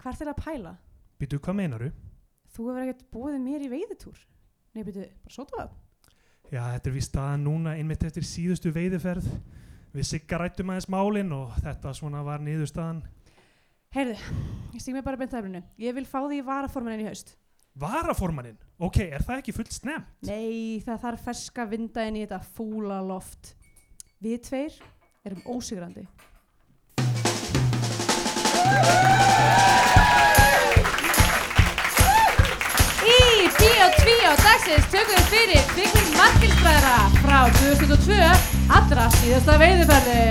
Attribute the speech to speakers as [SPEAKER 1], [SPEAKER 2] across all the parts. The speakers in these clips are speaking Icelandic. [SPEAKER 1] hvað er þetta að pæla?
[SPEAKER 2] Býtu, hvað meinaru?
[SPEAKER 1] Þú hefur ekkert búið mér í veiðitúr. Nei, byrju, bara sóta það.
[SPEAKER 2] Já, þetta er víst staðan núna einmitt eftir síðustu veiðiferð. Við sigga rættum aðeins málin og þetta svona var niðurstaðan.
[SPEAKER 1] Heyrðu, ég stík mig bara beint að efninu. Ég vil fá því varaformaninn í haust.
[SPEAKER 2] Varaformaninn? Ok, er það ekki fullt snem?
[SPEAKER 1] Nei, það þarf ferska vinda inn í þetta fúla loft. Við tveir erum ósigrandi.
[SPEAKER 3] Í Bíó 2 dagsins tökum við fyrir Byggvin Markinsbræðra frá 2002 allra síðasta veiðuferði.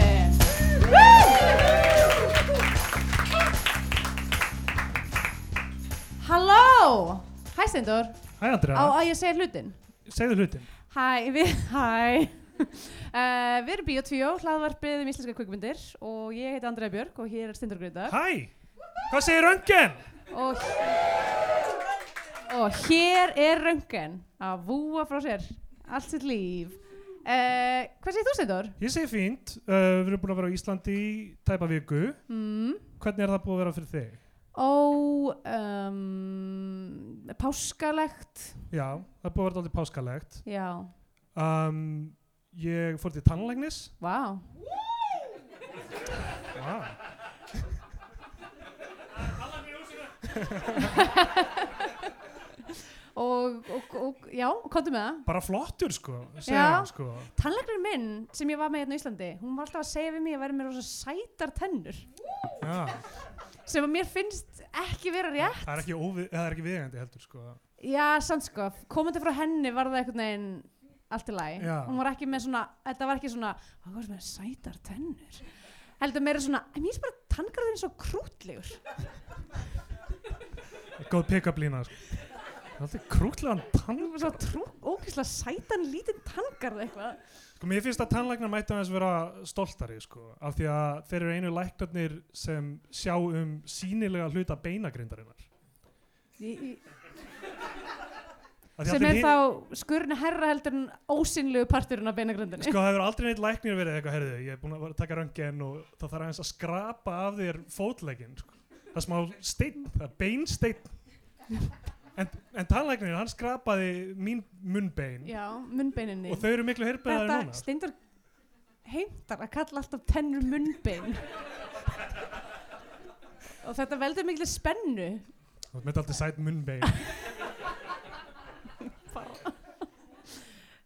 [SPEAKER 3] Halló! Hæ Steindor,
[SPEAKER 2] Hæ,
[SPEAKER 3] á
[SPEAKER 2] Andrea,
[SPEAKER 3] að ég segja hlutin.
[SPEAKER 2] segðu hlutin.
[SPEAKER 3] Hæ, við, hæ. Uh, við erum Bíó 2, hlaðvarpið um íslenska kvikmyndir og ég heiti Andrea Björk og hér er Steindor Gröndar.
[SPEAKER 2] Hæ, hvað segir öngen?
[SPEAKER 3] Og, og hér er röngen að vúa frá sér allt sitt líf. Uh, hvað segir þú, Steindor?
[SPEAKER 2] Ég segi fínt, uh, við erum búin að vera á Íslandi í tæpa viku.
[SPEAKER 3] Mm.
[SPEAKER 2] Hvernig er það búið að vera fyrir þig?
[SPEAKER 3] Ó, um, páskalegt,
[SPEAKER 2] Já, það er búið að vera alltaf páskalegt.
[SPEAKER 3] já,
[SPEAKER 2] Um, ég fór til tannlægnis.
[SPEAKER 3] vá.
[SPEAKER 2] Ah.
[SPEAKER 3] Og, og, og, já, komdu með það.
[SPEAKER 2] Bara flottur, sko. segir
[SPEAKER 3] Já.
[SPEAKER 2] hann, sko.
[SPEAKER 3] Tannleiknir minn sem ég var með hérna á Íslandi, hún var alltaf að segja við mig að vera með rosa sætar tennur
[SPEAKER 2] Já.
[SPEAKER 3] sem að mér finnst ekki vera rétt.
[SPEAKER 2] Það er ekki, óvi, það er ekki viðegandi heldur, sko.
[SPEAKER 3] Já, samt sko, komandi frá henni var það einhvern veginn allt í lagi.
[SPEAKER 2] Já.
[SPEAKER 3] Hún var ekki með svona, þetta var ekki svona, hvað var það með sætar tennur? Heldur meira svona, en mér finnst bara tanngarðurinn svo krútlegur.
[SPEAKER 2] Góð pick-up lína, sko. Það er alltaf krútlegan tann.
[SPEAKER 3] Hún var svo trú, ókvæslega sætan lítinn tanngarð eitthvað.
[SPEAKER 2] Sko, mér finnst að tannlæknar mættu aðeins vera stoltari, sko. Af því að þeir eru einu læknarnir sem sjá um sínilega hluta beinagrindarinnar.
[SPEAKER 3] Í, í,
[SPEAKER 2] Af því
[SPEAKER 3] sem
[SPEAKER 2] allir
[SPEAKER 3] er
[SPEAKER 2] hin-
[SPEAKER 3] þá skurna herra heldur en ósynlegu parturinn af beinagröndinni.
[SPEAKER 2] Sko, það hefur aldrei neitt læknir verið eitthvað, herðu, ég er búin að vera að taka röngin og það þarf aðeins að skrapa af þér fótlegginn, sko. Það er smá steinn, það er beinsteinn. En, en tannlæknir, hann skrapaði mín munnbein
[SPEAKER 3] Já, munnbeininni.
[SPEAKER 2] og þau eru miklu heyrbeðari
[SPEAKER 3] Þetta
[SPEAKER 2] núna. sko.
[SPEAKER 3] steindur heimtar að kalla alltaf tennur munnbein. Og þetta veldur miklu spennu
[SPEAKER 2] Þú ert með alltaf sætt munnbein.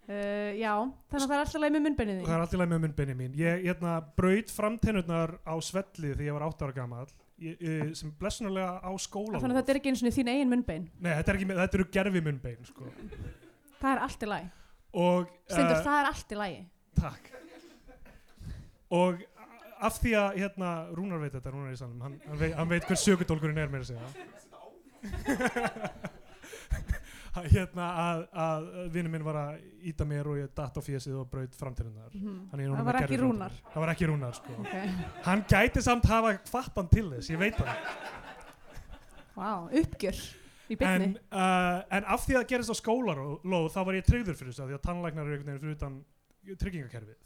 [SPEAKER 3] Uh, já, þannig að það er alltaf leið með munnbeinið
[SPEAKER 2] Það
[SPEAKER 3] því.
[SPEAKER 2] er alltaf leið með munnbeinni mín. Ég hérna, braut framtennurnar á svelli þegar ég var 8 ára gammal, sem blessunarlega á skóla.
[SPEAKER 3] Þannig að þetta er ekki eins og þín eigin munnbein.
[SPEAKER 2] Nei, þetta, er ekki, með- þetta eru gerfi munnbein, sko.
[SPEAKER 3] Það er alltaf leið.
[SPEAKER 2] Og,
[SPEAKER 3] Stendur,
[SPEAKER 2] eh,
[SPEAKER 3] það er alltaf leið.
[SPEAKER 2] Takk. Og a- af því að, hérna, Rúnar veit þetta, Rúnar er í salnum, hann, hann, veit, hann veit hver sökudólkurinn er meira að segja. Að, hérna að, að vinnu minn var að íta mér og ég datt á fjesið og braut framtennurnar. Þannig ég er
[SPEAKER 3] Mhm. Það
[SPEAKER 2] núna með
[SPEAKER 3] var ekki
[SPEAKER 2] gerviframtennur.
[SPEAKER 3] Rúnar.
[SPEAKER 2] Það var ekki Rúnar, sko.
[SPEAKER 3] Ok,
[SPEAKER 2] Hann gæti samt hafa fattan til þess, ég veit það.
[SPEAKER 3] vá, uppgjör í beinni.
[SPEAKER 2] En, uh, en af því að það gerist á skólarlóð þá var ég tryggður fyrir þessu, af því að tannlæknar eru einhvern veginn fyrir utan tryggingakerfið.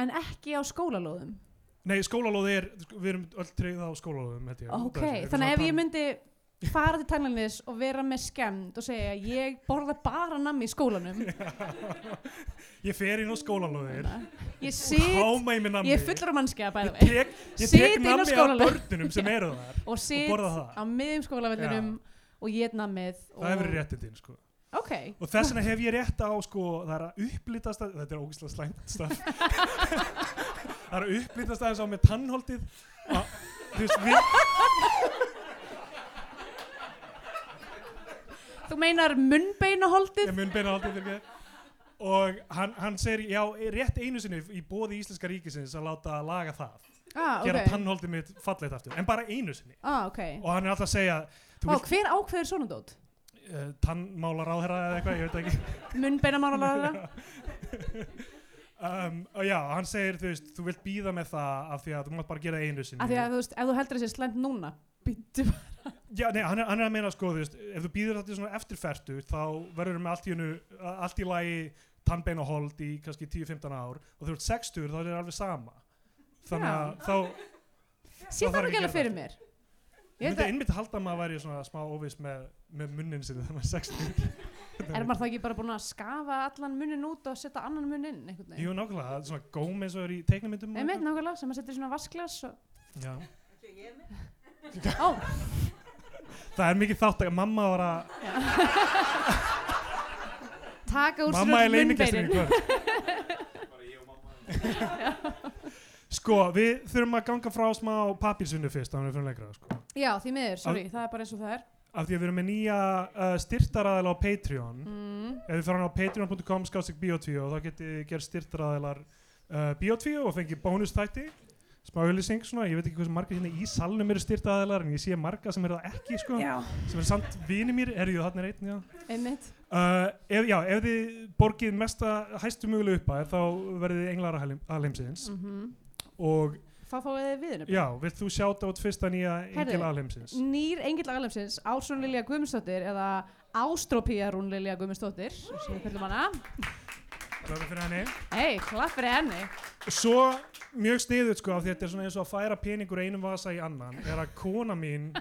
[SPEAKER 3] En, ekki á skólalóðum.
[SPEAKER 2] Nei, skólalóð er, sko, við erum öll tryggða á skólalóðum, held ég.
[SPEAKER 3] ok,
[SPEAKER 2] Það er-
[SPEAKER 3] þannig að ef ég
[SPEAKER 2] tann-
[SPEAKER 3] myndi fara til tannlænis og vera með skemmt og segja ég borða bara nammi í skólanum.
[SPEAKER 2] Ég fer inn á skólalóðir,
[SPEAKER 3] ég sit,
[SPEAKER 2] háma í mig nammi.
[SPEAKER 3] ég er fullur af mannskja bæði
[SPEAKER 2] Ég
[SPEAKER 3] vei.
[SPEAKER 2] tek, ég
[SPEAKER 3] Sit
[SPEAKER 2] tek
[SPEAKER 3] inn á
[SPEAKER 2] nammi af
[SPEAKER 3] skólalóð.
[SPEAKER 2] börnunum sem eru þar
[SPEAKER 3] Og
[SPEAKER 2] og
[SPEAKER 3] sit
[SPEAKER 2] borða
[SPEAKER 3] á
[SPEAKER 2] það.
[SPEAKER 3] miðjum skólavellinum og ég er nammið.
[SPEAKER 2] Það hefur verið réttindin, sko.
[SPEAKER 3] Ok,
[SPEAKER 2] Og þess vegna hef ég rétt á, sko, það er að upplítast að, þetta er ógislega slæmt stað, það er að upplítast aðeins á með tannholdið, að, þú veist, við,
[SPEAKER 3] þú meinar munnbeinaholdið?
[SPEAKER 2] ég mun beina haldið fyrir ekki, og hann, hann segir, já, rétt einu sinni í bóði Íslenska ríkisins að láta laga það,
[SPEAKER 3] Ah,
[SPEAKER 2] gera
[SPEAKER 3] ok.
[SPEAKER 2] tannholdið mitt falleitt aftur, en bara einu sinni.
[SPEAKER 3] Ah, ok.
[SPEAKER 2] Og hann er alltaf að segja, þú
[SPEAKER 3] Vá,
[SPEAKER 2] vilt
[SPEAKER 3] hver ákveður svona dót?
[SPEAKER 2] uh, tannmálaráðherra eða eitthvað, ég veit ekki.
[SPEAKER 3] Munnbeinamálaráðara?
[SPEAKER 2] Um, og já, hann segir, þú veist, þú vilt býða með það af því að þú mátt bara gera það einu sinni.
[SPEAKER 3] Af því að þú veist, ef þú heldur þessi slemt núna, býttu
[SPEAKER 2] Já, nei, hann er, hann er að meina sko, þú veist, ef þú býður þetta svona eftirfertu þá verður með allt í, hennu, allt í lagi tannbeinahold í kannski 10-15 ár og þú ert 60 þá er það alveg sama. Þannig að þá,
[SPEAKER 3] Sér
[SPEAKER 2] þarf
[SPEAKER 3] það ekki
[SPEAKER 2] ekki að
[SPEAKER 3] alveg
[SPEAKER 2] gera
[SPEAKER 3] fyrir mér. Ég
[SPEAKER 2] Ég
[SPEAKER 3] veit
[SPEAKER 2] myndi
[SPEAKER 3] að-
[SPEAKER 2] einmitt halda að maður væri svona smá óviss með, með munnin sinni þegar maður er 60.
[SPEAKER 3] Er maður þá ekki bara búin að skafa allan munnin út og setja annan munn inn einhvern veginn?
[SPEAKER 2] Jú, nákvæmlega, það er svona góm eins og er í teiknumyndum. og
[SPEAKER 3] Einmitt nákvæmlega sem maður setja í svona vasklas og...
[SPEAKER 2] eitthvað. Já.
[SPEAKER 3] Ó,
[SPEAKER 2] Það er mikið þátt að mamma var að,
[SPEAKER 3] taka úr
[SPEAKER 2] mamma er
[SPEAKER 3] sér öll
[SPEAKER 2] leiningastur í
[SPEAKER 3] munnbeinin.
[SPEAKER 2] kvöld. Sko, við þurfum að ganga frá smá papírsunni fyrst, þannig við fyrir lengra, sko.
[SPEAKER 3] Já, því miður, sorry, það er bara eins og það er.
[SPEAKER 2] Af því að við erum með nýja uh, styrtaraðila á Patreon.
[SPEAKER 3] Mm.
[SPEAKER 2] Ef þið fara hann á patreon.com skástik biotví og þá getið þið gerð styrtaraðilar uh, biotví og fengið bónustætti smá auðlýsing svona, ég veit ekki hversu marga hérna í salnum eru styrtaraðilar en ég sé marga sem eru það ekki sko,
[SPEAKER 3] Já,
[SPEAKER 2] sem eru samt vini mér, er ég þarna er einn, já.
[SPEAKER 3] einmitt.
[SPEAKER 2] Uh, ef, já, ef þið borgið mesta hæstu möguleg uppæð þá verðið þið englar alheimsins
[SPEAKER 3] Mm
[SPEAKER 2] og
[SPEAKER 3] Hvað fáið þið við henni?
[SPEAKER 2] já, vilt þú sjáta út fyrsta nýja
[SPEAKER 3] Heyrðu. Mm.
[SPEAKER 2] engil alheimsins?
[SPEAKER 3] Nýr engill agalefsins, Ásrún Lilja Guðmundsdóttir eða Ástrópíarún Lilja Guðmundsdóttir, sem við kallum hana.
[SPEAKER 2] Klappa fyrir henni.
[SPEAKER 3] Hei, klapp fyrir henni.
[SPEAKER 2] Svo mjög sniðut sko af því að þetta er svona eins og að færa peningur einum vasa í annan er að kona mín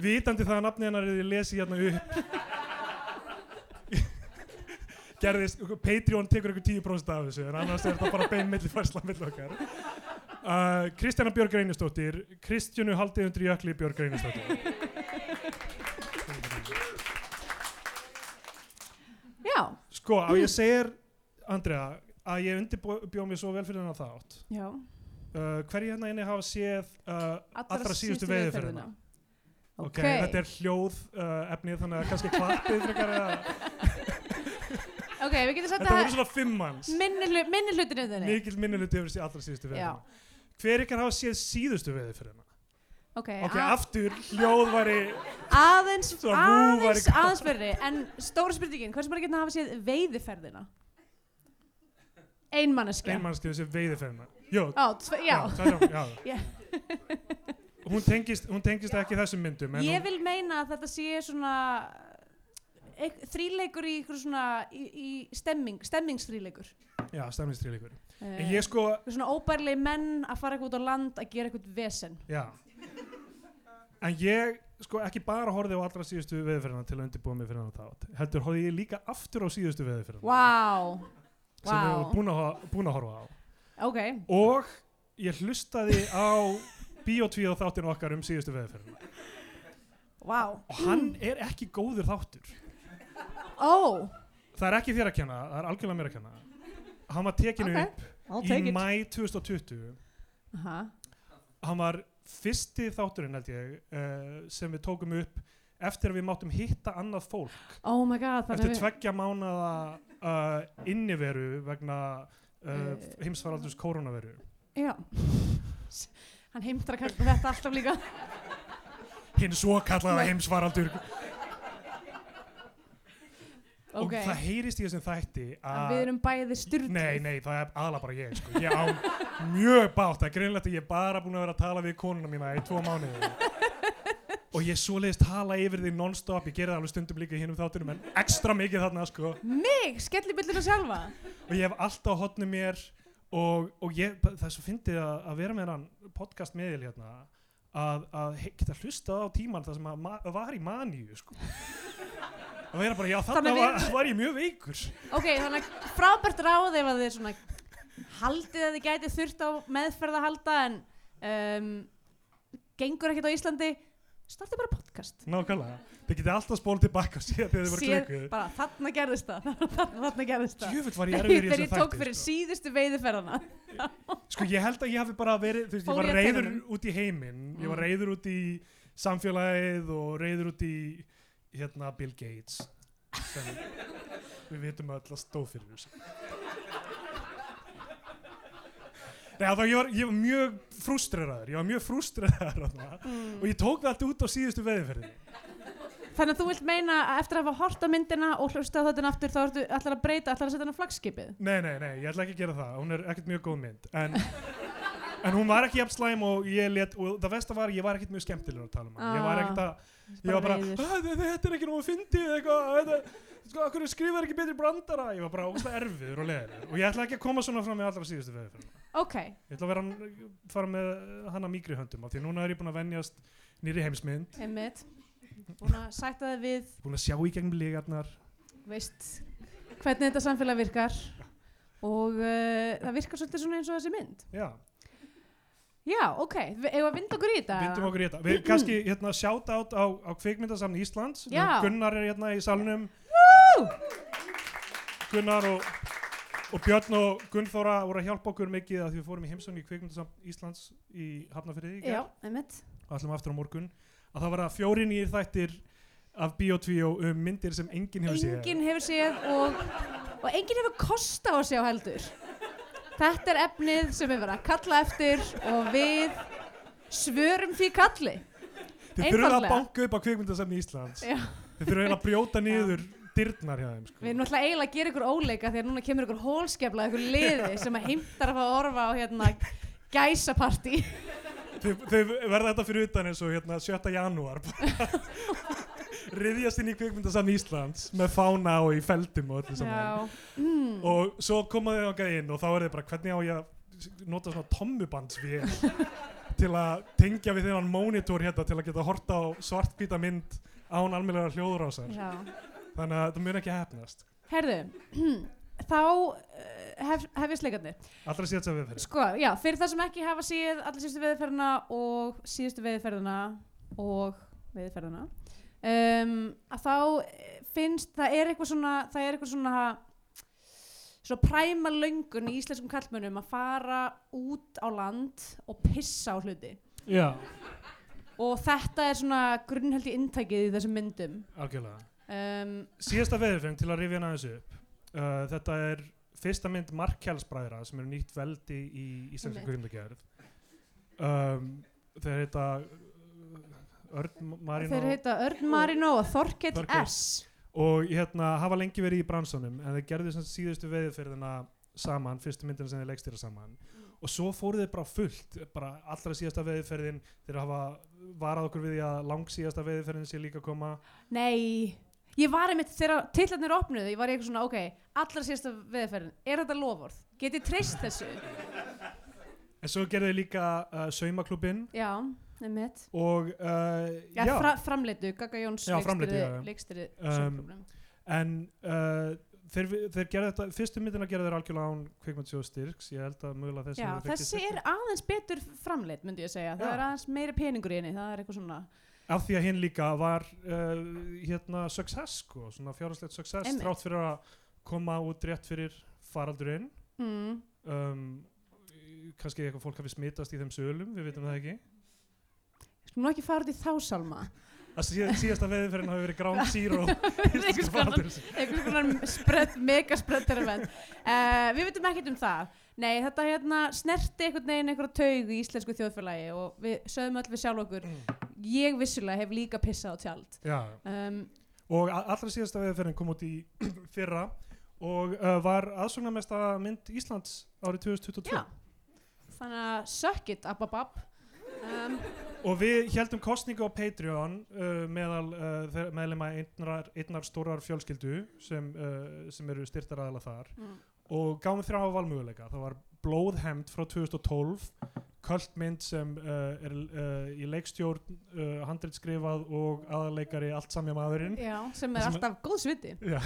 [SPEAKER 2] vitandi það að nafni hennar er ég lesi hérna upp gerðist, Patreon tekur ykkur 10% af þessu en annars er þetta bara bein milli færsla milli okkar uh, Kristjana Björg Reynistóttir Kristjánu haldið undir jökli Björg Reynistóttir
[SPEAKER 3] Já,
[SPEAKER 2] sko, á ég segir Andrea, að ég undirbjóð mig svo vel fyrir hennar þátt
[SPEAKER 3] já.
[SPEAKER 2] uh, hverju hérna inni hafa séð uh, allra, síðustu veiðiferðina
[SPEAKER 3] Ok.
[SPEAKER 2] ok, þetta er hljóð uh, efnið þannig að kannski klappið frekar eða
[SPEAKER 3] Ok, við getum sagt
[SPEAKER 2] þetta voru
[SPEAKER 3] að
[SPEAKER 2] svona fimm manns
[SPEAKER 3] minni, hlu- minni hlutin um þenni.
[SPEAKER 2] mikill minniluti hefur séð allra síðustu
[SPEAKER 3] Já.
[SPEAKER 2] veðið hver ykkar hafa séð síðustu veðið fyrir hennar
[SPEAKER 3] Ok,
[SPEAKER 2] ok,
[SPEAKER 3] a-
[SPEAKER 2] aftur hljóð væri
[SPEAKER 3] aðeins,
[SPEAKER 2] Svo nú væri
[SPEAKER 3] aðeins,
[SPEAKER 2] gott.
[SPEAKER 3] aðeins fyrri. En stóra spurningin, hversu maður getur að hafa séð veiðiferðina? Einmanneskja.
[SPEAKER 2] einmannskið þessi veðið fyrir hennar Jó,
[SPEAKER 3] Ó, tve, já.
[SPEAKER 2] já, tvær- já.
[SPEAKER 3] Já.
[SPEAKER 2] hún tengist, hún tengist ekki þessum myndum en
[SPEAKER 3] Ég
[SPEAKER 2] hún,
[SPEAKER 3] vil meina að þetta sé svona ek, þríleikur í ykkur svona í, í stemming, stemmingsþríleikur.
[SPEAKER 2] já, stemningstríleikur
[SPEAKER 3] Uh,
[SPEAKER 2] en ég sko,
[SPEAKER 3] Svona óbærlegi menn að fara eitthvað út á land að gera eitthvað vesen.
[SPEAKER 2] já en ég sko ekki bara horfið á allra síðustu veðið fyrir hennar til að undirbúa mig fyrir hennar þátt heldur horfið ég líka aftur á síðustu veðið fyrir hennar
[SPEAKER 3] Vá,
[SPEAKER 2] sem
[SPEAKER 3] Vá.
[SPEAKER 2] við erum búin að, ho- búin að horfa á
[SPEAKER 3] ok.
[SPEAKER 2] og ég hlustaði á Bíotvíð og þáttinu okkar um síðustu veðferðina
[SPEAKER 3] Vá.
[SPEAKER 2] og hann
[SPEAKER 3] Mm.
[SPEAKER 2] er ekki góður þáttur
[SPEAKER 3] Ó,
[SPEAKER 2] það er ekki þér að kenna, það er algjörlega mér að kenna hann var tekinu
[SPEAKER 3] Ok, I'll
[SPEAKER 2] upp í mæ 2020
[SPEAKER 3] Aha.
[SPEAKER 2] hann var fyrsti þátturinn held ég uh, sem við tókum upp eftir að við máttum hitta annað fólk
[SPEAKER 3] Oh my god, þannig
[SPEAKER 2] eftir tveggja mánada uh, inniveru vegna uh,
[SPEAKER 3] Eh.
[SPEAKER 2] heimsfaraldurs koronaveru
[SPEAKER 3] Já. Hann heimtar kannski þetta alltaf líka.
[SPEAKER 2] hinn svo kallaða heimsfaraldur
[SPEAKER 3] Ok.
[SPEAKER 2] og það heyrist í þessum þætti
[SPEAKER 3] Að Við erum bæði styrtið.
[SPEAKER 2] Nei, nei, það er aðla bara ég sko. Ég á mjög bátt Það er greinlegt að ég er bara búin að vera að tala við konuna mína í tvo mánuði Og ég svoleiðist tala yfir því non-stop Ég gerði það alveg stundum líka í hinum þáttunum En ekstra mikið þarna sko.
[SPEAKER 3] Mig, skellibillina sjálfa.
[SPEAKER 2] Og ég hef alltaf hotnum mér Og, og ég, það er svo fyndið að, að vera með hann podcast meðil hérna að, að he- geta hlustað á tíman það sem að ma var í maníu sko. að vera bara, já þarna
[SPEAKER 3] Þannig við-
[SPEAKER 2] var, var ég mjög veikur
[SPEAKER 3] Ok, þannig að frábært ráð ef að þið svona haldið að þið gæti þurft á meðferð að halda en um, gengur ekkert á Íslandi, startið bara podcast.
[SPEAKER 2] Nákvæmlega, þið getið alltaf spólað tilbaka síðan þegar þið voru
[SPEAKER 3] Séð
[SPEAKER 2] glögguð
[SPEAKER 3] bara þarna gerðist það, þarna, þarna gerðist það.
[SPEAKER 2] Tjöfull var ég erfiður í
[SPEAKER 3] Þegar
[SPEAKER 2] þessum
[SPEAKER 3] ég tók
[SPEAKER 2] þætti
[SPEAKER 3] fyrir
[SPEAKER 2] sko.
[SPEAKER 3] síðustu veiðiferðana.
[SPEAKER 2] sko ég held að ég hafi bara verið þú veist, ég
[SPEAKER 3] Fór
[SPEAKER 2] var
[SPEAKER 3] ég að
[SPEAKER 2] reyður
[SPEAKER 3] tennunum?
[SPEAKER 2] út í heiminn ég var
[SPEAKER 3] Mm.
[SPEAKER 2] reyður út í samfélagið og reyður út í hérna Bill Gates sem við vitum öll að stóð fyrir þessu Nei, þá ég var, ég var mjög frústreraður ég var mjög frústreraður þarna
[SPEAKER 3] Mm.
[SPEAKER 2] og ég tók það allt út á síðustu veðinferði
[SPEAKER 3] Þannig að þú vilt meina að eftir að hafa hort á myndina og hlusta á þetta aftur þá ertu allar að breyta, allar að setja hann á flagskipið.
[SPEAKER 2] Nei, nei, nei, ég ætla ekki að gera það, hún er ekkert mjög góð mynd en, en hún var ekki jafn slæm og ég let og það vest að var, ég var ekkert mjög skemmtilegur að tala um hann ég var ekkert að, ég var bara
[SPEAKER 3] Bara reiður.
[SPEAKER 2] "Ah, þe- þetta er ekki nógu fyndið eitthvað þetta- sko, af hverju skrifar ekki betri brandara ég var bara ógustlega erfiður og leður og ég ætla ekki að koma svona fram í allra síðustu veðurferð
[SPEAKER 3] Ok,
[SPEAKER 2] ég ætla að vera, fara með hana mýkri höndum af því að núna er ég búin að venjast nýri heimsmynd,
[SPEAKER 3] einmitt. Búin að sætta þið við,
[SPEAKER 2] búin að sjá í gegnum lígarnar
[SPEAKER 3] veist, hvernig þetta samfélag virkar og uh, það virkar svolítið svona eins og þessi mynd.
[SPEAKER 2] já,
[SPEAKER 3] Já, ok, við eigum að vinda okkur í þetta.
[SPEAKER 2] vindum okkur í þetta við kannski hérna shout out á, á kvikmyndasamni Íslands
[SPEAKER 3] Já.
[SPEAKER 2] Gunnar er hérna í salnum Gunnar og, og Björn og Gunnþóra voru að hjálpa okkur mikið að því við fórum í heimsókn í kvikmyndasamni Íslands í Hafnafyrði í
[SPEAKER 3] Já,
[SPEAKER 2] gær
[SPEAKER 3] einmitt.
[SPEAKER 2] og ætlum aftur á morgun að það var að fjóri nýjir þættir af Bíotvíó um myndir sem enginn hefur séð
[SPEAKER 3] Enginn hefur séð og, og enginn hefur kosta á að sjá heldur. Þetta er efnið sem við verðum að kalla eftir og við svörum því kalli.
[SPEAKER 2] Þið þurfum að
[SPEAKER 3] Einfaldlega.
[SPEAKER 2] banka upp á kvikmyndasamni Íslands.
[SPEAKER 3] Já.
[SPEAKER 2] Þið þurfum eiginlega að brjóta niður dyrnar hjá þeim. Sko.
[SPEAKER 3] Við erum náttúrulega eiginlega að gera ykkur óleika því að núna kemur ykkur hólskefla, ykkur liði sem að heimtar að fá að orfa á hérna gæsapartí.
[SPEAKER 2] Þau, þau verða þetta fyrir utan eins og hérna 7. janúar. Riðjast inn í kvikmyndasamni Íslands með fána og í feldum og öllu saman.
[SPEAKER 3] Já. Mm.
[SPEAKER 2] Og svo koma þau þangað inn og þá er þið bara hvernig á ég að nota svona tommubandsvél til að tengja við þennan mónitor hérna til að geta horta á svartbýta mynd án almennlega hljóðurásar.
[SPEAKER 3] Já.
[SPEAKER 2] Þannig að það mun ekki hefnast.
[SPEAKER 3] Herðu, þá eh, hef, hefjast leikarnir.
[SPEAKER 2] Allra síðan sem við fyrir.
[SPEAKER 3] Sko, já, fyrir það sem ekki hafa séð allir síðustu veðurferðina og síðustu veðurferðina og veðurferðina um, að þá eh, finnst, það er eitthvað svona það er eitthvað svona svona præma löngun í íslenskum kallmönnum að fara út á land og pissa á hluti
[SPEAKER 2] Já,
[SPEAKER 3] og þetta er svona grunnhaldi inntækið í þessum myndum
[SPEAKER 2] algjörlega.
[SPEAKER 3] um,
[SPEAKER 2] síðasta veðurfeng til að rifja hana aðeins upp uh, þetta er fyrsta mynd Markjálsbræðra sem eru nýtt veldi í íslenska kvindagerð um, þeir heita uh, Örn Marino
[SPEAKER 3] þeir heita Örn Marino og Þorkell
[SPEAKER 2] Þorkell.
[SPEAKER 3] S
[SPEAKER 2] og hérna, hafa lengi verið í bransunum en þeir gerðu sem sagt síðustu veðurferðina saman, fyrstu myndina sem þeir leggstýra saman
[SPEAKER 3] Mm.
[SPEAKER 2] og svo fóru þeir bara fullt bara allra síðasta veðurferðin þeir hafa varað okkur við því að lang síðasta veðurferðin sé líka að koma
[SPEAKER 3] Nei, ég var einmitt þegar tillarnir opnuðu, ég var í eitthvað svona, ok, allra síðasta veðferðin, er þetta loforð? Get ég treyst þessu?
[SPEAKER 2] en svo gerðu þeir líka uh, saumaklubin
[SPEAKER 3] Já, einmitt.
[SPEAKER 2] og uh,
[SPEAKER 3] Já,
[SPEAKER 2] já,
[SPEAKER 3] fra, framleitu, Gaga Jóns
[SPEAKER 2] Já, framleiddu, já, já.
[SPEAKER 3] leikstyrði
[SPEAKER 2] Um, en uh, þeir, þeir gerðu þetta fyrstu myndina gerðu þeir algjörlega án kvikmyndsjóð styrks ég held að mögulega þessi
[SPEAKER 3] Já,
[SPEAKER 2] hafi fengið
[SPEAKER 3] þessi er
[SPEAKER 2] styrk.
[SPEAKER 3] aðeins betur framleitt, myndi ég segja. Það
[SPEAKER 2] Já.
[SPEAKER 3] er aðeins meiri peningur í henni, það er eitthvað svona.
[SPEAKER 2] af því að hinn líka var uh, hérna success sko, svona fjárhagslegt success
[SPEAKER 3] Einmitt.
[SPEAKER 2] þrátt fyrir að koma út rétt fyrir faraldurinn
[SPEAKER 3] Mm.
[SPEAKER 2] um, kannski eitthvað fólk hafi smitast í þeim sölum, við vitum það ekki
[SPEAKER 3] Skulum nú ekki fara út í þá salma.
[SPEAKER 2] að síð, síðasta veðinferðin hafi verið ground zero
[SPEAKER 3] Einhvers konar- einhvers konar spredd, megaspredd þeirra menn. Uh, við veitum ekkert um það. Nei, þetta hérna snerti einhvern veginn einhverja taug í íslensku þjóðfélagi og við sögum öll við sjálf okkur. Ég vissulega hef líka pissað á tjald.
[SPEAKER 2] Mm. já,
[SPEAKER 3] Um,
[SPEAKER 2] og a- allra síðasta veðurferðin kom út í fyrra og uh, var aðsóknarmesta mynd Íslands árið 2022
[SPEAKER 3] já, þannig að suck it, ababab. Um,
[SPEAKER 2] og við heldum kostningu á Patreon uh, meðal uh, meðlema einnar, einnar stórar fjölskyldu sem, uh, sem eru styrtar aðala þar
[SPEAKER 3] Mm.
[SPEAKER 2] og gáum þrjá valmöguleika það var Blóðhemd frá 2012 kvöldmynd sem uh, er uh, í leikstjórn uh, handritskrifað og aðaleikari allt samja maðurinn
[SPEAKER 3] já, sem er
[SPEAKER 2] Sem-
[SPEAKER 3] alltaf góð sviti.
[SPEAKER 2] Já,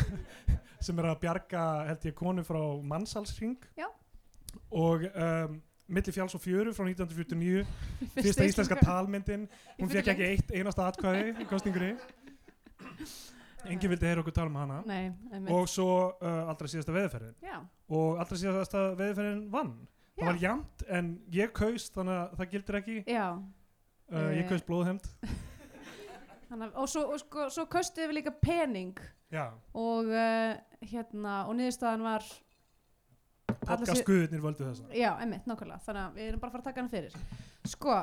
[SPEAKER 2] sem er að bjarga held ég konu frá mannsalsring
[SPEAKER 3] Já.
[SPEAKER 2] og um, Milli fjáls og fjöru frá 1949 fyrsta íslenska talmyndin
[SPEAKER 3] Í
[SPEAKER 2] hún
[SPEAKER 3] fullri
[SPEAKER 2] fekk ekki eitt einasta atkvæði í kostningunni enginn vildi heyra okkur tala um hana
[SPEAKER 3] Nei, einmitt.
[SPEAKER 2] og svo uh, allra síðasta veðurferðin
[SPEAKER 3] já,
[SPEAKER 2] og allra síðasta veðurferðin vann
[SPEAKER 3] Já.
[SPEAKER 2] það var jamt en ég kaust þannig að það gildir ekki
[SPEAKER 3] já.
[SPEAKER 2] uh,
[SPEAKER 3] Eh.
[SPEAKER 2] ég kaust blóðhemd
[SPEAKER 3] Þannig, að- og svo, og sko, svo köstuðum við líka pening
[SPEAKER 2] já,
[SPEAKER 3] og uh, hérna, og niðurstaðan var Alla síð-
[SPEAKER 2] podcastskuðunir völdu þessa
[SPEAKER 3] Já, emmitt, nákvæmlega, þannig að við erum bara að fara að taka hana fyrir Sko,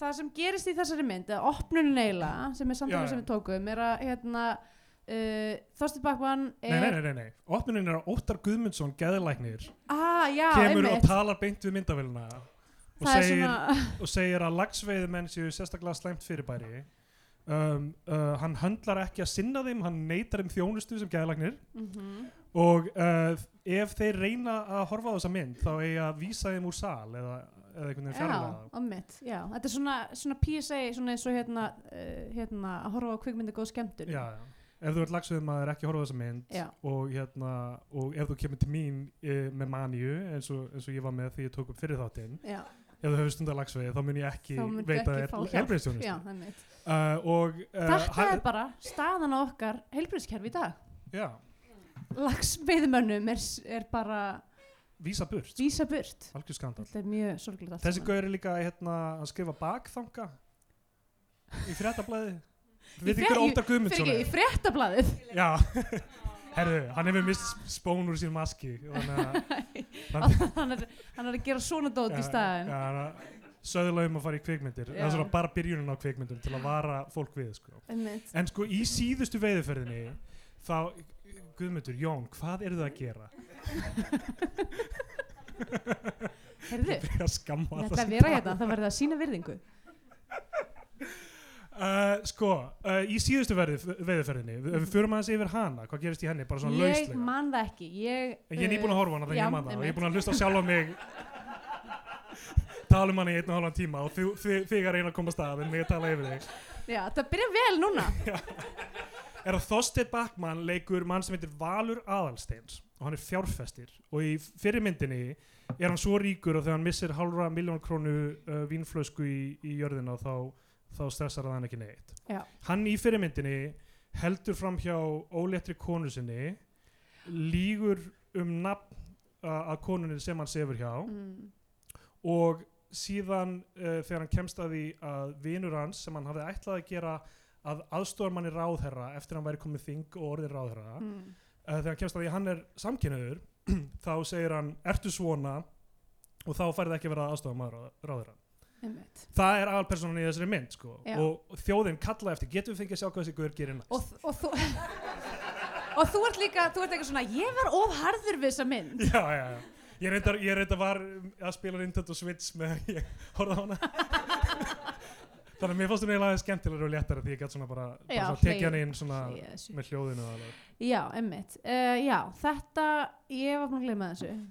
[SPEAKER 3] það sem gerist í þessari mynd eða opnunin eiginlega, sem er
[SPEAKER 2] Já,
[SPEAKER 3] samtala
[SPEAKER 2] já.
[SPEAKER 3] sem við tókum er að, hérna uh, Þorstur Bakman
[SPEAKER 2] nei,
[SPEAKER 3] er
[SPEAKER 2] nei, nei, nei, nei, opnunin er að Óttar Guðmundsson geðlæknir
[SPEAKER 3] Ah, já,
[SPEAKER 2] kemur og
[SPEAKER 3] einmitt
[SPEAKER 2] talar beint við myndavélina og
[SPEAKER 3] það er
[SPEAKER 2] segir,
[SPEAKER 3] svona
[SPEAKER 2] og segir að lagsveiðumenn séu sérstaklega slæmt fyrirbæri um, uh, hann höndlar ekki að sinna þeim hann neytar þeim þjónustu sem geðalagnir
[SPEAKER 3] Mhm.
[SPEAKER 2] og uh, ef þeir reyna að horfa á þessa mynd þá eigi að vísa þeim úr sal eða, eða einhvern veginn
[SPEAKER 3] Já,
[SPEAKER 2] fjarlæða þá.
[SPEAKER 3] ommitt, já, þetta er svona, svona PSA, svona eins og hérna, uh, hérna að horfa á kvikmyndi góð skemmtun
[SPEAKER 2] já, já. ef þú ert lagsveiðumaður ekki horfa á þessa mynd
[SPEAKER 3] Já.
[SPEAKER 2] og, hérna, og ef þú kemur til mín uh, með maníu eins og, eins og ég var með því ég tók upp fyrir þáttinn
[SPEAKER 3] já,
[SPEAKER 2] ef þú hefur stundar lagsveið þá mun ég ekki
[SPEAKER 3] Þá muntu
[SPEAKER 2] veita
[SPEAKER 3] ekki
[SPEAKER 2] þér
[SPEAKER 3] fá hjálp.
[SPEAKER 2] helbriðstjónustu
[SPEAKER 3] já, einmitt.
[SPEAKER 2] uh, og uh,
[SPEAKER 3] Þetta er bara staðan á okkar heilbrýðskerfi í dag.
[SPEAKER 2] já,
[SPEAKER 3] Lagsveiðmönnum er, s- er bara
[SPEAKER 2] vísa burt
[SPEAKER 3] vísa burt.
[SPEAKER 2] algjör skandal
[SPEAKER 3] Þetta er mjög sorglega allt.
[SPEAKER 2] þessi
[SPEAKER 3] saman.
[SPEAKER 2] gaur er líka hérna, að skrifa bakþanga í fréttablaði
[SPEAKER 3] Í
[SPEAKER 2] við
[SPEAKER 3] frétt-
[SPEAKER 2] ykkur
[SPEAKER 3] í-
[SPEAKER 2] Óta Guðmundsson
[SPEAKER 3] Fyrir ekki, í fréttablaðið.
[SPEAKER 2] er? já herðu, hann hefur mist spón úr sín maski þannig að
[SPEAKER 3] hann, er, hann er að gera svona dót í staðin.
[SPEAKER 2] ja, ja, söðulegum um að fara í kvikmyndir það
[SPEAKER 3] Já.
[SPEAKER 2] er svona bara byrjunin á kvikmyndum til að vara fólk við sko.
[SPEAKER 3] Einmitt.
[SPEAKER 2] en sko í síðustu veiðuferðinni þá, Guðmundur, Jón hvað eru það að gera?
[SPEAKER 3] Heyrðu,
[SPEAKER 2] Ég að skamma
[SPEAKER 3] ég
[SPEAKER 2] alla
[SPEAKER 3] ætla
[SPEAKER 2] sem
[SPEAKER 3] að vera
[SPEAKER 2] tala.
[SPEAKER 3] hérna, það verði að sína virðingu.
[SPEAKER 2] Uh, sko, uh, í síðustu verði, veðurferðinni, við, við förum aðeins yfir hana, hvað gerist í henni, bara svona
[SPEAKER 3] Ég
[SPEAKER 2] lauslega.
[SPEAKER 3] man það ekki. Ég,
[SPEAKER 2] En Ég er nýbúin að horfa á hana þegar
[SPEAKER 3] já,
[SPEAKER 2] ég man það og ég
[SPEAKER 3] einmitt.
[SPEAKER 2] er búin að hlusta á sjálf á mig tala um hana í einn og halvan tíma og þú- þið þið að reyna að koma stað en mig að tala yfir þig.
[SPEAKER 3] eh, Já, það byrja vel núna.
[SPEAKER 2] Er að Þorsteinn Bakman leikur mann sem heitir Valur Aðalsteins og hann er fjárfestir og í fyrir myndinni er hann svo ríkur og þegar hann missir halvra miljón krónu uh, vínflösku í, í jörðina þá, þá stressar það hann ekki neitt.
[SPEAKER 3] Já.
[SPEAKER 2] Hann í fyrir myndinni heldur fram hjá óléttri konu sinni, lígur um nafn uh, að konunni sem hann sefur hjá
[SPEAKER 3] Mm.
[SPEAKER 2] og síðan uh, þegar hann kemst að því að vinur hans sem hann hafði ætlað að gera að aðstofarmanni ráðherra eftir að hann væri komið þing og orðin ráðherra uh,
[SPEAKER 3] Mm.
[SPEAKER 2] þegar hann kemst að því að hann er samkynniður þá segir hann ertu svona og þá færði ekki að vera aðstofarmanni ráðherra
[SPEAKER 3] Einmitt.
[SPEAKER 2] það er aðalpersonan í þessari mynd sko.
[SPEAKER 3] Já.
[SPEAKER 2] og þjóðin kallaði eftir getum við fengið að sjá hvað þessi guður gerir næst
[SPEAKER 3] og, og þú og þú ert líka, þú ert eitthvað svona ég var of harður við þessa mynd
[SPEAKER 2] já, já, já. Ég reyndar, ég reyndar var um, að spila Nintendo Switch með ég horfði á hana þannig að mér fannst hún eiginlega aðeins skemmtilegur og léttari því ég gæti svona bara, bara
[SPEAKER 3] Já,
[SPEAKER 2] svona
[SPEAKER 3] hlegið-
[SPEAKER 2] tekið hann inn svona
[SPEAKER 3] Yes.
[SPEAKER 2] með hljóðinu og alveg.
[SPEAKER 3] já, emmitt, uh, já, þetta ég var búin að gleyma þessu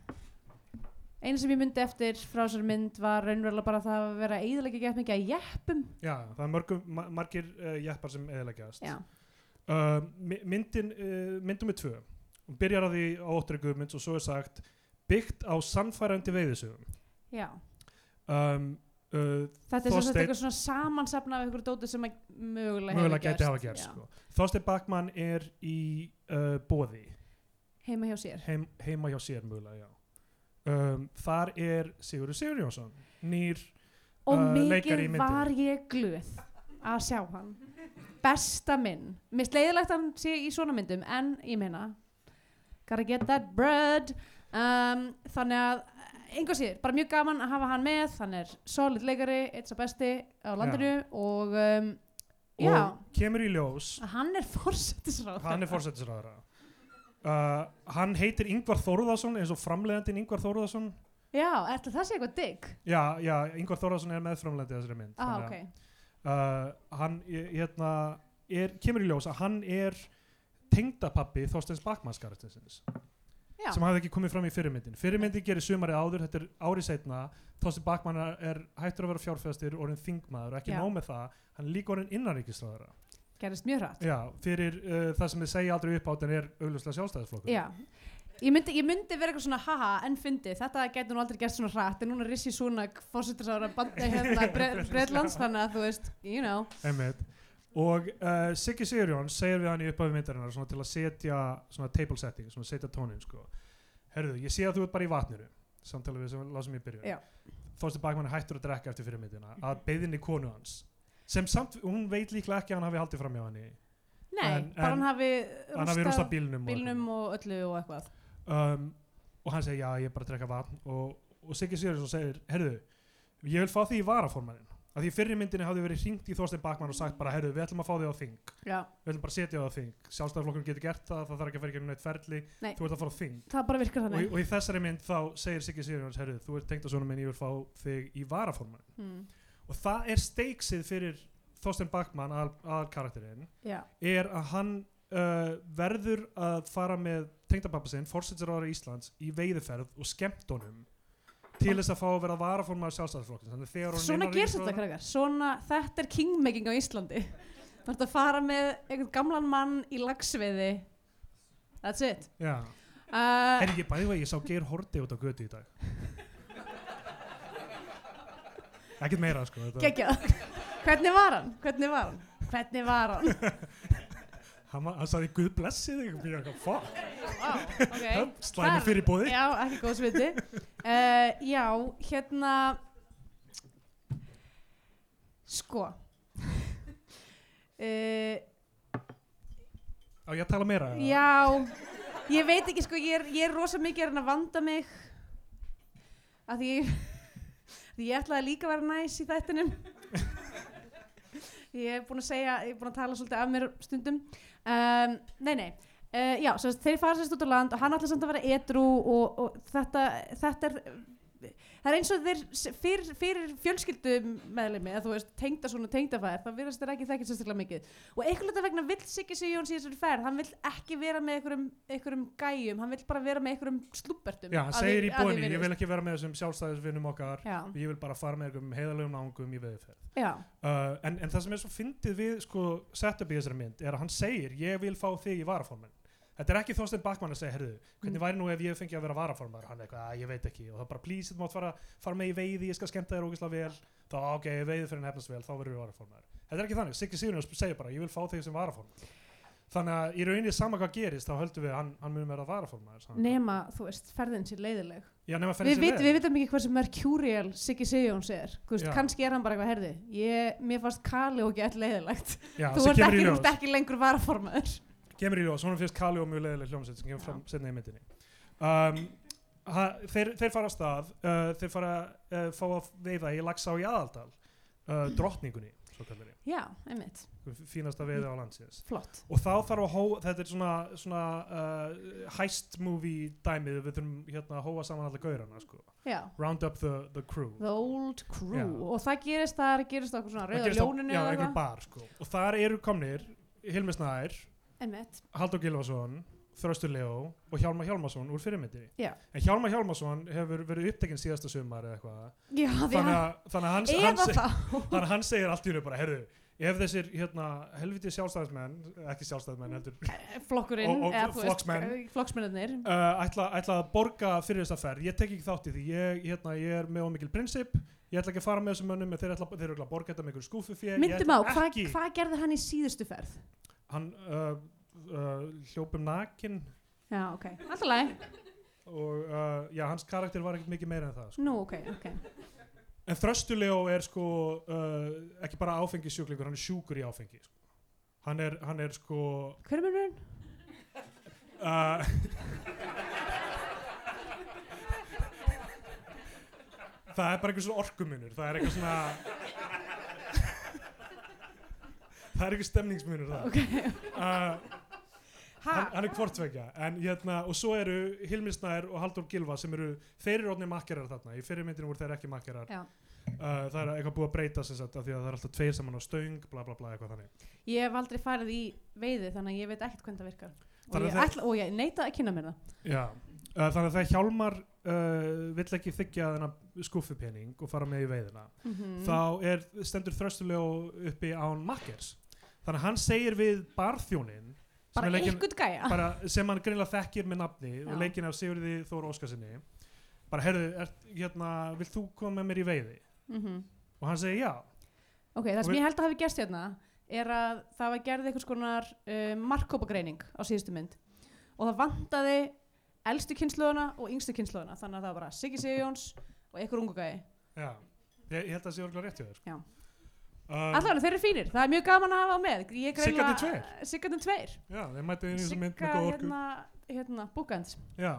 [SPEAKER 3] eina sem ég myndi eftir frá þessari mynd var raunverulega bara það að vera eðilega gett mikið að jeppum
[SPEAKER 2] já, það er mörgum, ma margir uh, jeppar sem eðileggjast
[SPEAKER 3] já,
[SPEAKER 2] uh, mi- myndin, uh, myndum við tvö hún byrjar að því á óttri guðmunds og svo er sagt byggt á sannfærandi veiðisögum
[SPEAKER 3] já
[SPEAKER 2] um, uh,
[SPEAKER 3] þetta er sem sagt
[SPEAKER 2] Þorsteinn-
[SPEAKER 3] eitthvað svona samansafna af einhverju dóti sem að mögulega, hefur
[SPEAKER 2] mögulega gæti hafa gerst
[SPEAKER 3] já.
[SPEAKER 2] sko. Þorsteinn Bakman er í uh, bóði sko.
[SPEAKER 3] heima hjá sér
[SPEAKER 2] heim, heima hjá sér mögulega, já. Um, þar er Sigurður Sigurjónsson, nýr,
[SPEAKER 3] og
[SPEAKER 2] Uh, leikari í
[SPEAKER 3] mikið
[SPEAKER 2] myndinni.
[SPEAKER 3] var ég glöð að sjá hann besta minn mér sleiðilegt að hann sé í svona myndum en ég meina gotta get that bread um, þannig að einhver síður, bara mjög gaman að hafa hann með hann er solid leikari, eitt sá besti á landinu og um,
[SPEAKER 2] og
[SPEAKER 3] já,
[SPEAKER 2] kemur í ljós,
[SPEAKER 3] hann er fórsetisráð
[SPEAKER 2] hann er fórsetisraðara. Uh, hann heitir Yngvar Þórðarsson eins og framleiðandinn Yngvar Þórðarsson
[SPEAKER 3] já, ætli það sé eitthvað digg
[SPEAKER 2] já, já, Yngvar Þórðarsson er meðframleiðandi í þessari mynd
[SPEAKER 3] ah,
[SPEAKER 2] þannig
[SPEAKER 3] ok,
[SPEAKER 2] að, uh, hann eh, hérna, er, kemur í ljós að hann er tengdapappi Þorsteins Bakmannskarastinsins
[SPEAKER 3] já,
[SPEAKER 2] sem hafði ekki komið fram í fyrirmyndin fyrirmyndin gerir sumarið áður, þetta er árið setna Þorstein Bakman er- er hættur að vera fjárfæðastir orðin þingmaður og ekki
[SPEAKER 3] Já.
[SPEAKER 2] nóg með það hann er líka orðin innanríkistráðara
[SPEAKER 3] gerist mjög hratt
[SPEAKER 2] já, fyrir uh, það sem þið segja aldrei upp átt en er augljóslega sjálfstæðisflokkur
[SPEAKER 3] Já, ég myndi, ég myndi vera eitthvað svona haha en fyndi, þetta gæti nú aldrei gert svona hratt en núna rissi svona fórsetarsára bandi hérna Bre- Bretlands þannig að þú veist, you know
[SPEAKER 2] Einmitt. og uh, Siggi Sigurjón segir við hann í upphafi myndarinnar svona til að setja svona table setting, svona setja tónin sko. herðu, ég sé að þú ert bara í vatniru samtala við sem lásum í
[SPEAKER 3] Já.
[SPEAKER 2] byrjun Þorstein Bakman er hættur að drekka eftir fyrirmyndina að beðinni konu hans sem samt, hún veit líklega ekki að hann hafi haldið fram hjá henni
[SPEAKER 3] Nei,
[SPEAKER 2] En-
[SPEAKER 3] bara
[SPEAKER 2] en-
[SPEAKER 3] hann hafi
[SPEAKER 2] hann hafi rústað bílnum,
[SPEAKER 3] bílnum og öllu og eitthvað
[SPEAKER 2] og, um, og hann segir já ég er bara að drekka vatn og, og Siggi Sigurðsson segir herðu ég vil fá því í varaformaninn Af því í fyrri myndinni hafði verið hringt í Þorstein Bakman og sagt bara, herru, við ætlum að fá þig á þing.
[SPEAKER 3] já,
[SPEAKER 2] Við ætlum bara að setja þig á þing. Sjálfstæðarflokkurinn getur gert það, það þarf ekki að fara í gegnum neitt ferli.
[SPEAKER 3] Nei.
[SPEAKER 2] Þú ert að fara á þing.
[SPEAKER 3] það bara virkar
[SPEAKER 2] Og, í-
[SPEAKER 3] þannig
[SPEAKER 2] og í þessari mynd þá segir Siggi Sigurjóns, herru, þú ert tengt að svona minn, ég vil fá þig í varaforman.
[SPEAKER 3] mm.
[SPEAKER 2] Og það er steiksið fyrir Þorstein Bakman, aðal, aðal karakterinn,
[SPEAKER 3] já,
[SPEAKER 2] er að hann uh, verður að fara með tengdapappa sinn, fórsetsaráður Íslands, í veiðiferð og skemmt honum til þess að fá að vera varaformaður sjálfstæðarflokkins. Þannig að þegar orðin
[SPEAKER 3] svona
[SPEAKER 2] innan
[SPEAKER 3] gerst þetta
[SPEAKER 2] ríkisstjórnar-
[SPEAKER 3] krakkar svona, þetta er kingmaking á Íslandi þú ert að fara með einhvern gamlan mann í lagsveiði that's it
[SPEAKER 2] Já.
[SPEAKER 3] uh,
[SPEAKER 2] Herri, ég bæði að ég sá Geir Horti út á götu í dag. Ekkert meira, sko. Þetta,
[SPEAKER 3] geggjað hvernig var hann, hvernig var hann hvernig var hann
[SPEAKER 2] hann, var- hann sagði, Guð blessi þig, og ég er eitthvað, fuck,
[SPEAKER 3] wow, okay.
[SPEAKER 2] okay. slæmi
[SPEAKER 3] Þar-
[SPEAKER 2] fyrir bóði.
[SPEAKER 3] Eh, já, ekki góð sviti uh, já, hérna sko uh,
[SPEAKER 2] Á, ég að tala meira? eða?
[SPEAKER 3] Já, ég veit ekki sko, ég er, ég er rosa mikið að reyna að vanda mig af því ég, því ég ætlaði líka að vera næs í þættinum Ég er búin að segja, ég er búin að tala svolítið af mér stundum um, Nei, nei Uh, já, svo þeir fara sérst út á land og hann ætla samt að vera edru og, og þetta, þetta er það er eins og þeir s- fyrir, fyrir fjölskyldu meðlemi að þú veist, tengda svona tengdafæðir þá virðast þeir ekki þekkið sérstaklega mikið og einhvern veginn vegna vill Siggi Sigjóns í þessari ferð hann vill ekki vera með einhverjum, einhverjum gæjum hann vill bara vera með einhverjum slúbertum
[SPEAKER 2] Já, hann segir í bóni, ég vil ekki vera með þessum sjálfstæðisvinnum okkar,
[SPEAKER 3] já,
[SPEAKER 2] ég vil bara fara með einhverjum heiðalegum náungum í veiðiferð.
[SPEAKER 3] já,
[SPEAKER 2] Uh, en, en það sem er svo fyndið við sko, setup í þessari mynd er að hann segir ég vil fá þig í varaformen þetta er ekki Þorstein Bakman að segja herðu,
[SPEAKER 3] Mm.
[SPEAKER 2] hvernig væri nú ef ég fengi að vera varaformaður hann er eitthvað, "Ah, ég veit ekki og það bara please, þú mátt fara, fara með í veiði ég skal skemmta þér ógislega vel þá "Ah, ok, veiði fyrir hefnast vel, þá verður við varaformaður þetta er ekki þannig, Siggi Sigurjóns segir bara ég vil fá þig sem varaformaður þannig að í rauninni sama hvað gerist þá höldum við að hann, hann munum vera varaformaður sama hvað.
[SPEAKER 3] nema, þú veist, ferðin sér leiðileg
[SPEAKER 2] Já, nema ferðin
[SPEAKER 3] við,
[SPEAKER 2] sé
[SPEAKER 3] vit,
[SPEAKER 2] vel.
[SPEAKER 3] við vitum ekki hversu mercurial Siggi Sigjóns er Þú veist,
[SPEAKER 2] Já.
[SPEAKER 3] kannski er hann bara eitthvað herði ég, mér fannst Kali og gett leiðilegt
[SPEAKER 2] Já,
[SPEAKER 3] þú
[SPEAKER 2] sem
[SPEAKER 3] ert
[SPEAKER 2] kemur í
[SPEAKER 3] ekki,
[SPEAKER 2] ljós.
[SPEAKER 3] ert ekki lengur varaformaður
[SPEAKER 2] kemur í ljós, honum finnst Kali og mjög leiðileg hljómsveit sem kemur fram setna í myndinni um, ha, þeir, þeir fara af stað uh, þeir fara uh, fá að veiða í Laxá í aðaldal uh, drottningunni, svo kallari
[SPEAKER 3] já, einmitt,
[SPEAKER 2] fínasta veiði á landsins
[SPEAKER 3] flott
[SPEAKER 2] og þá þarf að hóa, þetta er svona, svona uh, heist movie dæmið við þurfum hérna að hóa saman alla gaurana sko.
[SPEAKER 3] já.
[SPEAKER 2] round up the, the crew
[SPEAKER 3] the old crew
[SPEAKER 2] Já.
[SPEAKER 3] og það gerist þar, gerist okkur svona
[SPEAKER 2] Það
[SPEAKER 3] rauða
[SPEAKER 2] gerist á-
[SPEAKER 3] ljóninu
[SPEAKER 2] já,
[SPEAKER 3] eða
[SPEAKER 2] einhver
[SPEAKER 3] eitthvað.
[SPEAKER 2] bar sko. og þar eru komnir Hilmi Snær,
[SPEAKER 3] einmitt,
[SPEAKER 2] Haldur Gilvason Þröstur Leó og Hjálmar Hjálmarsson úr fyrirmyndinni
[SPEAKER 3] já,
[SPEAKER 2] En Hjálmar Hjálmarsson hefur verið upptekinn síðasta sumar eða eitthvað.
[SPEAKER 3] já því
[SPEAKER 2] Þannig
[SPEAKER 3] að
[SPEAKER 2] að, þannig að hann, hann,
[SPEAKER 3] eða
[SPEAKER 2] seg-
[SPEAKER 3] þá
[SPEAKER 2] þannig að hann segir allt í hennu bara, herðu, ef þessir hérna, helviti sjálfstæðismenn, ekki sjálfstæðismenn heldur, uh,
[SPEAKER 3] flokkurinn
[SPEAKER 2] Og- og
[SPEAKER 3] eða þú veist, eh,
[SPEAKER 2] flokksmenn.
[SPEAKER 3] flokksmennirnir
[SPEAKER 2] "Eh, ætla, ætla að borga fyrir þessa ferð. Ég tek ekki þátt í því, ég, hérna, ég er með ómikil prinsip, ég ætla ekki að fara með þessum mönnum, en þeir ætla, þeir ætla að borga þetta með einhverju skúfufjö.
[SPEAKER 3] myndum á, hvað
[SPEAKER 2] Ekki,
[SPEAKER 3] hva gerði hann í síðustu ferð?
[SPEAKER 2] hann uh, uh, hljópum nakin
[SPEAKER 3] já, ok, alltaf læg
[SPEAKER 2] og uh, já, hans karakter var ekkert mikið meira en það. Sko.
[SPEAKER 3] nú, ok, ok,
[SPEAKER 2] En þröstulegó er sko uh, ekki bara áfengissjúklingur, hann er sjúkur í áfengi. Sko. Hann, er, hann er sko...
[SPEAKER 3] hver er munurinn?
[SPEAKER 2] Uh, það er bara einhver svona orkumunur, það er eitthvað svona... það er einhver stemningsmunur það. Uh,
[SPEAKER 3] ha,
[SPEAKER 2] hann, hann er hvortvekja. En hérna, og svo eru Hilmi Snær og Haldur Gilva sem eru, þeir eru orðinni makkerar þarna. Í fyrirmyndinu voru þeir ekki makkerar.
[SPEAKER 3] já
[SPEAKER 2] Uh, það er eitthvað búið að breyta sem sagt af því að það er alltaf tveir saman á stöng bla bla bla eitthvað þannig
[SPEAKER 3] Ég hef aldrei farið í veiði þannig að ég veit ekkert hvernig það virkar og ég,
[SPEAKER 2] Þannig að það-
[SPEAKER 3] ætla, og ég neita að kynna mér það
[SPEAKER 2] Já. Uh, þannig að það hjálmar uh, vill ekki þykja þennan skúffupening og fara með í veiðina
[SPEAKER 3] Mm.
[SPEAKER 2] þá er, stendur þröstulega uppi án makkers þannig að hann segir við barþjónin sem
[SPEAKER 3] bara
[SPEAKER 2] er leikinn-
[SPEAKER 3] einhvern gæja
[SPEAKER 2] bara, sem hann greinlega þekkir með nafni
[SPEAKER 3] Já.
[SPEAKER 2] og leikin af Sigurði Þór Óskarsinni bara heyrðu, er, hérna, vill þú koma með mér í veiði
[SPEAKER 3] Mhm.
[SPEAKER 2] og hann segir já
[SPEAKER 3] Ok, það
[SPEAKER 2] Og
[SPEAKER 3] sem
[SPEAKER 2] við-
[SPEAKER 3] ég held að hafi gerst hérna er að það var gerðið einhvers konar uh, markkópagreining á síðustu mynd og það vantaði elstu kynsluðuna og yngstu kynsluðuna þannig að það var bara Siggi Sigjóns og einhver ungu gæi
[SPEAKER 2] Já, ég, ég held að það sé orðlega rétt hjá þér
[SPEAKER 3] Já.
[SPEAKER 2] sko. um,
[SPEAKER 3] Allavega, þeir eru fínir, það er mjög gaman að hafa á með Ég greina-
[SPEAKER 2] Siggarnir tveir.
[SPEAKER 3] Siggarnir tveir
[SPEAKER 2] Já, þeir mættu inn í þessu mynd
[SPEAKER 3] Sigga
[SPEAKER 2] með góð orku.
[SPEAKER 3] hérna, hérna, búkand
[SPEAKER 2] Já,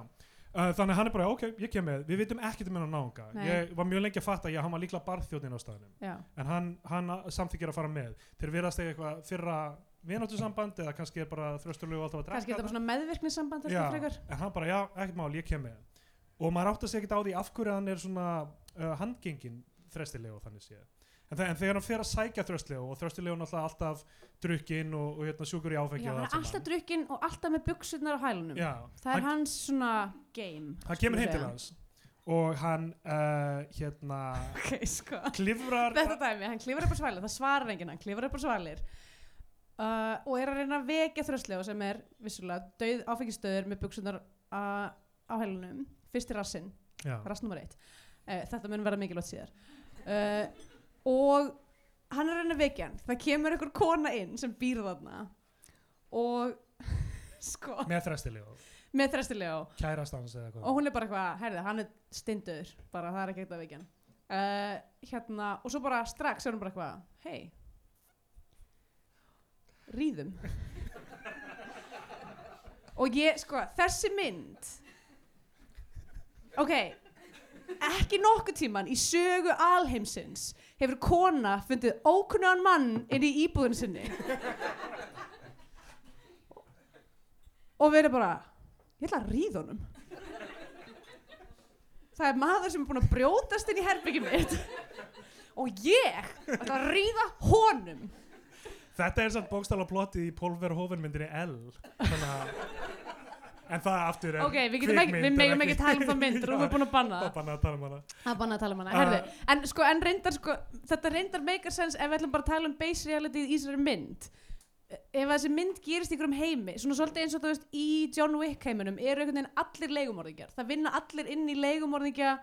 [SPEAKER 2] Uh, þannig að hann er bara, ok, ég kem með, við vitum ekkert um hennar náunga.
[SPEAKER 3] Nei.
[SPEAKER 2] Ég var mjög lengi að fatta, já, hann var líklega barþjóðin á staðnum.
[SPEAKER 3] já,
[SPEAKER 2] En hann, hann samþykir að fara með. Þeir virðast eiga eitthvað fyrra vináttusamband eða kannski er bara þrösturlegu alltaf að drekka.
[SPEAKER 3] kannski er þetta bara svona meðvirkningssamband
[SPEAKER 2] Já,
[SPEAKER 3] kannski frekar.
[SPEAKER 2] en hann bara, já, ekkert mál, ég kem með og maður átti sig ekkert á því af hverju hann er svona uh, handgengin þrestilegu þannig séð en, þe- en þegar hann fer að sækja þrestilegu og þrestilegu náttúrulega alltaf drukkinn og, og hérna, sjúkur í áfengi
[SPEAKER 3] Já,
[SPEAKER 2] og
[SPEAKER 3] hann er
[SPEAKER 2] allt
[SPEAKER 3] alltaf
[SPEAKER 2] saman.
[SPEAKER 3] drukkinn og alltaf með buksurnar á hælunum
[SPEAKER 2] já,
[SPEAKER 3] það er
[SPEAKER 2] hann,
[SPEAKER 3] hans svona game
[SPEAKER 2] hann kemur heim
[SPEAKER 3] skulum
[SPEAKER 2] til hans og hann uh, hérna
[SPEAKER 3] segja. ok, sko
[SPEAKER 2] klifrar
[SPEAKER 3] þetta dæmi, hann klifur upp á svalir, það svarar enginn hann klifur upp á svalir uh, og er að reyna að vekja þröslega sem er vissulega döð áfengistöður með buksunar uh, á hælunum fyrst í rassinn,
[SPEAKER 2] já,
[SPEAKER 3] rass nummer eitt uh, þetta mun verða mikilvægt síðar uh, og hann er að reyna að vekja hann það kemur einhver kona inn sem býr þarna og sko,
[SPEAKER 2] með þrestilegu,
[SPEAKER 3] með þröslega
[SPEAKER 2] kærast hans eða
[SPEAKER 3] og
[SPEAKER 2] eitthvað
[SPEAKER 3] hún er bara eitthvað, herði, hann er stindur bara það er ekki eitthvað vikjan uh, hérna, og svo bara strax er hún bara eitthvað, hei ríðum og ég, sko, þessi mynd ok ekki nokkuð tíman í sögu alheimsins hefur kona fundið ókunnan mann inn í íbúðun sinni og verið bara ég ætla að ríða honum það er maður sem er búin að brjótast inn í herbyggjum mitt og ég ætla að ríða honum
[SPEAKER 2] þetta er samt bókstala plottið í Pólver Hófinmyndinni L þannig að En það aftur er
[SPEAKER 3] ok, við, getum ekki, við
[SPEAKER 2] kvikmynd, en
[SPEAKER 3] megum ekki tala um þá mynd og við erum búin að banna
[SPEAKER 2] Það
[SPEAKER 3] það.
[SPEAKER 2] banna að tala um hana.
[SPEAKER 3] það er bannað að tala um hana
[SPEAKER 2] Ah.
[SPEAKER 3] Herðu, en, sko, en reyndar, sko, þetta reyndar meikar sens ef við ætlum bara að tala um base reality í þessari mynd ef þessi mynd gerist í einhverjum heimi svona svolítið eins og þú veist í John Wick heiminum eru einhvern veginn allir leigumorðingjar það vinna allir inn í leigumorðingja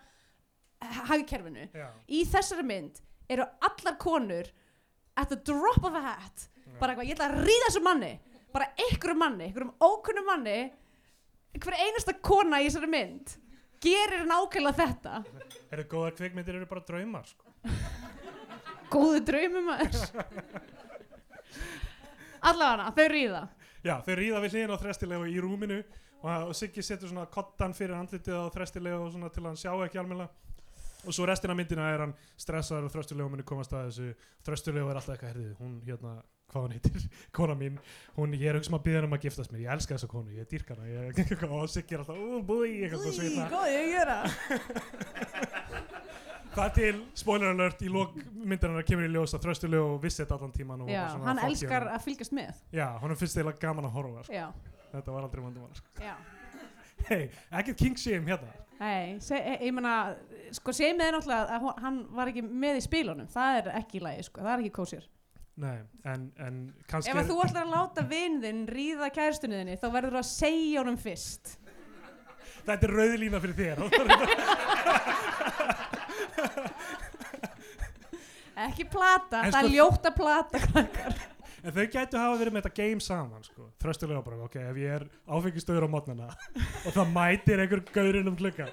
[SPEAKER 3] hagkerfinu
[SPEAKER 2] Já,
[SPEAKER 3] í þessari mynd eru allar konur at the drop of a hat bara eitthvað, ég ætla að ríða þessu manni bara einhverjum manni, einhverjum ókunnum manni hver einasta kona í þessari mynd gerir nákvæmlega þetta
[SPEAKER 2] eru góðar kvikmyndir eru bara draumar sko.
[SPEAKER 3] góðu draumum aður allavega þau ríða
[SPEAKER 2] Já, þau ríða við hliðin á þrestilegu í rúminu og, og Siggi setur svona kottan fyrir andlitið á þrestilegu og svona til að hann sjá ekki almennilega og svo restina af myndina er hann stressaður og þröstulegu muni komast að þessu þröstulegu er alltaf eitthvað herðið, hún hérna hvað hann heitir, kona mín hún, ég er hugsa um að byggja hann um að giftast mér, ég elska þessa konu ég dýrk hana, ég, og Siggi er alltaf ú, búi, eitthvað svo svitna
[SPEAKER 3] góði að gera
[SPEAKER 2] Það til, spoiler alert, í lók myndarinnar kemur í ljós að þröstulegu vissi þetta allan tíman og
[SPEAKER 3] Já,
[SPEAKER 2] var svona,
[SPEAKER 3] hann
[SPEAKER 2] "Fuck you."
[SPEAKER 3] elskar að fylgjast með
[SPEAKER 2] Já, honum finnst eiginlega gaman að horfa sko.
[SPEAKER 3] já,
[SPEAKER 2] Þetta var aldrei vandumál sko.
[SPEAKER 3] já
[SPEAKER 2] Hei, ekkert king shame hérna
[SPEAKER 3] Nei, seg- e, ég ég meina, sko segjum við náttúrulega að hon- hann var ekki með í spilunum, það er ekki í lagi, sko, það er ekki kósir.
[SPEAKER 2] Nei, en, en kannski
[SPEAKER 3] Ef að þú ætlar að láta vinn þinn ríða kæristunni þinni, þá verður þú að segja honum fyrst.
[SPEAKER 2] Þetta er rauði lína fyrir þér
[SPEAKER 3] Ekki plata,
[SPEAKER 2] En
[SPEAKER 3] það er
[SPEAKER 2] sko-
[SPEAKER 3] ljótt að plata, krakkar.
[SPEAKER 2] En þau gætu hafa verið með þetta game saman sko. Þröstulega bara, ok, ef ég er áfengistöður á mótnana og það mætir einhver gaurinn um klukkan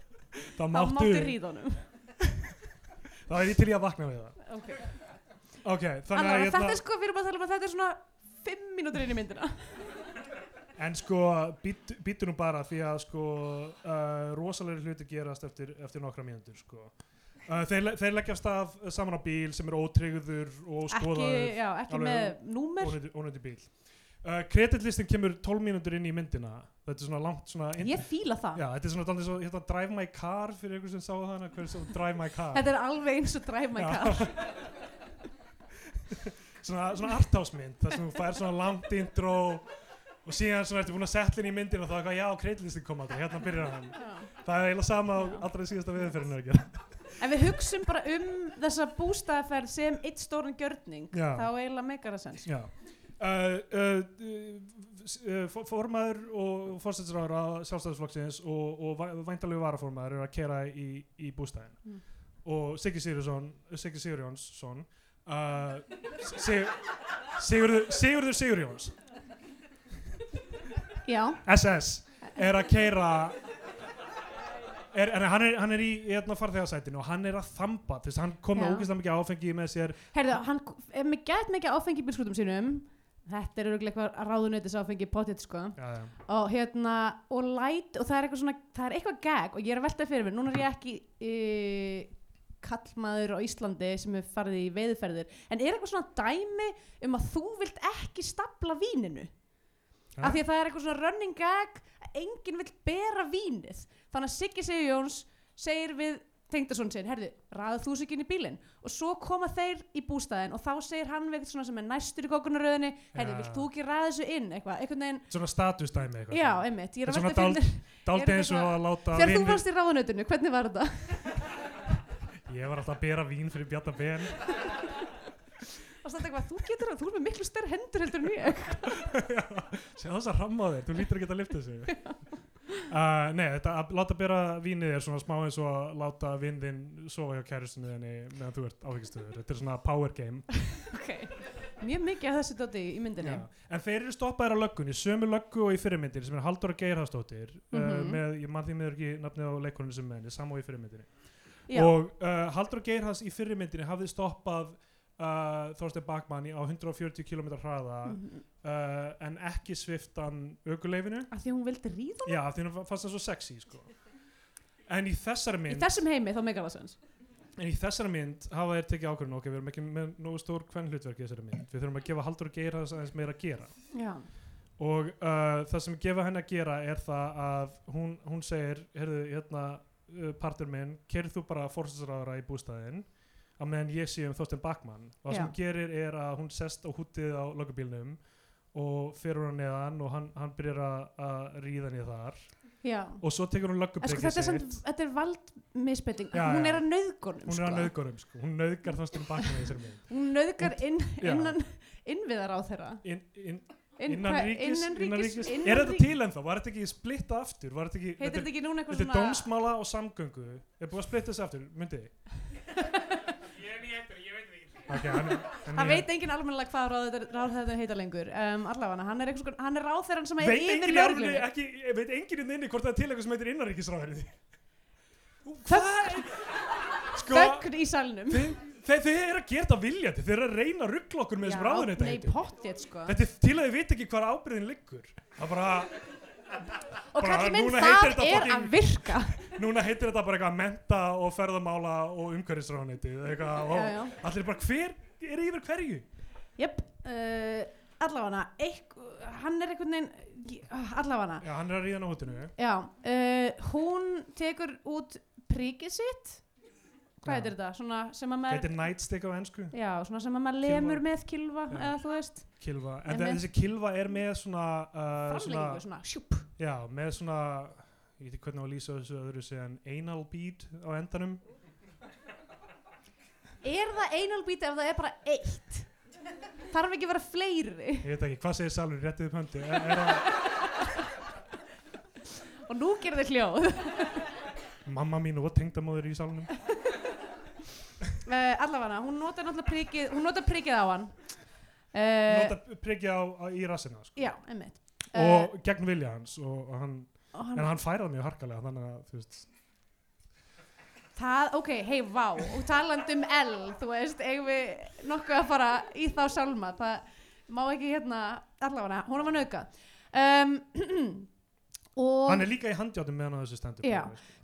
[SPEAKER 2] þá
[SPEAKER 3] Þá
[SPEAKER 2] máttu,
[SPEAKER 3] máttu ríða honum.
[SPEAKER 2] þá er ég til ég að vakna við það
[SPEAKER 3] Okay.
[SPEAKER 2] Ok, þannig
[SPEAKER 3] Allavega,
[SPEAKER 2] að hérna-
[SPEAKER 3] þetta er sko, við erum að tala um að þetta er svona fimm mínútur inn í myndina.
[SPEAKER 2] En sko, býttu bít, nú bara því að sko, uh, rosalegri hluti gerast eftir, eftir nokkra mínútur sko. Uh, þeir, le- þeir leggja af stað uh, saman á bíl sem er ótryggður og
[SPEAKER 3] Ekki,
[SPEAKER 2] skoðaður
[SPEAKER 3] já, ekki
[SPEAKER 2] alveg- hérna.
[SPEAKER 3] með númer.
[SPEAKER 2] ónöndi, ónöndi bíl. Uh, kreditlistin kemur 12 mínútur inn í myndina. Þetta er svona langt svona... inn-
[SPEAKER 3] Ég fíla það.
[SPEAKER 2] Já, þetta er svona daldið svo, hérna, Drive My Car fyrir ykkur sem sá það hana, hver er svo Drive My Car?
[SPEAKER 3] Þetta er alveg eins og Drive My Car.
[SPEAKER 2] svona, svona artásmynd þar sem þú fær svona langt intro og síðan svona ertu búin að setla inn í myndina og þá er eitthvað, já, kreitlistin kom aldrei, hérna byrjar hann
[SPEAKER 3] Já.
[SPEAKER 2] það er eiginlega sama á allra síðasta viðferðinu ekki
[SPEAKER 3] En við hugsum bara um þessa bústæðaferð sem eitt stóran gjörning,
[SPEAKER 2] Já.
[SPEAKER 3] þá eiginlega meikar það sens.
[SPEAKER 2] já Uh, uh, uh, s- uh, for- formaður og fórstæðsráður sjálfstæðisflokksins og, og væ- væntanlegu varaformaður eru að kera í, í bústæðin
[SPEAKER 3] Mm.
[SPEAKER 2] og Siggi Sigurjónsson Siggi Sigurjónsson uh, Sig, Sigurður, Sigurður Sigurjóns
[SPEAKER 3] Já,
[SPEAKER 2] SS er að keira er, en hann er, hann er í hérna farþegarsætinu og hann er að þamba þú veist, hann kom með
[SPEAKER 3] Já.
[SPEAKER 2] ógeðslega mikið áfengi með sér
[SPEAKER 3] heyrðu, hann er með gæt mikið áfengi í bílskrutum sínum, Þetta er örugglega eitthvað ráðunöti sem að fengi potið sko.
[SPEAKER 2] já, já.
[SPEAKER 3] og hérna, og læt og það er eitthvað svona, það er eitthvað gag og ég er að velta fyrir mér, núna er ég ekki e, kallmaður á Íslandi sem er farið í veiðferðir en er eitthvað svona dæmi um að þú vilt ekki stapla víninu af
[SPEAKER 2] Ha?
[SPEAKER 3] því að það er eitthvað svona running gag að enginn vill bera vínið þannig að Siggi Sigjóns segir við tengdason sinn, herðu, ræðu þú sér ekki inn í bílinn og svo koma þeir í bústæðin og þá segir hann við eitthvað svona sem er næstur í kókunaröðinni herðu,
[SPEAKER 2] Já.
[SPEAKER 3] vilt þú ekki ræða þessu inn eitthvað, einhvern veginn,
[SPEAKER 2] Svona statustæmi eitthvað.
[SPEAKER 3] já, einmitt ég er að
[SPEAKER 2] Þetta er
[SPEAKER 3] velta
[SPEAKER 2] svona
[SPEAKER 3] fyrir mér, er
[SPEAKER 2] Daldið eins og
[SPEAKER 3] eitthvað-
[SPEAKER 2] að láta
[SPEAKER 3] þegar þú
[SPEAKER 2] vini-
[SPEAKER 3] varst í ráðunötinu hvernig var þetta?
[SPEAKER 2] Ég var alltaf að bera vín fyrir Bjarta Ben.
[SPEAKER 3] Og samt eitthvað, þú getur það, þú er með miklu stærri hendur heldur en ég
[SPEAKER 2] Sér þess að ramma á þér, þú lítur ekki að lifta sig. Uh, nei, þetta að láta bera vínið er svona smá eins og að láta vindin sofa hjá kærustunni þenni meðan þú ert áfengistuður. Þetta er svona power game.
[SPEAKER 3] ok, mjög mikið af þessu dóti í myndinni
[SPEAKER 2] Já. En þeir eru stoppaðir á löggunni, sömu löggu og í fyrirmyndinni sem er Halldóra Geirhafsdóttir uh,
[SPEAKER 3] Mhm.
[SPEAKER 2] með, ég man því miður ekki nafnið á leikoninu sem með henni, samá í fyrirmyndinni.
[SPEAKER 3] Já.
[SPEAKER 2] og uh, Haldur Geirhans í fyrirmyndinni hafði stoppað uh, Þorstein Bakmann í- á 140 km hraða
[SPEAKER 3] Mhm.
[SPEAKER 2] uh, en ekki sviftan aukuleifinu
[SPEAKER 3] af því að hún vildi ríða
[SPEAKER 2] já, af því hann fannst það svo sexy sko. en í þessari
[SPEAKER 3] í
[SPEAKER 2] mynd
[SPEAKER 3] þessum heimi þá megar það sens
[SPEAKER 2] en í þessari mynd hafa þeir tekið ákvörðun ok, við erum ekki með nógu stór hvern hlutverk í þessari mynd við þurfum að gefa Haldur Geirhans aðeins meira að gera
[SPEAKER 3] já,
[SPEAKER 2] og uh, það sem gefa henni að gera er það að hún, hún segir heyrðu, hérna, uh, partur minn kerið þú bara fórsætsráðara í bústæðin á meðan ég sé um Þorstein Bakmann og það sem
[SPEAKER 3] Já.
[SPEAKER 2] hún gerir er að hún sest á hútið á lögubílnum og ferur hann neðan og hann, hann byrjar að- að ríða niður þar
[SPEAKER 3] já
[SPEAKER 2] og svo tekur hún
[SPEAKER 3] En sko,
[SPEAKER 2] lögubrekkið
[SPEAKER 3] þetta, er samt, þetta er valdmisbeiting
[SPEAKER 2] Já,
[SPEAKER 3] hún
[SPEAKER 2] já.
[SPEAKER 3] er að nauðgónum
[SPEAKER 2] hún er að nauðgórum sko. hún nauðgar Þorstein Bakmann í þessari mynd
[SPEAKER 3] hún nauðgar inn,
[SPEAKER 2] Já.
[SPEAKER 3] innan innviðar á þeirra
[SPEAKER 2] in, in,
[SPEAKER 3] inn,
[SPEAKER 2] innan,
[SPEAKER 3] hvað-
[SPEAKER 2] ríkis,
[SPEAKER 3] innan ríkis, innan
[SPEAKER 2] er þetta
[SPEAKER 3] ríkis-
[SPEAKER 2] til ennþá, var þetta ekki splitta aftur var þetta ekki,
[SPEAKER 3] heitir þetta ekki núna eitthvað
[SPEAKER 2] Þetta er
[SPEAKER 3] svona
[SPEAKER 2] dómsmála og samgöngu Er búið að splitta þessu aftur, myndið þið? Ég er nýjættur, ég
[SPEAKER 3] það
[SPEAKER 2] veit
[SPEAKER 3] veit enginn almennilega hvað ráð þetta, ráð þetta heita lengur um, allavega hann er, einhvers konar- hann er ráð þeirra sem
[SPEAKER 2] ekki
[SPEAKER 3] er
[SPEAKER 2] Veit
[SPEAKER 3] yfir
[SPEAKER 2] enginn alveg
[SPEAKER 3] lögreglunni.
[SPEAKER 2] ekki, veit enginn inn inni hvort það er til eitthvað sem heitir innanríkisráður
[SPEAKER 3] Þögn-
[SPEAKER 2] Sko,
[SPEAKER 3] þögn í salnum
[SPEAKER 2] þið, þið, þið eru að gera það viljandi Þið eru að reyna að ruggla okkur með þessum ráðun
[SPEAKER 3] nei,
[SPEAKER 2] þetta
[SPEAKER 3] pottið sko
[SPEAKER 2] Þetta er til að þið veit ekki hvar ábyrðin liggur Það bara,
[SPEAKER 3] og
[SPEAKER 2] bara,
[SPEAKER 3] kallið minn,
[SPEAKER 2] núna heitir
[SPEAKER 3] það
[SPEAKER 2] þetta
[SPEAKER 3] er
[SPEAKER 2] fucking-
[SPEAKER 3] að virka
[SPEAKER 2] núna heitir þetta bara eitthvað menta og ferðamála og umhverfisráðuneyti eitthvað, og
[SPEAKER 3] Já, já.
[SPEAKER 2] allir bara hver er yfir hverju
[SPEAKER 3] jöp uh, allavega Eik- hann er einhvern veginn uh, allavega
[SPEAKER 2] Já, hann er að ríða á hútinu
[SPEAKER 3] Já, uh, hún tekur út príkið sitt
[SPEAKER 2] Já.
[SPEAKER 3] Hvað heitir þetta? Svona sem að maður
[SPEAKER 2] Þetta er nightstick á ennsku
[SPEAKER 3] Já, svona sem að maður
[SPEAKER 2] Kylfa.
[SPEAKER 3] lemur með kilva
[SPEAKER 2] Já.
[SPEAKER 3] eða þú veist
[SPEAKER 2] Kilva, en
[SPEAKER 3] Einmitt.
[SPEAKER 2] þessi kilva er með svona, uh,
[SPEAKER 3] framlengingu svona, sjúp
[SPEAKER 2] já, með svona ég veit ekki hvernig á að lýsa þessu öðru sem anal bead á endanum
[SPEAKER 3] Er það einalbíti ef það er bara eitt? Þarf ekki að vera fleiri
[SPEAKER 2] ég veit ekki, hvað segir Salur, réttið upp höndi er, er það,
[SPEAKER 3] Og nú gerir þið hljóð uh,
[SPEAKER 2] mamma mín og tengdamóður í salunum
[SPEAKER 3] Eh, Allavega, hún notar náttúrulega príkið Hún notar príkið á hann uh,
[SPEAKER 2] nota prikja á, á, í rassina sko.
[SPEAKER 3] Já, einmitt Eh,
[SPEAKER 2] og gegn vilja hans og, og hann,
[SPEAKER 3] og hann
[SPEAKER 2] en hann færað mjög harkalega þannig að, þú veist,
[SPEAKER 3] Það, ok, hei, vá, og talandi um L, þú veist, eigum við nokkuð að fara í þá sálma, það má ekki hérna, allavega, hún var naukað. Um, og,
[SPEAKER 2] hann er líka í handjátum meðan á þessu stendur
[SPEAKER 3] Já.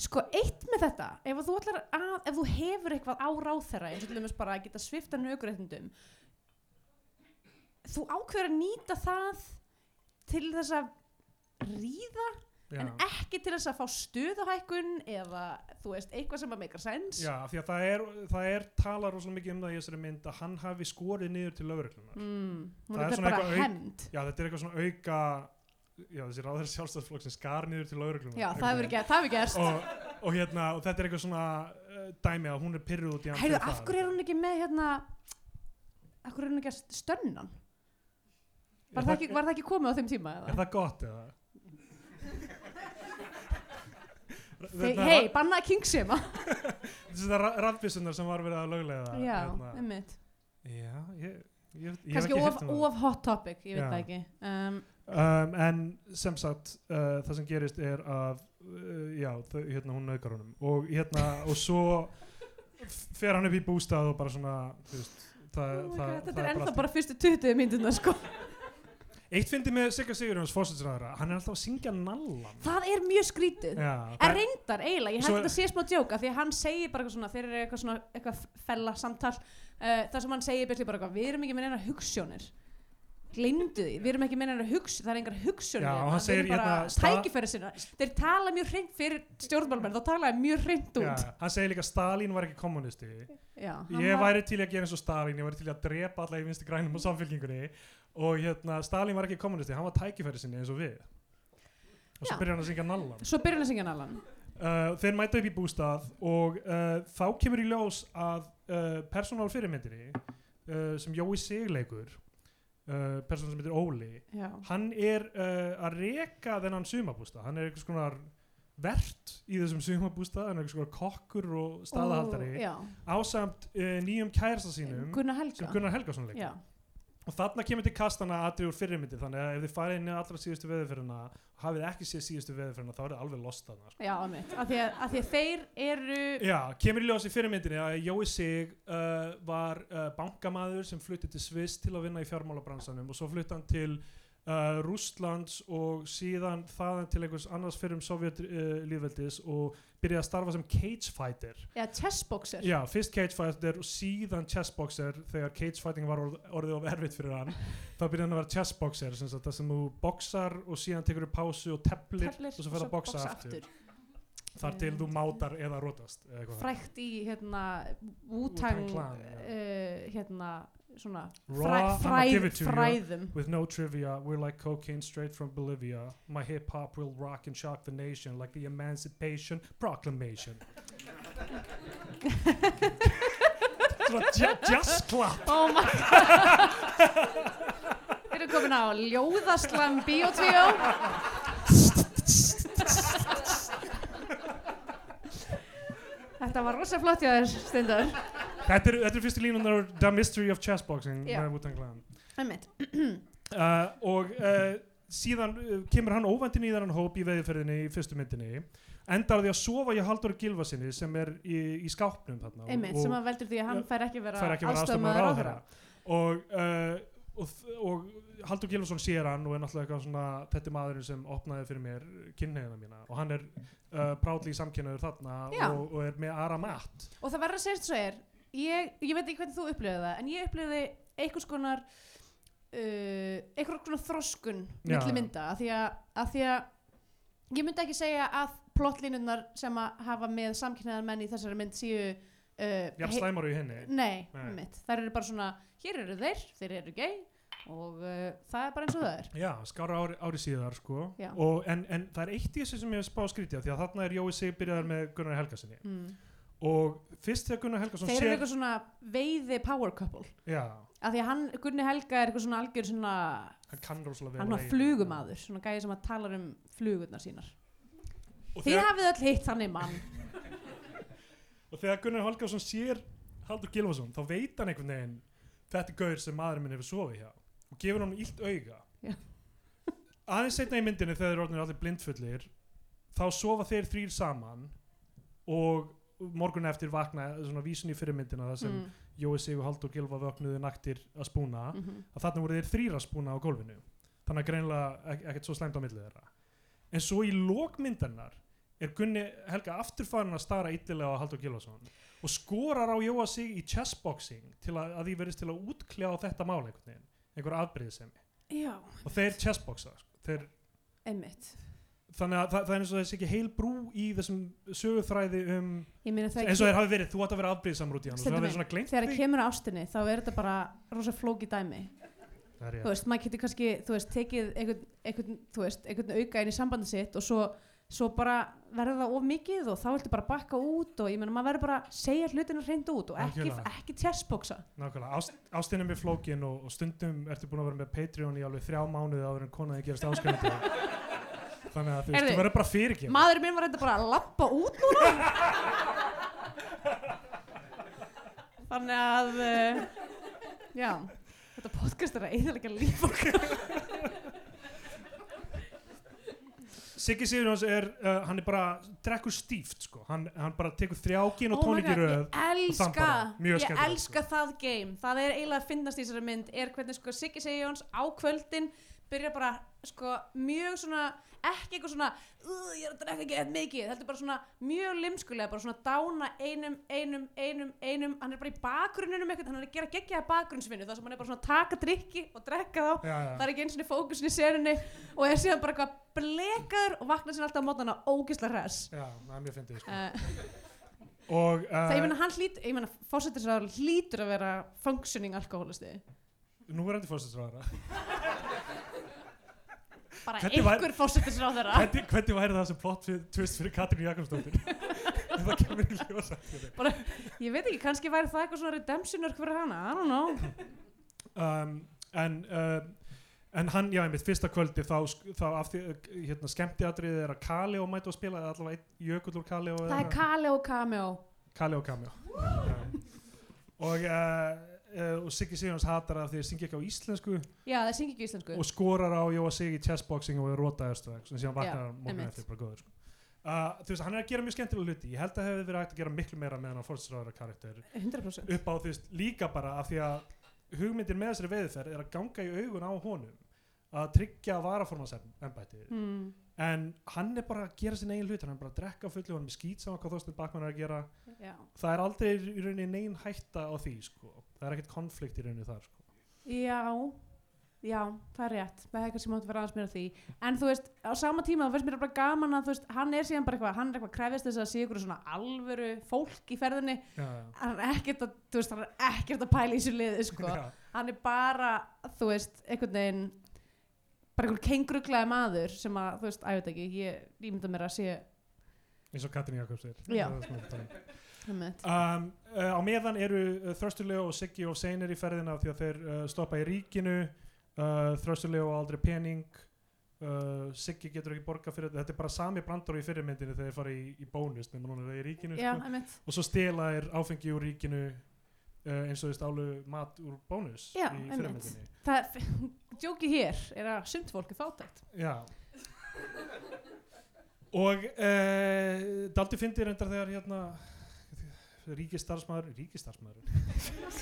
[SPEAKER 3] sko, eitt með þetta, ef að þú ætlar að, ef þú hefur eitthvað á ráþæra, eins og til dæmis bara að geta svifta naukuréttundum, þú ákveður að nýta það til þess að ríða,
[SPEAKER 2] Já.
[SPEAKER 3] en ekki til þess að fá stuðahækkun eða, þú veist, eitthvað sem að meikar sens.
[SPEAKER 2] Já, af því að það er, það er talar rosalega mikið um það í þessari mynd að hann hafi skorið niður til lögreglunar
[SPEAKER 3] mm,
[SPEAKER 2] Það
[SPEAKER 3] hún
[SPEAKER 2] er
[SPEAKER 3] er þetta
[SPEAKER 2] svona
[SPEAKER 3] bara
[SPEAKER 2] eitthvað auk-
[SPEAKER 3] hemmt
[SPEAKER 2] Já, þetta er eitthvað svona auka Já, þessi ráðherra sjálfstæðsflokk sem skar niður til lauruglunar
[SPEAKER 3] já, það hefur ger- það hefur gerst
[SPEAKER 2] og, og hérna, og þetta er eitthvað svona uh, dæmi að hún er pyrruð út í hann
[SPEAKER 3] heyrðu,
[SPEAKER 2] fyrir
[SPEAKER 3] af
[SPEAKER 2] það.
[SPEAKER 3] hverju er hún ekki með hérna af hverju er hún ekki að st- stönnan var,
[SPEAKER 2] Er
[SPEAKER 3] það ekki, var það ekki komið á þeim tíma
[SPEAKER 2] Er
[SPEAKER 3] eða?
[SPEAKER 2] það gott eða?
[SPEAKER 3] Þe-
[SPEAKER 2] Hérna,
[SPEAKER 3] hei, banna að kingsima
[SPEAKER 2] Þetta er rafbissunar sem var verið að löglega
[SPEAKER 3] já,
[SPEAKER 2] hérna-
[SPEAKER 3] einmitt
[SPEAKER 2] Já, ég, ég, ég hef
[SPEAKER 3] kannski
[SPEAKER 2] ekki
[SPEAKER 3] of,
[SPEAKER 2] heyrt um það.
[SPEAKER 3] of hot topic, ég veit
[SPEAKER 2] Já.
[SPEAKER 3] það ekki um,
[SPEAKER 2] um, en sem sagt uh, það sem gerist er að uh, já, þau, hérna hún naukar honum og hérna, og svo f- fer hann upp í bústað og bara svona þú veist, það,
[SPEAKER 3] oh my God,
[SPEAKER 2] það, það
[SPEAKER 3] þetta er
[SPEAKER 2] bara
[SPEAKER 3] ennþá
[SPEAKER 2] allt í-
[SPEAKER 3] bara fyrstu 20 myndina sko
[SPEAKER 2] Eitt fyndi með Sigga Sigurjóns fósitsræðara, hann er alltaf að syngja nallan.
[SPEAKER 3] það er mjög skrítið
[SPEAKER 2] Já,
[SPEAKER 3] En reyndar, eiginlega, ég held að
[SPEAKER 2] Svo-
[SPEAKER 3] þetta sé smá djóka því að hann segir bara eitthvað svona, þeir eru eitthvað svona eitthvað fella samtal uh, þar sem hann segir byrjum bara eitthvað, við erum ekki með neina hugssjónir gleymdu því, við erum ekki með neina hugssjónir það er engar hugssjónir
[SPEAKER 2] Já,
[SPEAKER 3] hérna,
[SPEAKER 2] og hann
[SPEAKER 3] við
[SPEAKER 2] segir
[SPEAKER 3] erum bara
[SPEAKER 2] hérna, sta-
[SPEAKER 3] tækifæri sinna þeir tala mjög hreint fyrir stjórnmálmenn þá tala þeir mjög hreint
[SPEAKER 2] já,
[SPEAKER 3] út
[SPEAKER 2] hann segir líka Stalin var ekki kommunisti.
[SPEAKER 3] Já, hann
[SPEAKER 2] Ég
[SPEAKER 3] var-
[SPEAKER 2] væri til í að gera eins og Stalin, ég væri til í að drepa alla í vinstri grænum og samfélkingunni og hérna, Stalin var ekki kommunisti, hann var tækifæri sinni eins og við. Og svo
[SPEAKER 3] Já.
[SPEAKER 2] byrjar hann að syngja nallan.
[SPEAKER 3] Svo byrjum við að syngja Nalan
[SPEAKER 2] Uh, þeir mæta upp í bústað og uh, þá kemur í ljós að uh, persónál fyrirmyndinni uh, sem Jói Sigleikur, uh, persónál sem heitir Óli,
[SPEAKER 3] Já,
[SPEAKER 2] hann er uh, að reka þennan sumabústa hann er einhvers konar vert í þessum sumabústa hann er einhvers konar kokkur og
[SPEAKER 3] Og-
[SPEAKER 2] staðahaldari
[SPEAKER 3] já.
[SPEAKER 2] ásamt uh, nýjum kærasta sínum
[SPEAKER 3] Gunnar
[SPEAKER 2] sem
[SPEAKER 3] Helga
[SPEAKER 2] Gunnar Helgason leikur
[SPEAKER 3] Já,
[SPEAKER 2] og þarna kemur til kastana atrið úr fyrirmyndi þannig að ef þið farið inn í allra síðustu veðurferðina og hafið ekki séð síðustu veðurferðina þá er það alveg lost þarna sko.
[SPEAKER 3] já, mitt af því að af því að þeir eru
[SPEAKER 2] Já, kemur í ljós í fyrirmyndinni að Jói Sig uh, var uh, bankamaður sem flutti til Sviss til að vinna í fjármálabransanum og svo flutti hann til uh, Rústlands og síðan þaðan til einhvers annars fyrir um Sovjetlíðveldis uh, lýðveldis og byrjaði að starfa sem cagefighter.
[SPEAKER 3] Já, chessboxer
[SPEAKER 2] Já, fyrst cagefighter og síðan chessboxer þegar cagefighting var orð, orðið of erfitt fyrir hann. þá byrjaði hann að vera chessboxer, sem sagt, það sem þú boxar og síðan tekur þú pásu og teplir,
[SPEAKER 3] Teflir
[SPEAKER 2] og svo fer að boxa, aftur. Mm. Þar til þú mátar eða rótast. eða eitthvað.
[SPEAKER 3] frækt í hérna
[SPEAKER 2] Wu-Tang
[SPEAKER 3] Wu-Tang
[SPEAKER 2] Clan,
[SPEAKER 3] uh,
[SPEAKER 2] já.
[SPEAKER 3] hérna svona
[SPEAKER 2] Raw,
[SPEAKER 3] fræ,
[SPEAKER 2] I'ma give it
[SPEAKER 3] fræð,
[SPEAKER 2] to you.
[SPEAKER 3] fræðum
[SPEAKER 2] With no trivia, we're like cocaine straight from Bolivia. My hip hop will rock and shock the nation like the Emancipation Proclamation. Svona ju- just clap.
[SPEAKER 3] Oh my god Við erum komin á Ljóðaslam Bíotvíó Þetta var rosa flott hjá þér stundar
[SPEAKER 2] Þetta eru þetta eru fyrstu línunar The Mystery of Chessboxing
[SPEAKER 3] Já.
[SPEAKER 2] með Wu-Tang Clan.
[SPEAKER 3] Einmitt.
[SPEAKER 2] Uh, og uh, síðan uh, kemur hann óvendin í þennan hóp í veðiferðinni í fyrstu myndinni. Endar á því að sofa hjá Halldóri Gilvasinni sem er í, í skápnum þarna. og-
[SPEAKER 3] Einmitt,
[SPEAKER 2] og-
[SPEAKER 3] sem að veldur því að hann fær ekki vera
[SPEAKER 2] fær ekki að vera
[SPEAKER 3] aðstoðarmaður
[SPEAKER 2] aðstofnaður á þeirra og, uh, og, þ- og Haldur Gilvason sér hann og er náttúrulega eitthvað svona þetta er maðurinn sem opnaði fyrir mér kynneigina mína og hann er uh, prátli samkynnaður þarna
[SPEAKER 3] Já.
[SPEAKER 2] og, og er með Ara Matt
[SPEAKER 3] og það verður að segja svo er ég, ég veit ekki hvernig þú upplifið það en ég upplifið einhvers konar uh, einhvers konar þroskun
[SPEAKER 2] Já,
[SPEAKER 3] milli
[SPEAKER 2] já.
[SPEAKER 3] mynda af því að, að því að ég myndi ekki segja að plottlínurnar sem að hafa með samkynnaðar menn í þessari mynd séu uh,
[SPEAKER 2] jafn
[SPEAKER 3] hei-
[SPEAKER 2] slæmar í henni
[SPEAKER 3] nei,
[SPEAKER 2] Nei.
[SPEAKER 3] mitt, þær eru bara svona hér eru þeir, þeir eru gay og uh, það er bara eins og það er
[SPEAKER 2] Já, skára ári, ári síðar sko
[SPEAKER 3] Já.
[SPEAKER 2] og, en, en það er eitt í þessu sem ég hef spáð skrítið af því að þarna er Jói Sig byrjaðar með Gunnar Helgasinni
[SPEAKER 3] mm.
[SPEAKER 2] og fyrst þegar Gunnar Helgason
[SPEAKER 3] þeir eru
[SPEAKER 2] sér
[SPEAKER 3] eitthvað svona veiði power couple
[SPEAKER 2] Já,
[SPEAKER 3] af því að hann, Gunni Helga er eitthvað svona algjör svona
[SPEAKER 2] hann kann rosalega vel
[SPEAKER 3] hann var
[SPEAKER 2] að eiga.
[SPEAKER 3] flugumadur, svona gæði sem að tala um flugurnar sínar.
[SPEAKER 2] Og
[SPEAKER 3] Þið
[SPEAKER 2] þegar-
[SPEAKER 3] hafið öll hitt þannig mann.
[SPEAKER 2] og þegar Gunnar Holgarsson sér Haldur Gilvason þá veit hann einhvern veginn þetta er gaur sem maðurinn minn hefur sofið hjá og gefur hann illt auga
[SPEAKER 3] Já.
[SPEAKER 2] aðeins setna í myndinni þegar þeir orðinir allir blindfullir þá sofa þeir þrýr saman og morgun eftir vakna svona vísun í fyrirmyndina það sem
[SPEAKER 3] Mm,
[SPEAKER 2] mm. Jói Sig og Haldur Gilva vöknuðu naktir að spúna
[SPEAKER 3] mhm.
[SPEAKER 2] að þarna voru þeir þrýra spúna á gólfinu þannig að greinilega ek- ekkert svo slæmt á milli þeirra en svo í lókmyndarnar er Gunni Helga aftur farin að stara illilega á Haldur Gilvason og skorar á Jóa sig í chessboxing til að, að því verðist til að útkljá þetta mál einhvern veginn, einhver afbreyðisemi
[SPEAKER 3] Já,
[SPEAKER 2] og þeir chessboxa sko. þeir,
[SPEAKER 3] einmitt.
[SPEAKER 2] þannig að það, það er eins og þessi ekki heil brú í þessum söguþræði um
[SPEAKER 3] Ég meina þegar,
[SPEAKER 2] eins og þeir hafi verið, þú átt að vera afbreyðisamur út í hann og svo
[SPEAKER 3] Stundum
[SPEAKER 2] hafi
[SPEAKER 3] er-
[SPEAKER 2] verið svona gleymt
[SPEAKER 3] þegar
[SPEAKER 2] því.
[SPEAKER 3] kemur að ástinni þá er þetta bara rosa flóki dæmi.
[SPEAKER 2] Það er rétt.
[SPEAKER 3] Þú veist, maður getur kannski, þú veist, tekið einhvern, einhvern, þú veist, einhvern auka inn í sambandi sitt og svo, svo bara verður það of mikið og þá viltu bara bakka út og ég meina maður verður bara að segja hlutinu hreint út og ekki,
[SPEAKER 2] Algjörlega.
[SPEAKER 3] ekki tjessboksa.
[SPEAKER 2] Nákvæmlega, Ást, ástinni með flókin og, og stundum ertu búin að vera með Patreon í alveg þrjá mánuði áður en konaði gerast áskrifandi Þannig að þú veist,
[SPEAKER 3] Heyrðu,
[SPEAKER 2] þú verður bara fyrir ekki
[SPEAKER 3] Maðurinn minn var þetta bara að lappa út núna Þannig að uh, Já Þetta podcast er að eðalega líf okkar
[SPEAKER 2] Siggi Sigurjóns er, uh, hann er bara drekkur stíft, sko, hann, hann bara tekur þrjákin
[SPEAKER 3] Oh
[SPEAKER 2] og
[SPEAKER 3] my
[SPEAKER 2] tónik í
[SPEAKER 3] God,
[SPEAKER 2] röð
[SPEAKER 3] Ég elska,
[SPEAKER 2] þambara. Mjög
[SPEAKER 3] ég
[SPEAKER 2] skemmtilegt,
[SPEAKER 3] sko, elska það game Það er eiginlega að finnast í þessari mynd er hvernig sko Siggi Sigjóns á kvöldin byrja bara sko, mjög svona, ekki eitthvað svona "Ugh, ég er að drekka ekki eitthvað mikið þetta er bara svona mjög limskulega bara svona dána einum, einum, einum, einum hann er bara í bakgrunninum eitthvað, hann er að gera geggjaða bakgrunnsvinnu þar sem hann er bara svona að taka drikki og drekka þá
[SPEAKER 2] já,
[SPEAKER 3] það er ekki eins og fókusin í senunni og er síðan bara eitthvað blekaður og vaknar sér alltaf á mótana ógisla hress
[SPEAKER 2] já, það er mjög fyndið sko.
[SPEAKER 3] uh,
[SPEAKER 2] og
[SPEAKER 3] það ég
[SPEAKER 2] uh,
[SPEAKER 3] meina hann hlýt ég meina fósettisraður hlýtur að vera functioning alkoholisti
[SPEAKER 2] nú verðandi fórstæðsraðara
[SPEAKER 3] bara
[SPEAKER 2] Hvernig var-
[SPEAKER 3] einhver fósettisraður
[SPEAKER 2] hvernig, hvernig væri það sem plot fyrir, twist fyrir Katrín Jakobsdóttir ef það kemur í ljós eftir þetta?
[SPEAKER 3] ég veit ekki kannski væri það eitthvað svona redemption örk fyrir hana I don't know
[SPEAKER 2] um, en um, en hann, já, einmitt, fyrsta kvöldi þá, sk- þá af því, hérna, skemmtiatrið er að Kali og mætu að spila, eða allavega einn jökull úr Kali og
[SPEAKER 3] það er Kale og Cameo
[SPEAKER 2] Kali og Kamjó um, og uh, uh, og Siggi Sigjóns hatar að því að syngja ekki á íslensku
[SPEAKER 3] já það syngi ekki íslensku
[SPEAKER 2] og skorar á Jóa Sig í chessboxing og er rótaðist og sem síðan vaknar
[SPEAKER 3] Já,
[SPEAKER 2] hann morgun
[SPEAKER 3] einmitt.
[SPEAKER 2] eftir bara góður sko. uh, þú veist, hann er að gera mjög skemmtilega hluti ég held að hefði verið hægt að gera miklu meira með hann fórstinsráðara karakter
[SPEAKER 3] 100%
[SPEAKER 2] upp á þú veist líka bara af því að hugmyndir með þessari veiðferð er að ganga í augun á honum að tryggja varaformansembæti
[SPEAKER 3] hmm.
[SPEAKER 2] en hann er bara að gera sinna eigin hlut hann er bara að drekka á fullu, hann er skýt saman hvað Þorstein Bakman er að gera
[SPEAKER 3] já.
[SPEAKER 2] það er aldrei í rauninni negin hætta á því sko. það er ekkert konflikt í rauninni þar sko.
[SPEAKER 3] já já það er rétt það er kannski mátt vera aðeins mér á því en þú veist á sama tíma þá finnst mér bara gaman að þú veist hann er síðan bara eitthvað hann er eitthvað krefist þess að sé ykkur svona alvöru fólk í ferðinni
[SPEAKER 2] já, já.
[SPEAKER 3] hann er ekkert að, þú veist, hann er ekkert að pæla í þessu liði, sko.
[SPEAKER 2] Já,
[SPEAKER 3] Hann er bara, þú veist, einhvern veginn, bara einhvern kengruglaði maður sem að, þú veist, að ég veit ekki, ég ímynda mér að sé
[SPEAKER 2] eins og Katrin Jakobs er
[SPEAKER 3] Já.
[SPEAKER 2] Það er smá dæmi.
[SPEAKER 3] hemmett.
[SPEAKER 2] um, uh, á meðan eru uh, Þröstulegu og Siggi og Seinir í ferðina af því að þeir uh, stoppa í ríkinu uh, Þröstulegu og aldrei pening uh, Siggi getur ekki borga fyrir þetta er bara sami brandur í fyrirmyndinu þegar þeir fara í, í bónus nema núna er sko- það í ríkinu
[SPEAKER 3] Já, hemmett.
[SPEAKER 2] og svo stela er áfengi úr ríkinu uh, eins og þeir stálu mat úr bónus
[SPEAKER 3] Já,
[SPEAKER 2] í
[SPEAKER 3] einmitt.
[SPEAKER 2] fyrirmyndinni
[SPEAKER 3] Það, djókið hér er að sumt fólk er fátækt.
[SPEAKER 2] Já Og uh, Daldi fyndi reyndar þegar hérna ríkistarfsmaður ríkistarfsmaður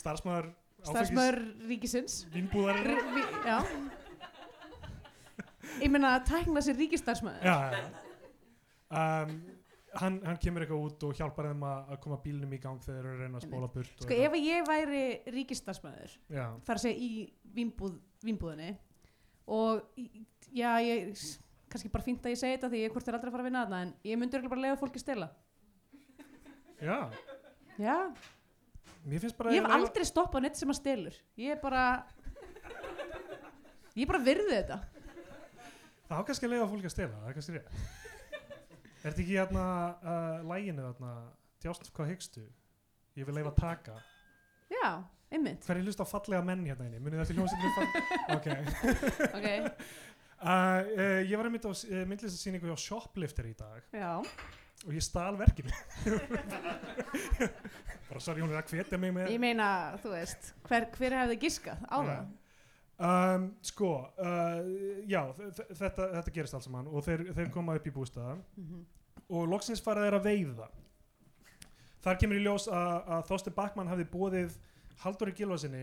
[SPEAKER 2] starfsmaður
[SPEAKER 3] Starfsmöður ríkisins.
[SPEAKER 2] vinnbúðar
[SPEAKER 3] R vi, já. Ég meina að tækna sér ríkistarfsmöður.
[SPEAKER 2] Já, já, já um, hann, hann kemur eitthvað út og hjálpar þeim að að koma bílnum í gang þegar þeir eru að reyna að spóla burt og
[SPEAKER 3] Sko, ef
[SPEAKER 2] eitthvað.
[SPEAKER 3] að ég væri ríkistarfsmöður,
[SPEAKER 2] Já,
[SPEAKER 3] þar að segja í vínbúð, vínbúðinni og í- já, ég kannski bara fínt að ég segi þetta því ég hvort er aldrei að fara að vinna þarna en ég myndi örugglega bara lega fólki stela
[SPEAKER 2] já,
[SPEAKER 3] já,
[SPEAKER 2] mér finnst bara
[SPEAKER 3] ég hef
[SPEAKER 2] eiginlega-
[SPEAKER 3] aldrei stoppað neitt sem að stelur ég er bara ég bara virði þetta
[SPEAKER 2] Það á kannski að leiða fólk að stela, það er kannski rétt. er þetta ekki hérna uh, læginu þarna, djást hvað hyggstu? Ég vil leiða að taka.
[SPEAKER 3] já, einmitt
[SPEAKER 2] Hver er hlust á fallega menn hérna inni? Munið þetta hljómsið til fallega? Ok.
[SPEAKER 3] okay.
[SPEAKER 2] Uh, uh, ég var einmitt á uh, myndlistarsýningu hjá Shoplifter í dag
[SPEAKER 3] já,
[SPEAKER 2] og ég stal verkinu. Bara sorry, hún er að hvetja mig með.
[SPEAKER 3] ég meina, þú veist hver, hver hefði giskað á það
[SPEAKER 2] Um, sko, uh, já, þ- þ- þetta, þetta gerist alls saman og þeir, þeir koma upp í bústaða.
[SPEAKER 3] Mhm.
[SPEAKER 2] og loksins fara þeir að veiða þar kemur í ljós að, að Þorstein Bakman hafði bóðið Halldóri Gilvarsinni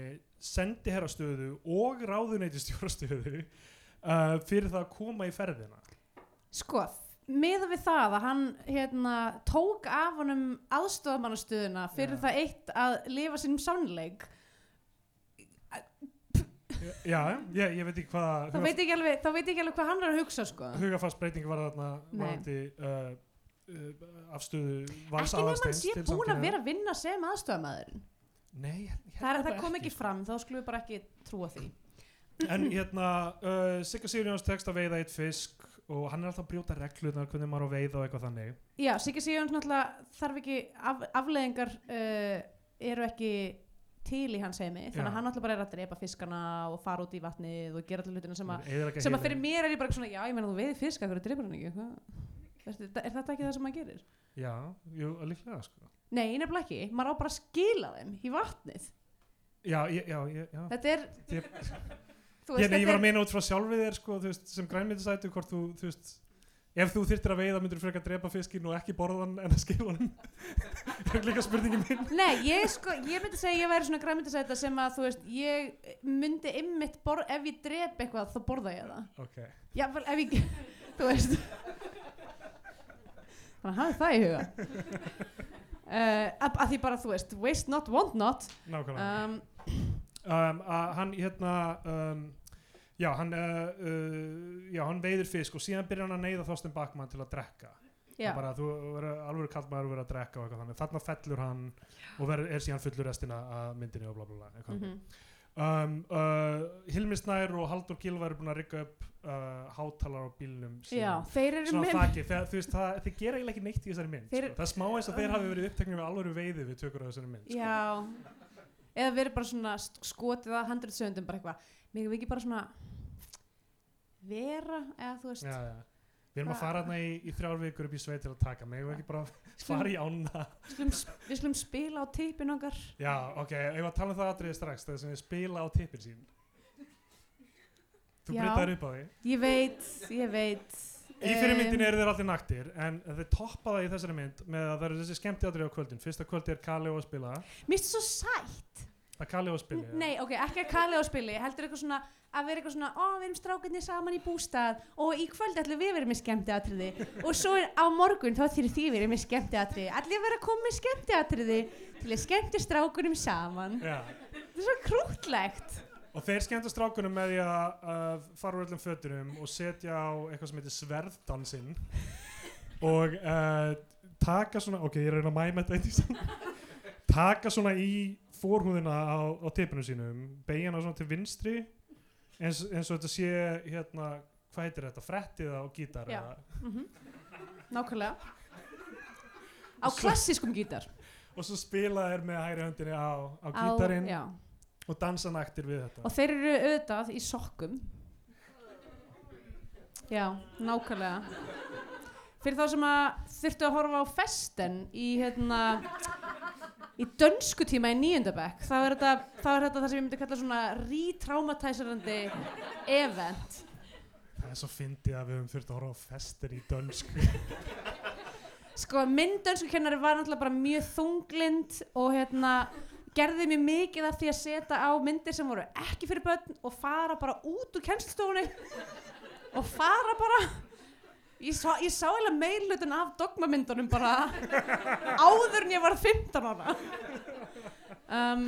[SPEAKER 2] sendiherrastöðu og ráðuneytistjórastöðu uh, fyrir það að koma í ferðina
[SPEAKER 3] sko, miða við það að hann hérna, tók af honum aðstofamannastöðuna fyrir
[SPEAKER 2] Já.
[SPEAKER 3] það eitt að lifa sínum sannleik
[SPEAKER 2] já, ég, ég veit ekki
[SPEAKER 3] þá
[SPEAKER 2] hvað
[SPEAKER 3] veit ég ekki alveg, þá veit ég ekki alveg hvað hann er að hugsa sko.
[SPEAKER 2] hugafarsbreyting var þarna
[SPEAKER 3] Nei.
[SPEAKER 2] varandi uh, uh, afstöðu vals
[SPEAKER 3] ekki nefnum hann
[SPEAKER 2] aðalsteins
[SPEAKER 3] sé
[SPEAKER 2] til
[SPEAKER 3] búin að
[SPEAKER 2] samkynhneigðra.
[SPEAKER 3] vera að vinna sem aðstofamæðurinn
[SPEAKER 2] Nei, ég- ég
[SPEAKER 3] það, er-
[SPEAKER 2] held
[SPEAKER 3] það kom ekki
[SPEAKER 2] sko.
[SPEAKER 3] fram, þá skulum við bara ekki trúa því
[SPEAKER 2] en hérna, uh, Sigga Sigurjóns tekst að veiða eitt fisk og hann er alltaf að brjóta reglunar hvernig maður á að veiða og eitthvað þannig
[SPEAKER 3] já, Siggi Sigjóns náttúrulega þarf ekki af, afleðingar uh, eru ekki til í hans heimi þannig
[SPEAKER 2] Já.
[SPEAKER 3] að hann náttúrulega bara er að drepa fiskana og fara út í vatnið og gera allir hlutina sem að
[SPEAKER 2] Eyðileggja
[SPEAKER 3] sem að
[SPEAKER 2] heilinn.
[SPEAKER 3] fyrir mér er ég bara eitthvað svona já, ég meina þú veiði fiska, hverju dreipur hann ekki Hvað- er, þetta- er þetta ekki það sem maður gerir?
[SPEAKER 2] Já, jú, líklega sko.
[SPEAKER 3] nei, nefnilega ekki, maður á bara að skila þeim í vatnið,
[SPEAKER 2] Já, ég- já, ég- já.
[SPEAKER 3] þetta er
[SPEAKER 2] Ég,
[SPEAKER 3] þú
[SPEAKER 2] ég, nei,
[SPEAKER 3] þetta
[SPEAKER 2] ég
[SPEAKER 3] er-
[SPEAKER 2] var að meina út frá sjálfið þér sko, þú veist, sem grænmyndisætu hvort þú, þú veist, ef þú þyrtir að veiða myndir frekar drepa fiskinn og ekki borða hann en að skipa hann er líka spurningin mín
[SPEAKER 3] Nei, ég, sko, ég myndi segja að ég væri svona græmyndasæta sem að þú veist, ég myndi ymmit borð, ef ég drep eitthvað þá borða ég það.
[SPEAKER 2] ok,
[SPEAKER 3] Já, vel, ef ég, þú veist. Þannig að hafa það í huga. Uh, að, að því bara, þú veist, waste not, want not.
[SPEAKER 2] nákvæmlega
[SPEAKER 3] Um,
[SPEAKER 2] um, að hann hérna um, já, hann uh, uh, já, hann veiðir fisk og síðan byrjar hann að neyða Þorsten Bakman til að drekka
[SPEAKER 3] já,
[SPEAKER 2] Það bara, þú verður alveg kallt maður að vera að drekka og eitthvað þannig, þarna fellur hann og verður, er síðan fullur restina af myndinni og bla bla bla eitthvað.
[SPEAKER 3] mhm.
[SPEAKER 2] um, uh, Hilmi Snær og Haldur Gilva eru búin að rigga upp uh, hátalar á bílnum
[SPEAKER 3] já, þeir eru
[SPEAKER 2] svona
[SPEAKER 3] með,
[SPEAKER 2] þakki, þegar, þú veist, það, þeir gera eiginlega ekki neitt í þessari mynd
[SPEAKER 3] Þeir- Ah.
[SPEAKER 2] sko. það er smá eins og þeir hafi verið uppteknir við alvöru veiði við tökur á þessari mynd sko.
[SPEAKER 3] já, eða verið bara svona st- skotið að 100 sögundum bara eitthvað. Megum við ekki bara svona vera, eða þú veist,
[SPEAKER 2] já, já. við erum að
[SPEAKER 3] Það-
[SPEAKER 2] fara þarna í, í þrjár vikur upp í sveit til að taka mig og ekki bara fara í ána
[SPEAKER 3] skulum, sp- við skulum spila á teipin okkar.
[SPEAKER 2] já, ok, ég var að tala um það atriði strax þegar sem við spila á tippin sín þú
[SPEAKER 3] Já.
[SPEAKER 2] breytaður upp á því
[SPEAKER 3] Ég veit, ég veit.
[SPEAKER 2] Í fyrir
[SPEAKER 3] Em,
[SPEAKER 2] myndin eru þeir allir naktir en þeir toppa það í þessari mynd með að það eru þessi skemmti á kvöldin fyrsta kvöldi er Kalli og að spila
[SPEAKER 3] Mér finnst það svo sætt.
[SPEAKER 2] það er Kalli og að spila
[SPEAKER 3] N- Nei, ok, ekki að kalla á spili. Heldur eitthvað svona, að vera eitthvað svona, ó, við erum strákarnir saman í bústað og í kvöld ætlum við verið með skemmtiatriði. Og svo er, á morgun þá þýr því verið með skemmtiatriði. Allir vera að koma með skemmtiatriði til að skemmti strákunum saman.
[SPEAKER 2] Já.
[SPEAKER 3] Þetta er svo krútlegt.
[SPEAKER 2] og þeir skemmta strákunum með því að uh, fara úr öllum fötunum og setja á eitthvað sem heitir sverðdansinn og uh, taka svona ok, ég er að reyna að mæma þetta einnig saman taka svona í forhúðina á, á tippinu sínum beigja hana svona til vinstri eins, eins og þetta sé hérna hvað heitir þetta, frettið á gítar
[SPEAKER 3] Já.
[SPEAKER 2] eða
[SPEAKER 3] Mm Nákvæmlega. Á
[SPEAKER 2] Svo-
[SPEAKER 3] klassískum gítar.
[SPEAKER 2] og svo spila þeir með hægri höndinni á, á gítarinn
[SPEAKER 3] já.
[SPEAKER 2] og dansa naktir við þetta
[SPEAKER 3] Og þeir eru auðvitað í sokkum. Já, nákvæmlega. Fyrir þá sem að þurftu að horfa á festen í, hérna, í dönsku tíma í nýjöndabæk, þá er þetta, þá er þetta það sem ég myndi kalla svona retraumatæsarandi event.
[SPEAKER 2] það er svo fyndið að við höfum þurft að horfa á festir í dönsku
[SPEAKER 3] Sko, minn dönsku kennari var náttúrulega bara mjög þunglind og hérna, gerði mér mikið af því að setja á myndir sem voru ekki fyrir börn og fara bara út úr kennslustofunni og fara bara ég sá, ég sá eiginlega meilutun af dogmamyndunum bara áður en ég var 15 ára um,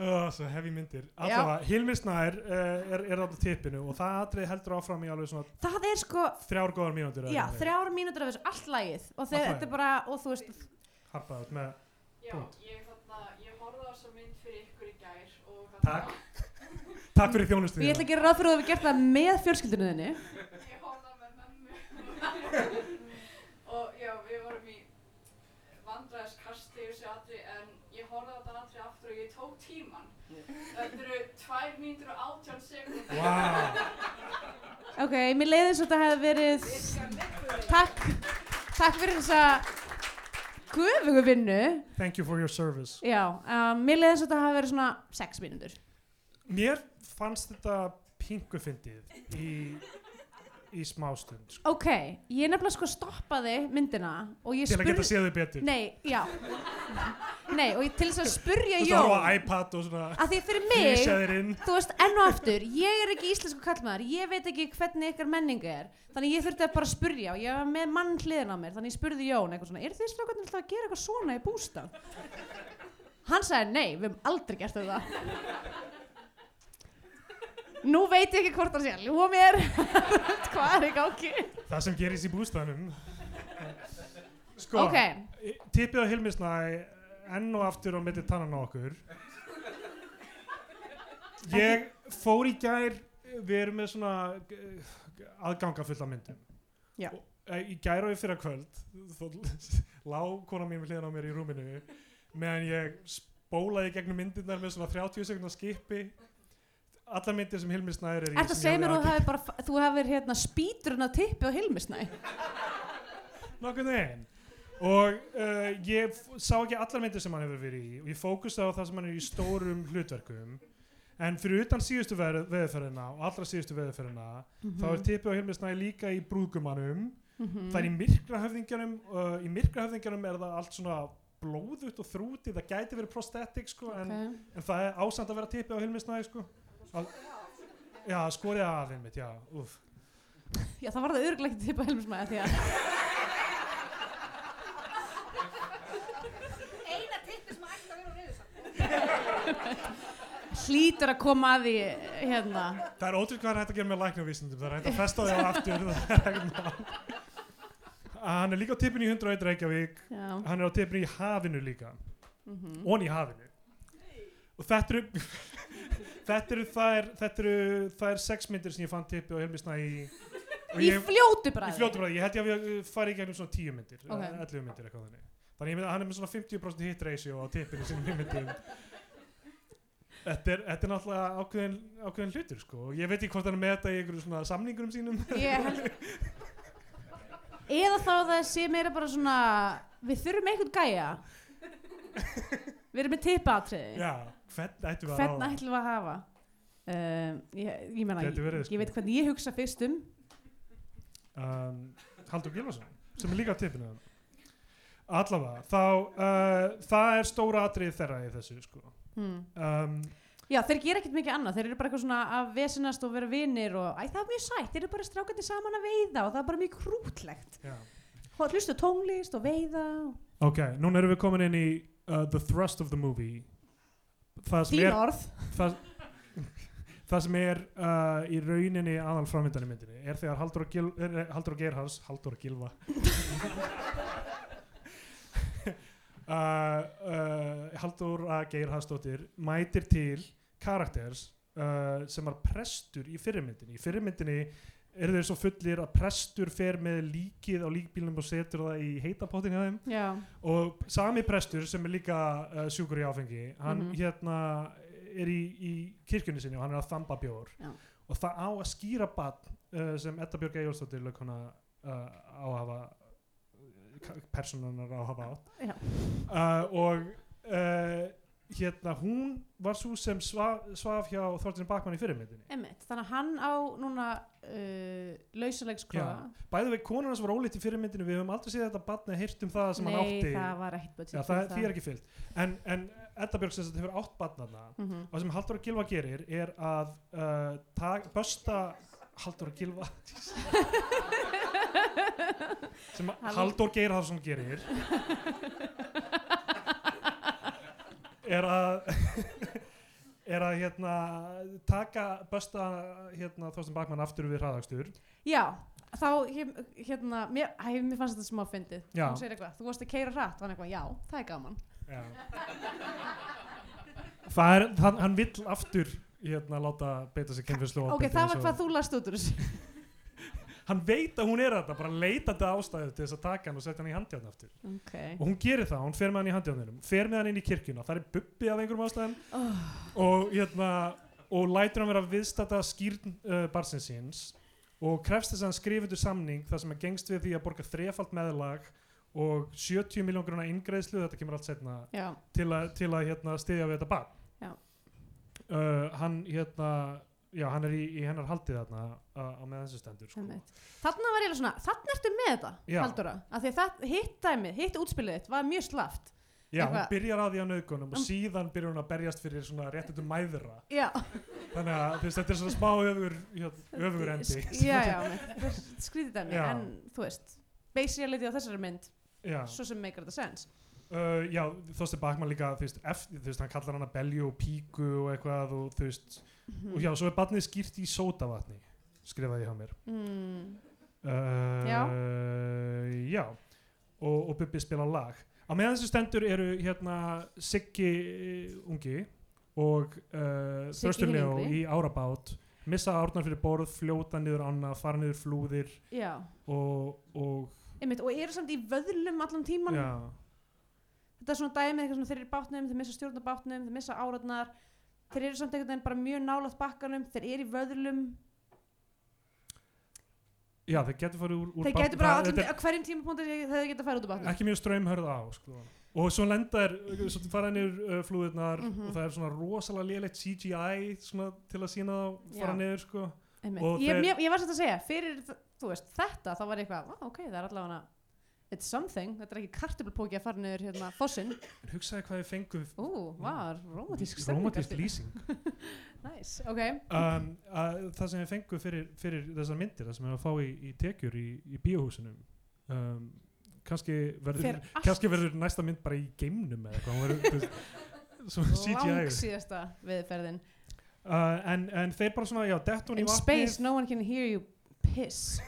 [SPEAKER 2] oh, svo hefi myndir allavega, Hilmi Snær uh, er, er alltaf tippinu og það atrið heldur áfram í alveg svona
[SPEAKER 3] það er sko
[SPEAKER 2] þrjár góðar mínútur eða
[SPEAKER 3] já,
[SPEAKER 2] eitthvað.
[SPEAKER 3] þrjár mínútur af þessu, allt lagið og þeir,
[SPEAKER 2] Allt lagið.
[SPEAKER 3] þetta er bara, og þú veist
[SPEAKER 2] harpað út með
[SPEAKER 4] Já,
[SPEAKER 2] Punkt.
[SPEAKER 4] ég, þarna, ég horfði á þessa mynd fyrir ykkur í gær og hérna þarna-
[SPEAKER 2] Takk. takk fyrir hérna. þjónustu
[SPEAKER 3] ég ætla að gera ráð fyrir að við gert það með fjölskyldinu þinni
[SPEAKER 4] ég horfði á með mömmu og já, við vorum í vandræðiskasti þessu atri en ég horfði á þetta atri aftur og ég tók tíman þetta eru 2 mínútur og 18 sekund
[SPEAKER 2] wow.
[SPEAKER 3] ok, mér leiði eins og þetta hefði verið Takk, takk fyrir þessa guðugu vinnu.
[SPEAKER 2] thank you for your service
[SPEAKER 3] Já, um, mér leiðist að þetta hafi verið svona 6 mínútur.
[SPEAKER 2] mér fannst þetta pingu fyndið í, í smástund sko.
[SPEAKER 3] Ok, ég nefnilega sko stoppaði myndina og ég
[SPEAKER 2] til að geta
[SPEAKER 3] spurði...
[SPEAKER 2] séð þau betur
[SPEAKER 3] Nei, já. Nei, og ég, til þess að spurja
[SPEAKER 2] þú veist að horfa á
[SPEAKER 3] Jón,
[SPEAKER 2] iPad og svona
[SPEAKER 3] að því fyrir mig,
[SPEAKER 2] flýsa þér inn
[SPEAKER 3] þú veist, enn og aftur, ég er ekki íslensku kallmaður, ég veit ekki hvernig ykkar menningu er, þannig ég þurfti að bara spurja og ég var með mann hliðin á mér, þannig ég spurði Jón eitthvað svona, er þið strákarnir alltaf að gera eitthvað svona í bústað? Hann sagði, nei, við höfum aldrei gert þetta. Nú veit ég ekki hvort hann sé að ljúa mér, hvað er í gangi?
[SPEAKER 2] það sem gerist í bústæðanum sko
[SPEAKER 3] Ok,
[SPEAKER 2] tippið á Hilmisnæ enn og aftur á milli tannan á okkur ég fór í gær við erum með svona eh, aðganga fulla myndum
[SPEAKER 3] Já.
[SPEAKER 2] Og, eh, í gær og í fyrra kvöld þó, lá kona mín við hliðan á mér í rúminu meðan ég spólaði gegnum myndirnar með svona 30 sekundar skipi alla myndir sem Hilmi Snæður er í
[SPEAKER 3] þetta
[SPEAKER 2] sem ég
[SPEAKER 3] segir mér
[SPEAKER 2] hafði
[SPEAKER 3] að þú hefur bara, fa- þú hefur hérna spýturinn að tippi á Hilmisnæ.
[SPEAKER 2] nokkuð veginn og uh, ég f- sá ekki allar myndir sem hann hefur verið í og ég fókusaði á það sem hann er í stórum hlutverkum en en fyrir utan síðustu veð- veðurferðina og allra síðustu veðurferðina
[SPEAKER 3] Mhm.
[SPEAKER 2] þá er tippið á Hilmi Snæ líka í brúðgumanum það er í myrkrahöfðingjanum uh, í myrkrahöfðingjanum er það allt svona blóðut og þrútið, það gæti verið prosthetic sko, en, en það er ásand að vera tippið á Hilmi Snæ sko. Al já, skorið að einmitt, já, úff
[SPEAKER 3] Já, það var það örglega ekki tippa helmismæði því að
[SPEAKER 5] Eina tippi sem ætti að vera á reyðusamt.
[SPEAKER 3] hlýtur að koma að því hérna.
[SPEAKER 2] Það er ótrúið hvað er hægt að gera með læknavísindum, það er hægt að festa því á aftur, það er hægt mál. Ah, Hann er líka á tippinu í 101 Reykjavík,
[SPEAKER 3] Já.
[SPEAKER 2] hann er á tippinu í hafinu líka,
[SPEAKER 3] Mm
[SPEAKER 2] ón í hafinu. Og þetta eru, þetta eru þær, þetta eru þær sex myndir sem ég fann tippi og helmisna í, og
[SPEAKER 3] Í
[SPEAKER 2] ég,
[SPEAKER 3] fljótu
[SPEAKER 2] í
[SPEAKER 3] bræði.
[SPEAKER 2] fljótubræði, ég held ég að við farið í gegnum svona 10 myndir,
[SPEAKER 3] Ok.
[SPEAKER 2] okay. 11 myndir eitthvað þannig. Þannig ég myndi að hann er með svona 50% hit ratio á tippinu sem ég myndi Þetta er, þetta er náttúrulega ákveðin, ákveðin hlutur sko. og Ég veit ekki hvort hann er með þetta í einhverjum svona samningurum sínum.
[SPEAKER 3] Ég held... Eða þá að það sé meira bara svona, við þurfum einhvern gæja. Við erum með tippaatriði.
[SPEAKER 2] Já, hvern ættum við
[SPEAKER 3] Hvern
[SPEAKER 2] að ráða?
[SPEAKER 3] ætlum við að hafa? Um, ég, ég meina,
[SPEAKER 2] Gæti verið,
[SPEAKER 3] ég,
[SPEAKER 2] sko.
[SPEAKER 3] ég veit hvernig ég hugsa fyrst um.
[SPEAKER 2] Um, Haldur Gilvason, sem er líka á tippinu þannig. Allavega, þá, uh, það er stóra atrið þeirra í þessu sko.
[SPEAKER 3] Hmm.
[SPEAKER 2] Um,
[SPEAKER 3] Já, þeir gera ekkert mikið annað, þeir eru bara eitthvað svona að vesinast og vera vinir og æ, það er mjög sætt, þeir eru bara strákandi saman að veiða og það er bara mjög krútlegt.
[SPEAKER 2] já.
[SPEAKER 3] Hó- Hlusta á tónlist og veiða.
[SPEAKER 2] Ok, núna erum við komin inn í uh, The Thrust of the Movie. Það sem
[SPEAKER 3] Þín
[SPEAKER 2] er,
[SPEAKER 3] orð.
[SPEAKER 2] það, það sem er uh, í rauninni aðal framvindan í myndinni er þegar Haldur og, Gil, er, er- Haldur og Geirhals Haldur og Gilva uh, uh, Haldur að Geirhalsdóttir mætir til karakters uh, sem var prestur í fyrirmyndinni í fyrirmyndinni eru þeir svo fullir að prestur fer með líkið á líkbílnum og setur það í heitapottin hjá þeim
[SPEAKER 3] Já.
[SPEAKER 2] og sami prestur sem er líka uh, sjúkur í áfengi hann
[SPEAKER 3] Mhm.
[SPEAKER 2] hérna er í, í kirkjunni sinni og hann er að þamba bjór
[SPEAKER 3] Já.
[SPEAKER 2] og það á að skýra bann uh, sem Edda Björg Eyjólfsdóttir lögkona uh, á að hafa personunar á að hafa átt
[SPEAKER 3] Já.
[SPEAKER 2] uh, og uh, hérna hún var svo sem svaf, svaf hjá Þortin Bakmann í fyrirmyndinni
[SPEAKER 3] Emmett, þannig að hann á núna uh, lausulegskroa.
[SPEAKER 2] bæði veit konur hans var ólítið í fyrirmyndinni við höfum aldrei séð þetta bann eða heyrt um það sem
[SPEAKER 3] Nei,
[SPEAKER 2] hann átti
[SPEAKER 3] það var um ekkert budget.
[SPEAKER 2] Já, það, því er ekki fyllt. En, en Edda Björg sem þetta hefur átt barnarna
[SPEAKER 3] Mhm.
[SPEAKER 2] og það sem Haldur og Gilva gerir er að uh, tag, bösta Haldur og Gilva sem
[SPEAKER 3] Hall-
[SPEAKER 2] Haldur Geirharðsson gerir er að er að hérna taka bösta hérna Þorsten Bakmann aftur við hraðakstur
[SPEAKER 3] Já, þá, hér- hérna, mér, æ, mér fannst þetta smá fyndið.
[SPEAKER 2] Já.
[SPEAKER 3] Hún segir eitthvað, þú varst að keira hratt, og hann eitthvað, já, það er gaman.
[SPEAKER 2] Já. Það er, hann, hann vill aftur hérna láta beita sig kynfyrslu
[SPEAKER 3] ok, það var hvað þú last út úr þessu.
[SPEAKER 2] Hann veit að hún er þetta, bara leitandi ástæðu til þess að taka hann og setja hann í handjáðn aftur.
[SPEAKER 3] ok.
[SPEAKER 2] Og hún gerir það, hún fer með hann í handjáðnunum, fer með hann inn í kirkjuna, það er bubbi af einhverjum ástæðum
[SPEAKER 3] Oh,
[SPEAKER 2] og hérna, og lætur hann vera viðstata skýrn uh, barsins síns og krefst þess að hann skrifi undir samning þar sem hann gengst við því að borga þrefalt meðlag og 70 miljón grunna ingreðslu, þetta kemur allt setna
[SPEAKER 3] já,
[SPEAKER 2] til að, til að hérna, stiðja við þetta barn
[SPEAKER 3] Já.
[SPEAKER 2] uh, hann hérna já, hann er í, í hennar haldið þarna á- á með þessu stendur sko.
[SPEAKER 3] Einmitt. Þarna var ég svona, þarna ertu með þetta,
[SPEAKER 2] Já.
[SPEAKER 3] Halldóra, af því að það, hitt dæmið, hitt útspilið þitt var mjög slaft.
[SPEAKER 2] já, hún
[SPEAKER 3] Eitthvað-
[SPEAKER 2] byrjar að því að nöðgunum og
[SPEAKER 3] Um.
[SPEAKER 2] síðan byrjar hún að berjast fyrir svona réttindum mæðra
[SPEAKER 3] Já,
[SPEAKER 2] þannig að þú veist, þetta er svona smá öfur hérna, öfur endi
[SPEAKER 3] Sk- Já, já, einmitt. Þetta er skrítið dæmi,
[SPEAKER 2] Já.
[SPEAKER 3] en þú veist, basically á þessari mynd,
[SPEAKER 2] já,
[SPEAKER 3] svo sem meikar þetta sens.
[SPEAKER 2] uh, já þósti Bakman líka þú veist, eftir, þú veist, hann kallar hann að belju og píku og eitthvað og þú veist og já, svo er barnið skýrt í sótavatni skrifaði ég á mér
[SPEAKER 3] Mm.
[SPEAKER 2] Uh,
[SPEAKER 3] Já.
[SPEAKER 2] já. Og, og Bubbi spila lag á meðan þessu stendur eru hérna Siggi eh, ungi og uh,
[SPEAKER 3] Siggi hinn
[SPEAKER 2] Þörsturljó
[SPEAKER 3] yngri.
[SPEAKER 2] í árabát missa árnar fyrir borð, fljóta niður ána fara niður flúðir
[SPEAKER 3] Já,
[SPEAKER 2] og, og
[SPEAKER 3] einmitt, og eru samt í vöðlum allan tíman.
[SPEAKER 2] já,
[SPEAKER 3] Þetta er svona dæmið, eitthvað svona þeir eru í bátnum, þeir missa stjórn á bátnum, þeir missa áratnar, þeir eru samt einhvern veginn bara mjög nálaðt bakkanum, þeir eru í vöðlum.
[SPEAKER 2] já, þeir getur farið úr, úr
[SPEAKER 3] Þeir
[SPEAKER 2] bátnum.
[SPEAKER 3] getur bara á
[SPEAKER 2] Það-
[SPEAKER 3] öllum- á
[SPEAKER 2] þetta
[SPEAKER 3] hverjum tímapunkti þeir getur að fara út úr
[SPEAKER 2] er
[SPEAKER 3] bátnum
[SPEAKER 2] ekki mjög ströymhörð á sko. og svo lenda er svo fara niður uh, flúðurnar
[SPEAKER 3] Mhm.
[SPEAKER 2] og það er svona rosalega lélegt CGI svona, til að sína þá fara
[SPEAKER 3] Já.
[SPEAKER 2] niður sko.
[SPEAKER 3] Einmitt.
[SPEAKER 2] Og
[SPEAKER 3] ég,
[SPEAKER 2] þeir-
[SPEAKER 3] ég, ég var svolítið að segja, fyrir þ- þú veist, þetta þá var ég eitthvað, "Vá, ok, það er allavega it's something, þetta er ekki kartöflupóki að fara niður hérna fossinn,
[SPEAKER 2] en hugsaði hvað þið fengu
[SPEAKER 3] ú, vá, romantísk stemning
[SPEAKER 2] romantísk
[SPEAKER 3] eftir.
[SPEAKER 2] lýsing
[SPEAKER 3] nice, ok,
[SPEAKER 2] um, að það sem við fengum fyrir, fyrir þessar myndir, það sem við að fá í, í tekjur í, í bíóhúsunum um, kannski
[SPEAKER 3] Fer
[SPEAKER 2] verður
[SPEAKER 3] allt-
[SPEAKER 2] kannski verður næsta mynd bara í geimnum eða eitthvað, hún verður þú veist, svona
[SPEAKER 3] lang
[SPEAKER 2] CGI
[SPEAKER 3] síðasta viðferðin
[SPEAKER 2] uh, en, en þeir bara svona, já, dettu hún í
[SPEAKER 3] in
[SPEAKER 2] vatni
[SPEAKER 3] space no one can hear you piss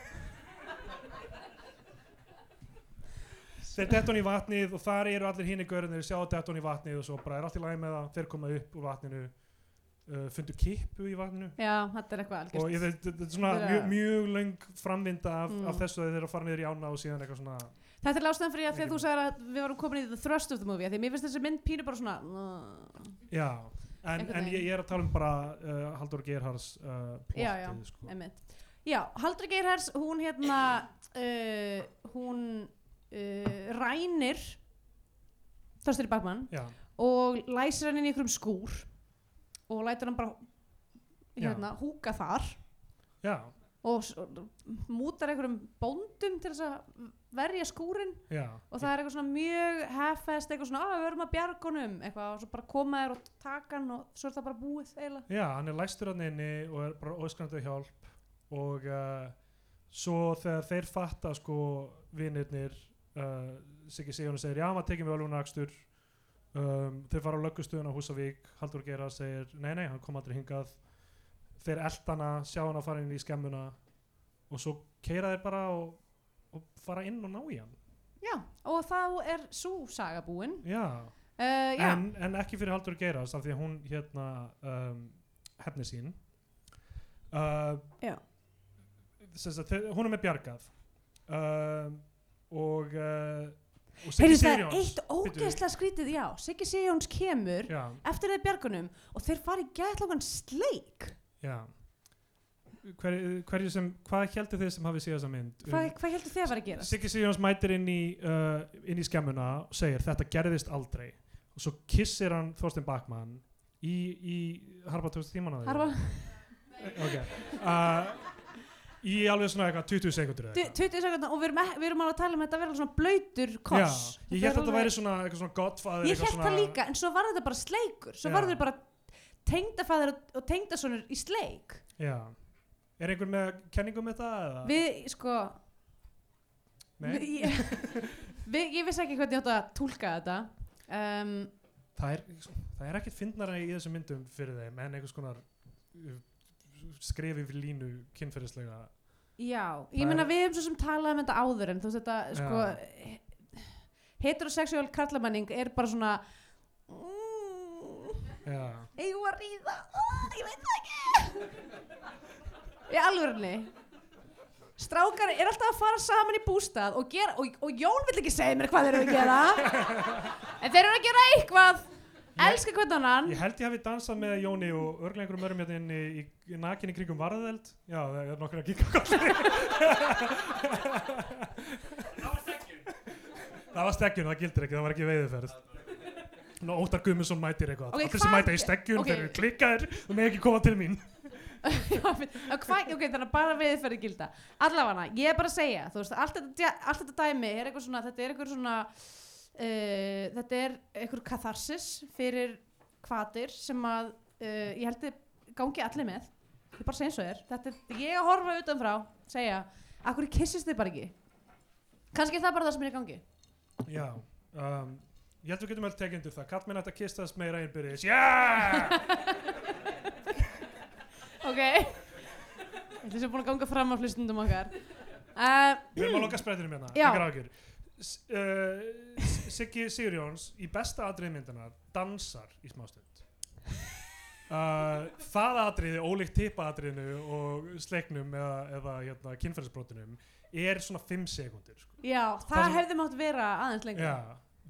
[SPEAKER 2] þeir dettu hún í vatnið og þar eru allir hinni görðin þeir sjá dettu hún í vatnið og svo bara er allt í lagi með það þeir koma upp úr vatninu uh, fundu kippu í vatninu
[SPEAKER 3] já, þetta er eitthvað
[SPEAKER 2] og
[SPEAKER 3] algjört
[SPEAKER 2] ég, þetta þetta er svona
[SPEAKER 3] Þeirra-
[SPEAKER 2] mjög, mjög löng framvinda af,
[SPEAKER 3] Mm.
[SPEAKER 2] af þessu að þeir eru að fara niður í ána og síðan eitthvað svona
[SPEAKER 3] þetta er lástæðan fyrir að því að
[SPEAKER 2] Ekki
[SPEAKER 3] þú sagðir að við varum komin í the thrust of the movie af því að mér finnst þessi mynd pínu bara svona uh,
[SPEAKER 2] Já, en,
[SPEAKER 3] Einhvern
[SPEAKER 2] en
[SPEAKER 3] veginn.
[SPEAKER 2] ég, ég er að tala um bara uh, Haldur Gerhards uh, plottið,
[SPEAKER 3] Já, já,
[SPEAKER 2] sko.
[SPEAKER 3] einmitt já, Haldur Geirhers, hún hérna uh, hún uh, rænir Þorstir Bakmann
[SPEAKER 2] Já,
[SPEAKER 3] og læsir hann inn í einhverjum skúr og lætur hann bara hérna, húka þar
[SPEAKER 2] já,
[SPEAKER 3] og s- og mútar einhverjum bóndum til þess að verja skúrin
[SPEAKER 2] já.
[SPEAKER 3] og það er eitthvað svona mjög heffest eitthvað svona, að við verum að bjarga honum eitthvað og svo bara koma þér og taka hann og svo er það bara búið eiginlega
[SPEAKER 2] Já, hann er læstur hann inni og er bara óskrandið hjálp og uh, svo þegar þeir fatta sko vinnirnir uh, Siggi Sigjónu segir já, maður tekið við alveg nakstur um, þeir fara á löggustuðun á Húsavík Haldur Gerhards segir, nei, nei, hann kom aldrei hingað þeir eldana, sjá hann að fara inn í skemmuna og svo keira þeir bara og, og fara inn og ná í hann
[SPEAKER 3] já, og þá er svo saga búin
[SPEAKER 2] Já,
[SPEAKER 3] uh, já,
[SPEAKER 2] en, en ekki fyrir Haldur Geiras af því að hún hérna um, hefni sín uh,
[SPEAKER 3] Já.
[SPEAKER 2] sem sagt, þe- hún er með bjargað uh, og uh, og
[SPEAKER 3] heyrðu
[SPEAKER 2] Siggi
[SPEAKER 3] það er
[SPEAKER 2] Sigurjóns
[SPEAKER 3] eitt ógeðslega skrítið já, Siggi Sigjóns kemur
[SPEAKER 2] já,
[SPEAKER 3] eftir þeir bjargunum og þeir fara í gætlokan sleik
[SPEAKER 2] já Hver, hverju sem, hvað heldur þið sem hafið séð þessa mynd Um,
[SPEAKER 3] hvað, hvað heldur þið að vera að gera?
[SPEAKER 2] Siggi Sigjóns mætir inn í, uh, inn í skemmuna og segir þetta gerðist aldrei og svo kissir hann Þorstein Bakman í, í harfa tókst tíman á því
[SPEAKER 3] Harfa,
[SPEAKER 2] ok uh, í alveg svona eitthvað 20 sekundur
[SPEAKER 3] 20 sekundar og við erum, ek- við erum alveg að tala um að þetta verður svona blautur koss
[SPEAKER 2] ég
[SPEAKER 3] Þetta
[SPEAKER 2] held
[SPEAKER 3] er
[SPEAKER 2] að þetta
[SPEAKER 3] alveg-
[SPEAKER 2] væri svona eitthvað svona godfather
[SPEAKER 3] ég held það líka, en svo var þetta bara sleikur svo
[SPEAKER 2] Já.
[SPEAKER 3] var þetta bara tengdafæður og tengdasonur í sleik
[SPEAKER 2] já. er einhver með kenningum með það eða?
[SPEAKER 3] við, sko við,
[SPEAKER 2] Nei?
[SPEAKER 3] ég, við, ég vissi ekki hvernig ég átt að túlka þetta um,
[SPEAKER 2] það er, það er ekkert fyndnara í þessum myndum fyrir þeim en einhvers konar uh, skrifi fyrir línu kynferðislega
[SPEAKER 3] já,
[SPEAKER 2] Það
[SPEAKER 3] ég meina
[SPEAKER 2] er-
[SPEAKER 3] við erum svo sem talað um þetta áður en þú veist þetta, sko heterosexuál karlamanning er bara svona mm,
[SPEAKER 2] já.
[SPEAKER 3] eigum við að ríða oh, ég veit það ekki í alvörunni strákar er alltaf að fara saman í bústað og, gera, og, og Jón vill ekki segja mér hvað þeir eru að gera en þeir eru að gera eitthvað elska hvernig annan
[SPEAKER 2] ég held ég hafi dansað með Jóni og örglega einhverjum örum hérna inni í, í nakinni kringum varðeld já það er nokkur að gíka það var steggjun það gildir ekki, það var ekki veiðuferð Nú, Óttar Guðmundsson mætir eitthvað
[SPEAKER 3] Ok,
[SPEAKER 2] allir sem
[SPEAKER 3] hvað-
[SPEAKER 2] mæta í steggjun,
[SPEAKER 3] ok.
[SPEAKER 2] þeir eru klikkaðir þú með ekki koma til mín
[SPEAKER 3] Að hvað- ok, þannig að bara við fyrir gilda allavega, ég er bara að segja þú veist, allt þetta, dja- allt þetta dæmi er eitthvað svona þetta er eitthvað svona uh, þetta er eitthvað katharsis fyrir kvatir sem að uh, ég held að gangi allir með ég bara segja eins og er þetta er, ég að horfa utanfrá, segja akkur kissist þið bara ekki kannski er það bara það sem er í gangi
[SPEAKER 2] já um, ég held við getum öll tekið undir það kallmenn ætti að kistast meira einbyrðis yeah!
[SPEAKER 3] ok þetta sem er búin að ganga fram á hlustundum okkar uh,
[SPEAKER 2] við erum að loka sprettinum hérna
[SPEAKER 3] Já.
[SPEAKER 2] engar áhyggjur. S- uh, S- Siggi Sigurjóns í besta atrið myndina dansar í smástund uh, það atriði ólíkt tippa atriðinu og sleiknum eða, eða hérna, kynferðisbrotinum er svona 5 sekundir sko.
[SPEAKER 3] já, það,
[SPEAKER 2] Það sem-
[SPEAKER 3] hefði mátt vera aðeins lengur
[SPEAKER 2] Já,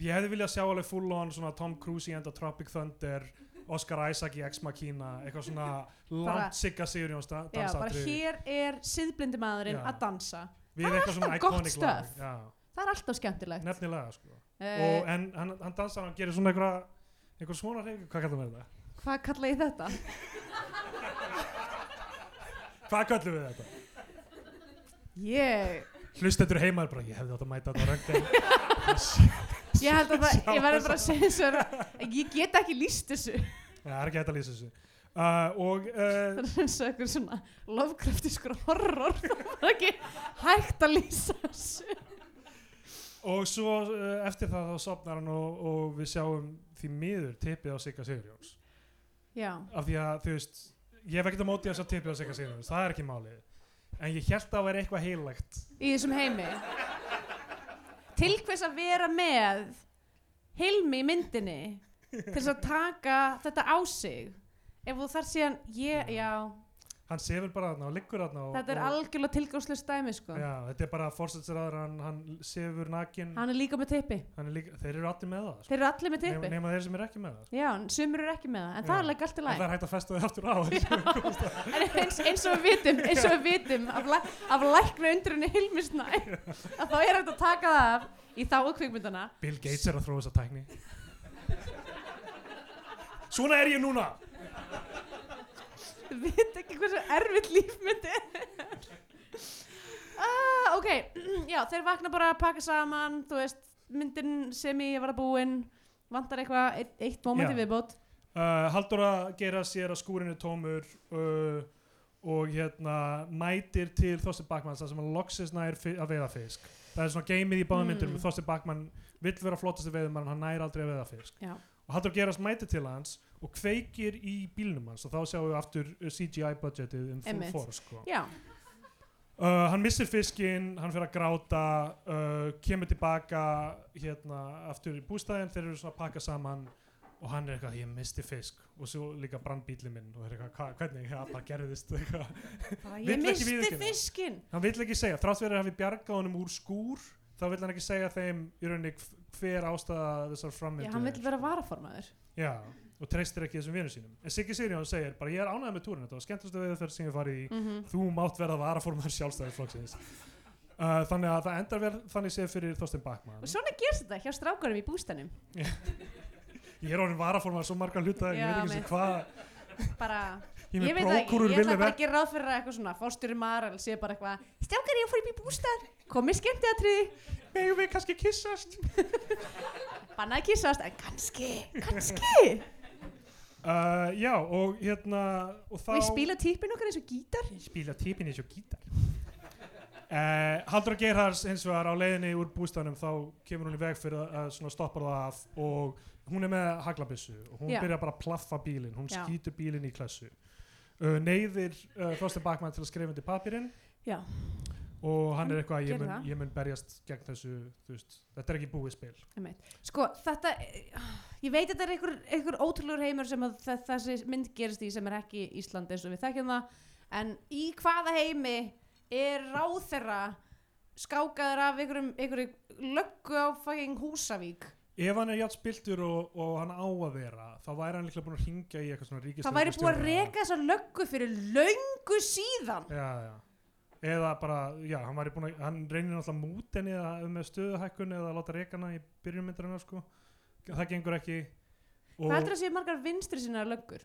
[SPEAKER 2] ég hefði viljað sjá alveg full on svona Tom Cruise í enda Tropic Thunder Oscar Isaac í Ex-Makina eitthvað svona
[SPEAKER 3] Bara-
[SPEAKER 2] langt sigga Sigur Jóns
[SPEAKER 3] Já, bara
[SPEAKER 2] dansatrið
[SPEAKER 3] hér er siðblindi maðurinn
[SPEAKER 2] Já.
[SPEAKER 3] að dansa.
[SPEAKER 2] við eitthvað svona
[SPEAKER 3] alltaf gott
[SPEAKER 2] iconic lag
[SPEAKER 3] stuff.
[SPEAKER 2] Já,
[SPEAKER 3] Það er alltaf skemmtilegt.
[SPEAKER 2] nefnilega sko.
[SPEAKER 3] Uh,
[SPEAKER 2] og en hann, hann dansar hann gerir svona einhverja einhver svona reyningu, hvað kallar við þetta?
[SPEAKER 3] hvað kalla ég þetta?
[SPEAKER 2] Hvað kallum við þetta?
[SPEAKER 3] Ég,
[SPEAKER 2] Hlustendur heima er bara, ég hefði átt að mæta þetta röngi
[SPEAKER 3] ég held að það,
[SPEAKER 2] Sjá
[SPEAKER 3] ég verði
[SPEAKER 2] þessa-
[SPEAKER 3] bara að segja þessu, að- ég get ekki líst þessu.
[SPEAKER 2] það er ekki hægt að lýsa þessu uh, og uh,
[SPEAKER 3] Það er eins og eitthvað svona lofkraftiskur horror, það er ekki hægt að lýsa þessu.
[SPEAKER 2] Og svo uh, eftir það þá sopnar hann og, og við sjáum því miður tippið á Sigga Sigurjóns.
[SPEAKER 3] Já,
[SPEAKER 2] Af því að þú veist, ég hef ekkert á móti að sjá tippið á Sigga Sigurjóns, það er ekki málið. En ég held að það væri eitthvað heilagt.
[SPEAKER 3] í þessum heimi. Til hvers að vera með Hilmi í myndinni til þess að taka þetta á sig. Ef þú þarf síðan, ég, já,
[SPEAKER 2] Hann sefur bara þarna og liggur þarna. Og,
[SPEAKER 3] þetta er
[SPEAKER 2] og,
[SPEAKER 3] algjörlega tilgangslust dæmi, sko.
[SPEAKER 2] Já, þetta er bara fórsætsraður, hann, hann sefur nakin,
[SPEAKER 3] Hann er líka með tippi.
[SPEAKER 2] hann er líka, þeir eru allir með það. sko.
[SPEAKER 3] Þeir eru allir með
[SPEAKER 2] Nema-
[SPEAKER 3] tippi.
[SPEAKER 2] Nema þeir sem eru ekki með það.
[SPEAKER 3] Já, en sumir eru ekki með það, en það er
[SPEAKER 2] Já.
[SPEAKER 3] alveg allt í
[SPEAKER 2] En það
[SPEAKER 3] læg.
[SPEAKER 2] er hægt að festa þau aftur á þessu.
[SPEAKER 3] En eins, eins og við vitum, eins og við vitum af, læ af lækna undrunni Hilmisnæ, að þá er hægt að taka það af í þáu kvikmyndana.
[SPEAKER 2] Bill Gates er að þróa þessa tækni. Svona er ég núna!
[SPEAKER 3] Þau veit ekki hversu erfitt líf myndi. ah, ok, já, þeir vakna bara að pakka saman, þú veist, myndin sem ég var að búin, vantar eitthvað, eitt, eitt móment í
[SPEAKER 2] Já.
[SPEAKER 3] viðbót.
[SPEAKER 2] uh, Haldur að gera sér að skúrinu tómur uh, og hérna mætir til Þorsti Bakmann þar sem hann loksist nær fi- að veiða fisk það er svona geimið í báðum
[SPEAKER 3] Mm.
[SPEAKER 2] myndunum mm. Þorsti Bakmann vill vera flottasti veiðumann hann nær aldrei að veiða fisk
[SPEAKER 3] Já.
[SPEAKER 2] og Haldur gerast mætir til hans og kveikir í bílnum hans og þá sjáum við aftur uh, CGI budgetið um full
[SPEAKER 3] Einmitt.
[SPEAKER 2] force sko.
[SPEAKER 3] Já,
[SPEAKER 2] Uh, hann missir fiskinn, hann fyrir að gráta, uh, kemur tilbaka hérna aftur í bústæðin, þeir eru svona að pakka saman og hann er eitthvað, ég misti fisk og svo líka brann bíli minn og þeir eru eitthvað, "Hva- hvernig, það bara gerðist eitthvað.
[SPEAKER 3] bara,
[SPEAKER 2] Vill
[SPEAKER 3] ég
[SPEAKER 2] ekki
[SPEAKER 3] misti
[SPEAKER 2] viðurkenna.
[SPEAKER 3] fiskinn.
[SPEAKER 2] Hann vill ekki segja, þrátt verið að hafi bjargað honum úr skúr, þá vill hann ekki segja þeim í rauninni hv- hver ástæða þessar
[SPEAKER 3] Já,
[SPEAKER 2] frammyndu
[SPEAKER 3] hann vill sko. vera varaformaður.
[SPEAKER 2] Já, og treystir ekki þessum vinnu sínum. En Siggi Sigurjón segir, bara ég er ánægð með túrin, þetta var skemmtilegsta veðurferð sem ég hef farið í
[SPEAKER 3] Mm
[SPEAKER 2] þú mátt verða varaformaður sjálfstæðisflokksins uh, þannig að það endar vel þannig séð fyrir Þorstein Bakman
[SPEAKER 3] Og svona gerst þetta hjá strákarum í bústænum.
[SPEAKER 2] ég er orðin varaformaður svo marga hluta
[SPEAKER 3] Já,
[SPEAKER 2] ég veit ekki sem
[SPEAKER 3] mitt.
[SPEAKER 2] hvað
[SPEAKER 3] Bara,
[SPEAKER 2] ég
[SPEAKER 3] ég
[SPEAKER 2] er
[SPEAKER 3] veit
[SPEAKER 2] með
[SPEAKER 3] það ekki,
[SPEAKER 2] brókur úr
[SPEAKER 3] ég ætla
[SPEAKER 2] villi
[SPEAKER 3] bara
[SPEAKER 2] verk
[SPEAKER 3] ekki ráð fyrir að eitthvað svona fórstjóri Marel sé bara eitthvað, strákar ég fór upp í bústæð, komið skemmti að triði,
[SPEAKER 2] megum við kannski kissast
[SPEAKER 3] bannaði að kissast, en kannski, kannski.
[SPEAKER 2] uh, já og hérna og þá
[SPEAKER 3] Við spila típin okkar eins og gítar.
[SPEAKER 2] spila típin eins og gítar uh, Haldur Gerhards hins vegar á leiðinni úr bústæðanum þá kemur hún í veg fyrir að- að svona stoppar það af og hún er með haglabissu og hún
[SPEAKER 3] Já.
[SPEAKER 2] byrjar bara að plaffa bílinn hún
[SPEAKER 3] Já.
[SPEAKER 2] skýtur bílinn í klassu uh, neyðir uh, Þorstein Bakman til að skrifa undir papirinn
[SPEAKER 3] Já.
[SPEAKER 2] og hann
[SPEAKER 3] Hann
[SPEAKER 2] er eitthvað ég
[SPEAKER 3] Mm, gerir
[SPEAKER 2] mun,
[SPEAKER 3] það.
[SPEAKER 2] ég mun berjast gegn þessu þú veist, þetta er ekki búið spil
[SPEAKER 3] Sko, þetta, ég veit þetta er einhver, einhver ótrúlegur heimur sem að þe- þessi mynd gerist í sem er ekki Ísland eins og við þekkjum það, en í hvaða heimi er ráðherra skákaður af einhverjum, einhverju löggu á fucking Húsavík?
[SPEAKER 2] ef hann er játt spiltur og, og hann á að vera þá væri hann líklega búin að ringja í eitthvað svona ríkistöð
[SPEAKER 3] Það væri búið að reka þessa löggu fyrir löngu síðan.
[SPEAKER 2] já, já. eða bara, já, hann væri búin að hann reynir náttúrulega mút henni eða um með stöðuhækkun eða láta reka hana í byrjunmyndarinn sko. það gengur ekki og
[SPEAKER 3] Hvað heldur að séu margar vinstri sinna löggur?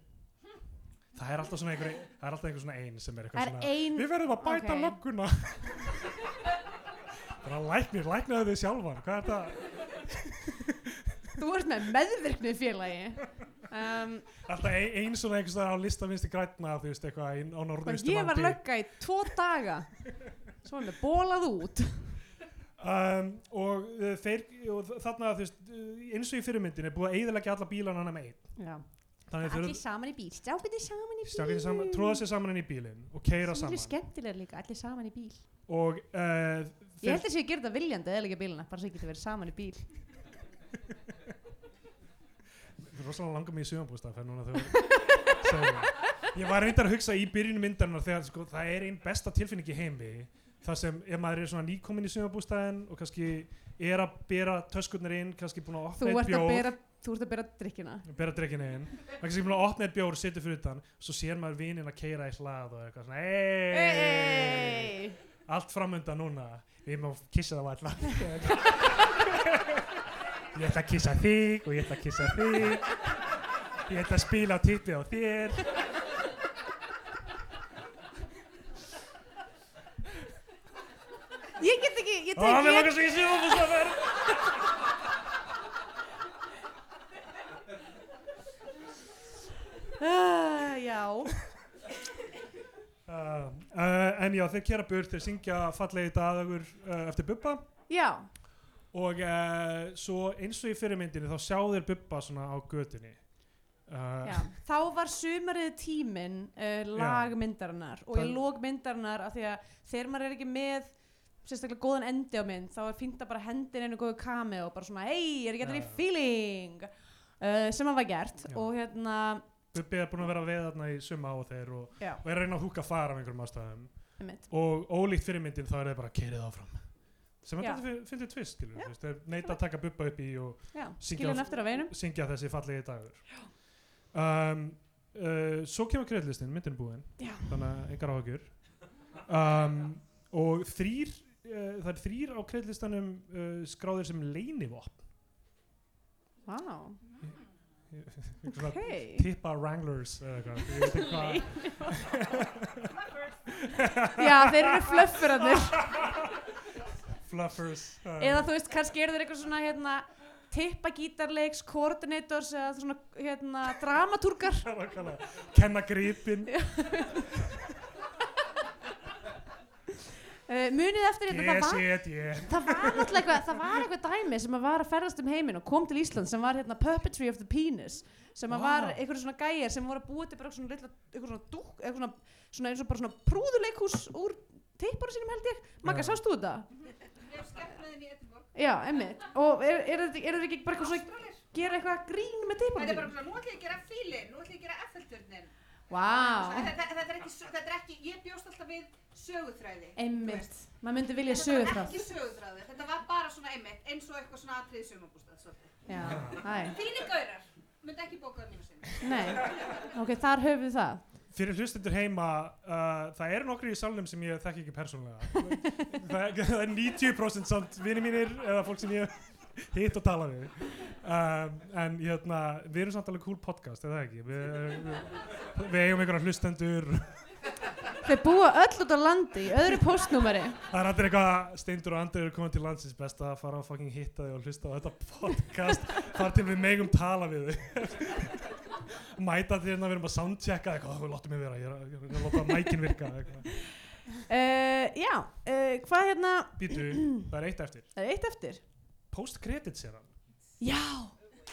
[SPEAKER 2] það er alltaf svona einhver það er alltaf einhver svona ein sem er
[SPEAKER 3] Það
[SPEAKER 2] eitthvað
[SPEAKER 3] er
[SPEAKER 2] svona
[SPEAKER 3] ein,
[SPEAKER 2] við verðum að bæta
[SPEAKER 3] Ok.
[SPEAKER 2] okay. lögguna bara læknir, læknaðu þið sjálfan hvað er það
[SPEAKER 3] þú ert með meðvirknið félagi. Um,
[SPEAKER 2] Alltaf ein, ein svona einhvers staðar á lista vinstri grætna þú veist eitthvað ein, á
[SPEAKER 3] bara
[SPEAKER 2] norðustu
[SPEAKER 3] ég var lögga í tvo daga. Svo er mér bólað út.
[SPEAKER 2] um, og, uh, þeir, og þarna þú veist uh, eins og í fyrirmyndin er búið að eigðilegja alla bílana hana með einn
[SPEAKER 3] Já.
[SPEAKER 2] þannig
[SPEAKER 3] Allir
[SPEAKER 2] að
[SPEAKER 3] saman í bíl, strákinni saman í bíl.
[SPEAKER 2] þeir saman, tróða sér saman inn í bílinn og keira
[SPEAKER 3] Sem
[SPEAKER 2] saman
[SPEAKER 3] er skemmtilega líka, allir saman í bíl.
[SPEAKER 2] og uh,
[SPEAKER 3] Ég
[SPEAKER 2] þeir,
[SPEAKER 3] held að sé að gera þetta viljandi eða líka bílina, bara svo getur verið saman í bíl.
[SPEAKER 2] Þú er rosalega langar mig í sögumbústað fyrir núna þegar segir það. ég var reyndar að hugsa í byrjunum myndarinnar þegar sko, það er einn besta tilfinning í heimi þar sem ef maður er svona nýkomin í sögumbústaðin og kannski er að bera töskurnar inn kannski búin að
[SPEAKER 3] Þú ert að
[SPEAKER 2] opna eitt bjór
[SPEAKER 3] bera þú ert að bera drikkina
[SPEAKER 2] bera drekkin einn maður kannski búin að opna eitt bjór, situr fyrir utan svo sér maður vininn að keira í hlað og eitthvað svona hey!
[SPEAKER 3] Hey!
[SPEAKER 2] allt framönda núna við má kissa það varla ég ætla að kissa þig og ég ætla að kissa þig ég ætla að spila á titti á þér
[SPEAKER 3] Ég get ekki, ég
[SPEAKER 2] og hann
[SPEAKER 3] tek
[SPEAKER 2] er
[SPEAKER 3] ég
[SPEAKER 2] langar svo ekki sjófustafur
[SPEAKER 3] uh, Já,
[SPEAKER 2] uh, uh, en já þeir kera burt þeir syngja fallegi dagur uh, eftir Bubba
[SPEAKER 3] já,
[SPEAKER 2] og uh, svo eins og í fyrirmyndinni þá sjá þeir Bubba svona á götunni uh,
[SPEAKER 3] já Þá var sumarið tíminn uh, lag
[SPEAKER 2] Já.
[SPEAKER 3] myndarinnar og ég
[SPEAKER 2] Það-
[SPEAKER 3] lók myndarinnar af því að þegar maður er ekki með sérstaklega góðan endi á mynd þá er fínt að bara hendin einu góðu kami og bara svona hei, er ekki allir
[SPEAKER 2] Já.
[SPEAKER 3] í feeling uh, sem hann var gert
[SPEAKER 2] Já.
[SPEAKER 3] og hérna,
[SPEAKER 2] Bubbi er búin að vera að veða þarna í suma á þeir og,
[SPEAKER 3] já,
[SPEAKER 2] og er að reyna að húka fara af einhverjum ástæðum
[SPEAKER 3] einmitt
[SPEAKER 2] og ólíkt fyrirmyndin þá er þeir bara keirið áfram sem
[SPEAKER 3] Já.
[SPEAKER 2] að þetta finnir tvist skilur,
[SPEAKER 3] Já.
[SPEAKER 2] þú veist, þeir neita að taka Bubba upp í og
[SPEAKER 3] Já,
[SPEAKER 2] Syngja
[SPEAKER 3] skilja hann
[SPEAKER 2] á-
[SPEAKER 3] eftir á veginum
[SPEAKER 2] syngja þessi fallegi dagur um, uh, svo kemur kreðlistin, myndin er búin
[SPEAKER 3] Já.
[SPEAKER 2] þannig að engar áhugjur um, og þrýr uh, það er þrýr á kreðlistanum uh, skráðir sem leinivopn
[SPEAKER 3] Vá,
[SPEAKER 2] Einhver svona
[SPEAKER 3] ok
[SPEAKER 2] tippa wranglers eða eitthvað ég veit ekki hvað-
[SPEAKER 3] Já, þeir eru flöffurarnir
[SPEAKER 2] fluffers uh,
[SPEAKER 3] Eða þú veist, kannski eru þeir eitthvað svona hérna, tippagítarleiks, koordinators eða svona hérna, dramatúrgar
[SPEAKER 2] nákvæmlega. kenna gripin
[SPEAKER 3] uh, Munið eftir hérna,
[SPEAKER 2] ég
[SPEAKER 3] það var,
[SPEAKER 2] set ég
[SPEAKER 3] það var náttúrulega eitthvað það var eitthvað dæmi sem að var að ferðast um heiminn og kom til Ísland sem var hérna, Puppetry of the Penis sem að
[SPEAKER 2] Vá.
[SPEAKER 3] var einhverjum svona gæjar sem voru að búa til bara svona litla, einhverjum svona dúk, einhverjum svona, svona, eins og bara svona prúðuleikhús úr tippara sínum held ég Magga,
[SPEAKER 2] Já.
[SPEAKER 3] sástu þetta?
[SPEAKER 5] Ég hef skemmt með þeim í Edinborg.
[SPEAKER 3] Já, emmitt Og eru er, er, er þeir ekki bara eitthvað svona
[SPEAKER 5] Ástralir.
[SPEAKER 3] gera eitthvað grín með
[SPEAKER 5] Þetta er bara
[SPEAKER 3] teiparum?
[SPEAKER 5] svona, nú ætlum ég að gera fílin, nú ætlum ég að gera effelturnin.
[SPEAKER 3] Vá,
[SPEAKER 5] Þetta þetta er ekki, sö- þetta er ekki, ég bjóst alltaf við söguþræði.
[SPEAKER 3] einmitt, maður myndi vilja
[SPEAKER 5] Þetta
[SPEAKER 3] sögur
[SPEAKER 5] var
[SPEAKER 3] frá
[SPEAKER 5] ekki söguþræði, þetta var bara svona einmitt, eins og eitthvað svona atrið sumabústað, svolítið.
[SPEAKER 3] Já, hæ,
[SPEAKER 5] Þínir gaurar, myndi ekki bókaða mínu sinni.
[SPEAKER 3] nei, ok, þar höfum við það
[SPEAKER 2] fyrir hlustendur heima uh, það eru nokkri í salnum sem ég þekki ekki persónulega það, það er 90% samt vini mínir eða fólk sem ég hitt og tala við um, en hérna, við erum samt alveg cool podcast eða ekki við, við, við eigum einhverja hlustendur
[SPEAKER 3] Þau búa öll út á landi, í öðru postnúmeri
[SPEAKER 2] það er allir eitthvað steindur og andur eru komið til landsins best að fara að fucking hitta þig og hlusta á þetta podcast þar til við megum tala við þig mæta þér hérna, við erum að soundchecka eitthvað, þú láttu mig vera, ég er að, ég er að láta mækin virka eitthvað,
[SPEAKER 3] uh, Já, uh, hvað hérna,
[SPEAKER 2] býtu, það er eitt eftir
[SPEAKER 3] það er eitt eftir
[SPEAKER 2] post-credits er hann
[SPEAKER 3] Já,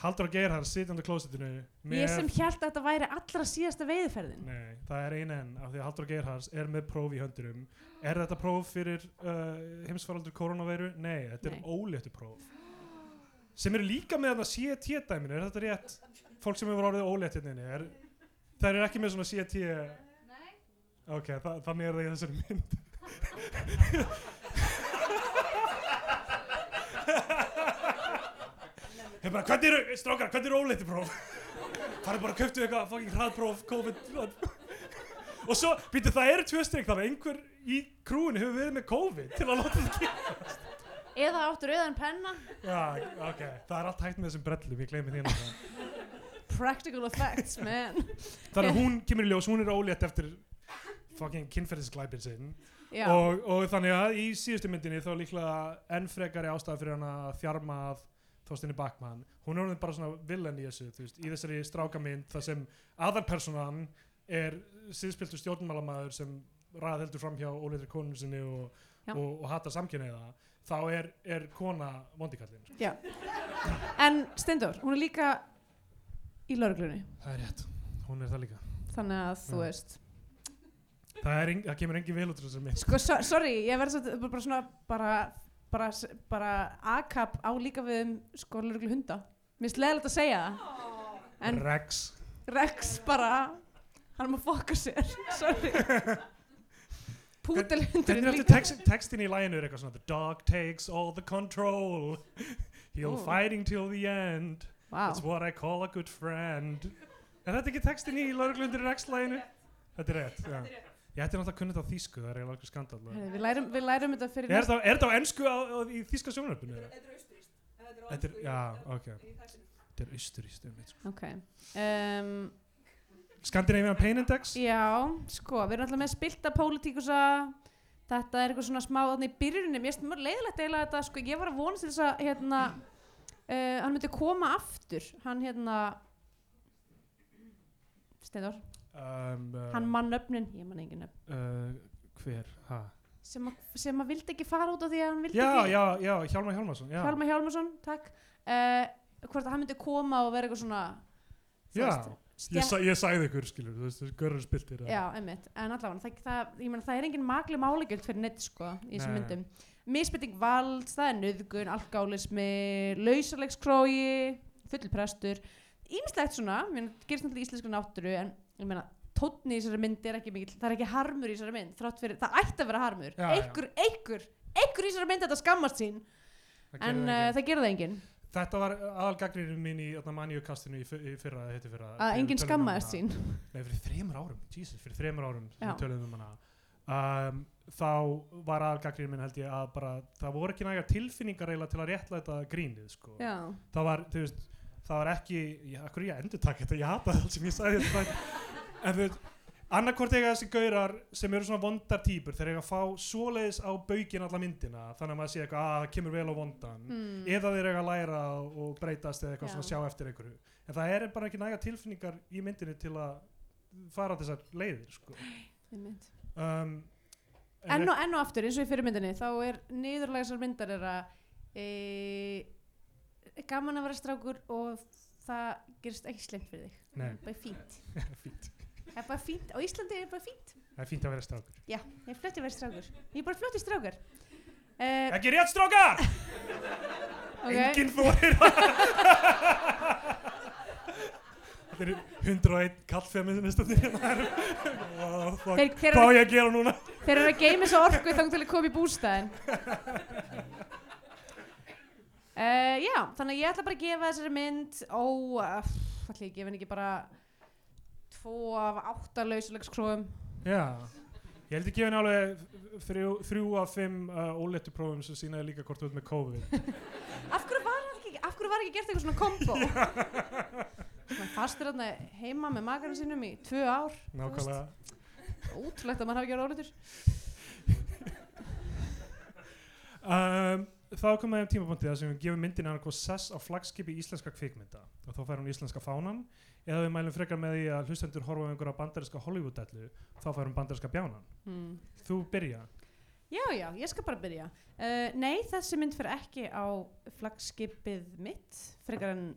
[SPEAKER 2] Haldur og Geirhard sitjandi á klósitinu
[SPEAKER 3] ég sem hjælt að þetta væri allra síðasta veiðferðin
[SPEAKER 2] Nei, það er ein enn af því að Haldur og Geirhard er með próf í höndunum Er þetta próf fyrir uh, heimsfaraldur koronaveiru? Nei, þetta
[SPEAKER 3] Nei.
[SPEAKER 2] er óléttu próf sem eru líka með þarna CT dæminu er þetta rétt? Fólk sem hefur orðið ólétt hérna inni, er, það eru ekki með svona CT
[SPEAKER 5] Nei.
[SPEAKER 2] Ok, þa þannig er það í þessari mynd Ég bara, hvernig eru, strákar, hvernig eru óleiti próf? Farðu bara að köptu eitthvað fucking hraðpróf, COVID Og svo, býttu, það eru tvö stygg Þannig að einhver í krúinu hefur verið með COVID Til að láta það ekki
[SPEAKER 3] Eða áttu rauðan penna
[SPEAKER 2] Já, ok, það er allt hægt með þessum brellum, ég gleymi þínu það
[SPEAKER 3] Practical effects, man
[SPEAKER 2] Þannig að hún kemur í ljós, hún er ólétt eftir fucking kynferðisglæpin sinn
[SPEAKER 3] Já,
[SPEAKER 2] og, og þannig að í síðustu myndinni þá er líklega enn frekari ástæð fyrir hana að þjarma að Þorstinni Bakman hún er orðin bara svona villan í þessu þú veist, í þessari strákamynd þar sem aðarpersonan er síðspiltu stjórnmálamaður sem raðheldur fram hjá óleitri konun sinni og,
[SPEAKER 3] Já.
[SPEAKER 2] og, og hatar samkynniða þá er, er kona vondikallin sko.
[SPEAKER 3] en Steindór, hún er líka í lauruglunni
[SPEAKER 2] það er rétt, hún er það líka
[SPEAKER 3] Þannig að þú
[SPEAKER 2] Já.
[SPEAKER 3] veist
[SPEAKER 2] það, er, ein- það kemur engin vel út úr þessari mynd
[SPEAKER 3] Sko, so, sorry, ég verði satt bara svona bara, bara, bara akap á líka við um sko lörglu hunda. Mér finnst leðilegt að segja það. En
[SPEAKER 2] Rex
[SPEAKER 3] Rex bara, hann er maður fokka sér, sorry. Pútelhundur
[SPEAKER 2] Hvernig er eftir text, textin í læginu er eitthvað svona The dog takes all the control He'll
[SPEAKER 3] Ó.
[SPEAKER 2] fighting till the end
[SPEAKER 3] Vá.
[SPEAKER 2] That's what I call a good friend Er þetta ekki textin í lauruglundir rekslæginu? Þetta er rétt, já Ég ætti náttúrulega að kunna þetta á þýsku, það er eiginlega alveg skandal
[SPEAKER 3] Heyrðu, Við lærum, við lærum þetta fyrir
[SPEAKER 2] Er þetta á- er þetta á ensku á, á, í þýska sjónarpinu?
[SPEAKER 6] Þetta er austuríst.
[SPEAKER 2] Þetta er, já, ok
[SPEAKER 6] Í þættinum.
[SPEAKER 2] Þetta er austuríst, um eitt
[SPEAKER 3] Ok. Um,
[SPEAKER 2] Skandinavian Pain Index
[SPEAKER 3] Já, sko, við erum alltaf með spilta pólitíkusa þetta er eitthvað svona smá þannig í byrjunum, ég finnst mjög leiðilegt eiginlega þetta, sko, ég var að vonast til þess að hérna, uh, hann myndi koma aftur hann hérna Steindor,
[SPEAKER 2] um, uh,
[SPEAKER 3] hann mann öfnin ég mann engin öfn,
[SPEAKER 2] uh, Hver, ha?
[SPEAKER 3] sem, að- sem að vildi ekki fara út af því að hann vildi
[SPEAKER 2] Já,
[SPEAKER 3] ekki
[SPEAKER 2] já, já, Hjálmar Hjálmarsson já.
[SPEAKER 3] Hjálmar Hjálmarsson, takk uh, hvort að hann myndi koma og vera eitthvað svona þú
[SPEAKER 2] Já,
[SPEAKER 3] veist,
[SPEAKER 2] Ég,
[SPEAKER 3] stétt-
[SPEAKER 2] sa, ég sagði ykkur, skilur, þú veist, görður spiltir eða-
[SPEAKER 3] Já, einmitt, en allavega, það, það, ég meina það er engin magli málegjöld fyrir neitt sko í þessum
[SPEAKER 2] Nei.
[SPEAKER 3] myndum. Misbytting valds, það er nöðgun, alkálismi, lausalegskrói, fullprestur, ímislegt svona, ég meina, gerist náttúrulega í íslensku náttúru, en ég meina, tónni í þessari mynd er ekki mikill, það er ekki harmur í þessari mynd, þrátt fyrir, það ætti að vera harmur,
[SPEAKER 2] Já, já.
[SPEAKER 3] einhver, einhver, einhver í þessari mynd þetta skammast sín,
[SPEAKER 2] Það
[SPEAKER 3] en
[SPEAKER 2] gerði
[SPEAKER 3] uh,
[SPEAKER 2] enginn.
[SPEAKER 3] það gerði það enginn,
[SPEAKER 2] Þetta var aðalgagnirinn mín í manniukastinu í, fy- í fyrra, heiti fyrra
[SPEAKER 3] að
[SPEAKER 2] Við
[SPEAKER 3] enginn
[SPEAKER 2] töluðum um
[SPEAKER 3] skammaðist
[SPEAKER 2] hana-
[SPEAKER 3] sín.
[SPEAKER 2] Nei, fyrir þremur árum, Jesus, fyrir þremur árum sem
[SPEAKER 3] Já.
[SPEAKER 2] við töluðum um hana um, Þá var aðalgagnirinn minn held ég að bara Það voru ekki næga tilfinningar eiginlega til að réttlæta grínið, sko
[SPEAKER 3] Já,
[SPEAKER 2] það var, þú veist, það var ekki ég, akkur ég endur takk þetta, ég hata það sem ég sagði þetta þætti. en þú veist annarkvort eiga þessi gaurar sem eru svona vondar týpur, þeir eiga að fá svoleiðis á baukinn alla myndina, þannig að maður sé eitthvað að það kemur vel á vondan,
[SPEAKER 3] Mm.
[SPEAKER 2] eða þeir eiga að læra og breytast eða eitthvað
[SPEAKER 3] Já.
[SPEAKER 2] svona sjá eftir einhverju, en það er bara ekki næga tilfinningar í myndinni til að fara þessar leiðir, sko
[SPEAKER 3] einmitt.
[SPEAKER 2] um,
[SPEAKER 3] enn og, enn og aftur, eins og í fyrirmyndinni þá er niðurlega þessar myndar er að e, gaman að vera strákur og það gerist ekki slemt fyrir þig
[SPEAKER 2] Nei.
[SPEAKER 3] bara fínt,
[SPEAKER 2] fínt,
[SPEAKER 3] það er bara fínt á Íslandi er bara fínt,
[SPEAKER 2] það er fínt að vera strákur
[SPEAKER 3] já, ég er fljótt að vera strákur ég er bara fljótt í strákur uh,
[SPEAKER 2] ekki rétt strákar,
[SPEAKER 3] ok,
[SPEAKER 2] enginn þórir Þetta eru 101 kallfeministarnir hérna Wow, fuck.
[SPEAKER 3] þeir, þeir,
[SPEAKER 2] Hvað á
[SPEAKER 3] eru-
[SPEAKER 2] ég að gera núna?
[SPEAKER 3] þeir eru að geima svo orku þá til að koma í bústæðin Uh, já, þannig að ég ætla bara að gefa þessari mynd ó, uh, ætla ég að gefa henni ekki bara tvo af átta lausulegskróum
[SPEAKER 2] Já, ég held ekki henni alveg þrjú, þrjú af fimm uh, óléttu prófum sem sínaði líka hvort þú ert með COVID.
[SPEAKER 3] Af hverju var hann ekki, af hverju var ekki gert eitthvað svona kombo? Svona fastur hérna heima með makarum sínum í tvö ár.
[SPEAKER 2] Nákvæmlega.
[SPEAKER 3] Ótrúlegt að maður hafi ekki verið ólítur.
[SPEAKER 2] Um, þá komum við um tímapunktið þar sem við gefum myndin annað hvað sess á flagskipi íslenska kvikmynda og þá fær hún íslenska fánan eða við mælum frekar með því að hlustendur horfa um einhverja bandarinska Hollywood-dellu þá fær hún bandarinska bjánan.
[SPEAKER 3] Hmm.
[SPEAKER 2] Þú byrja.
[SPEAKER 3] Já, já, ég skal bara byrja. Uh, nei, þessi mynd fyrir ekki á flagskipið mitt, frekar en uh,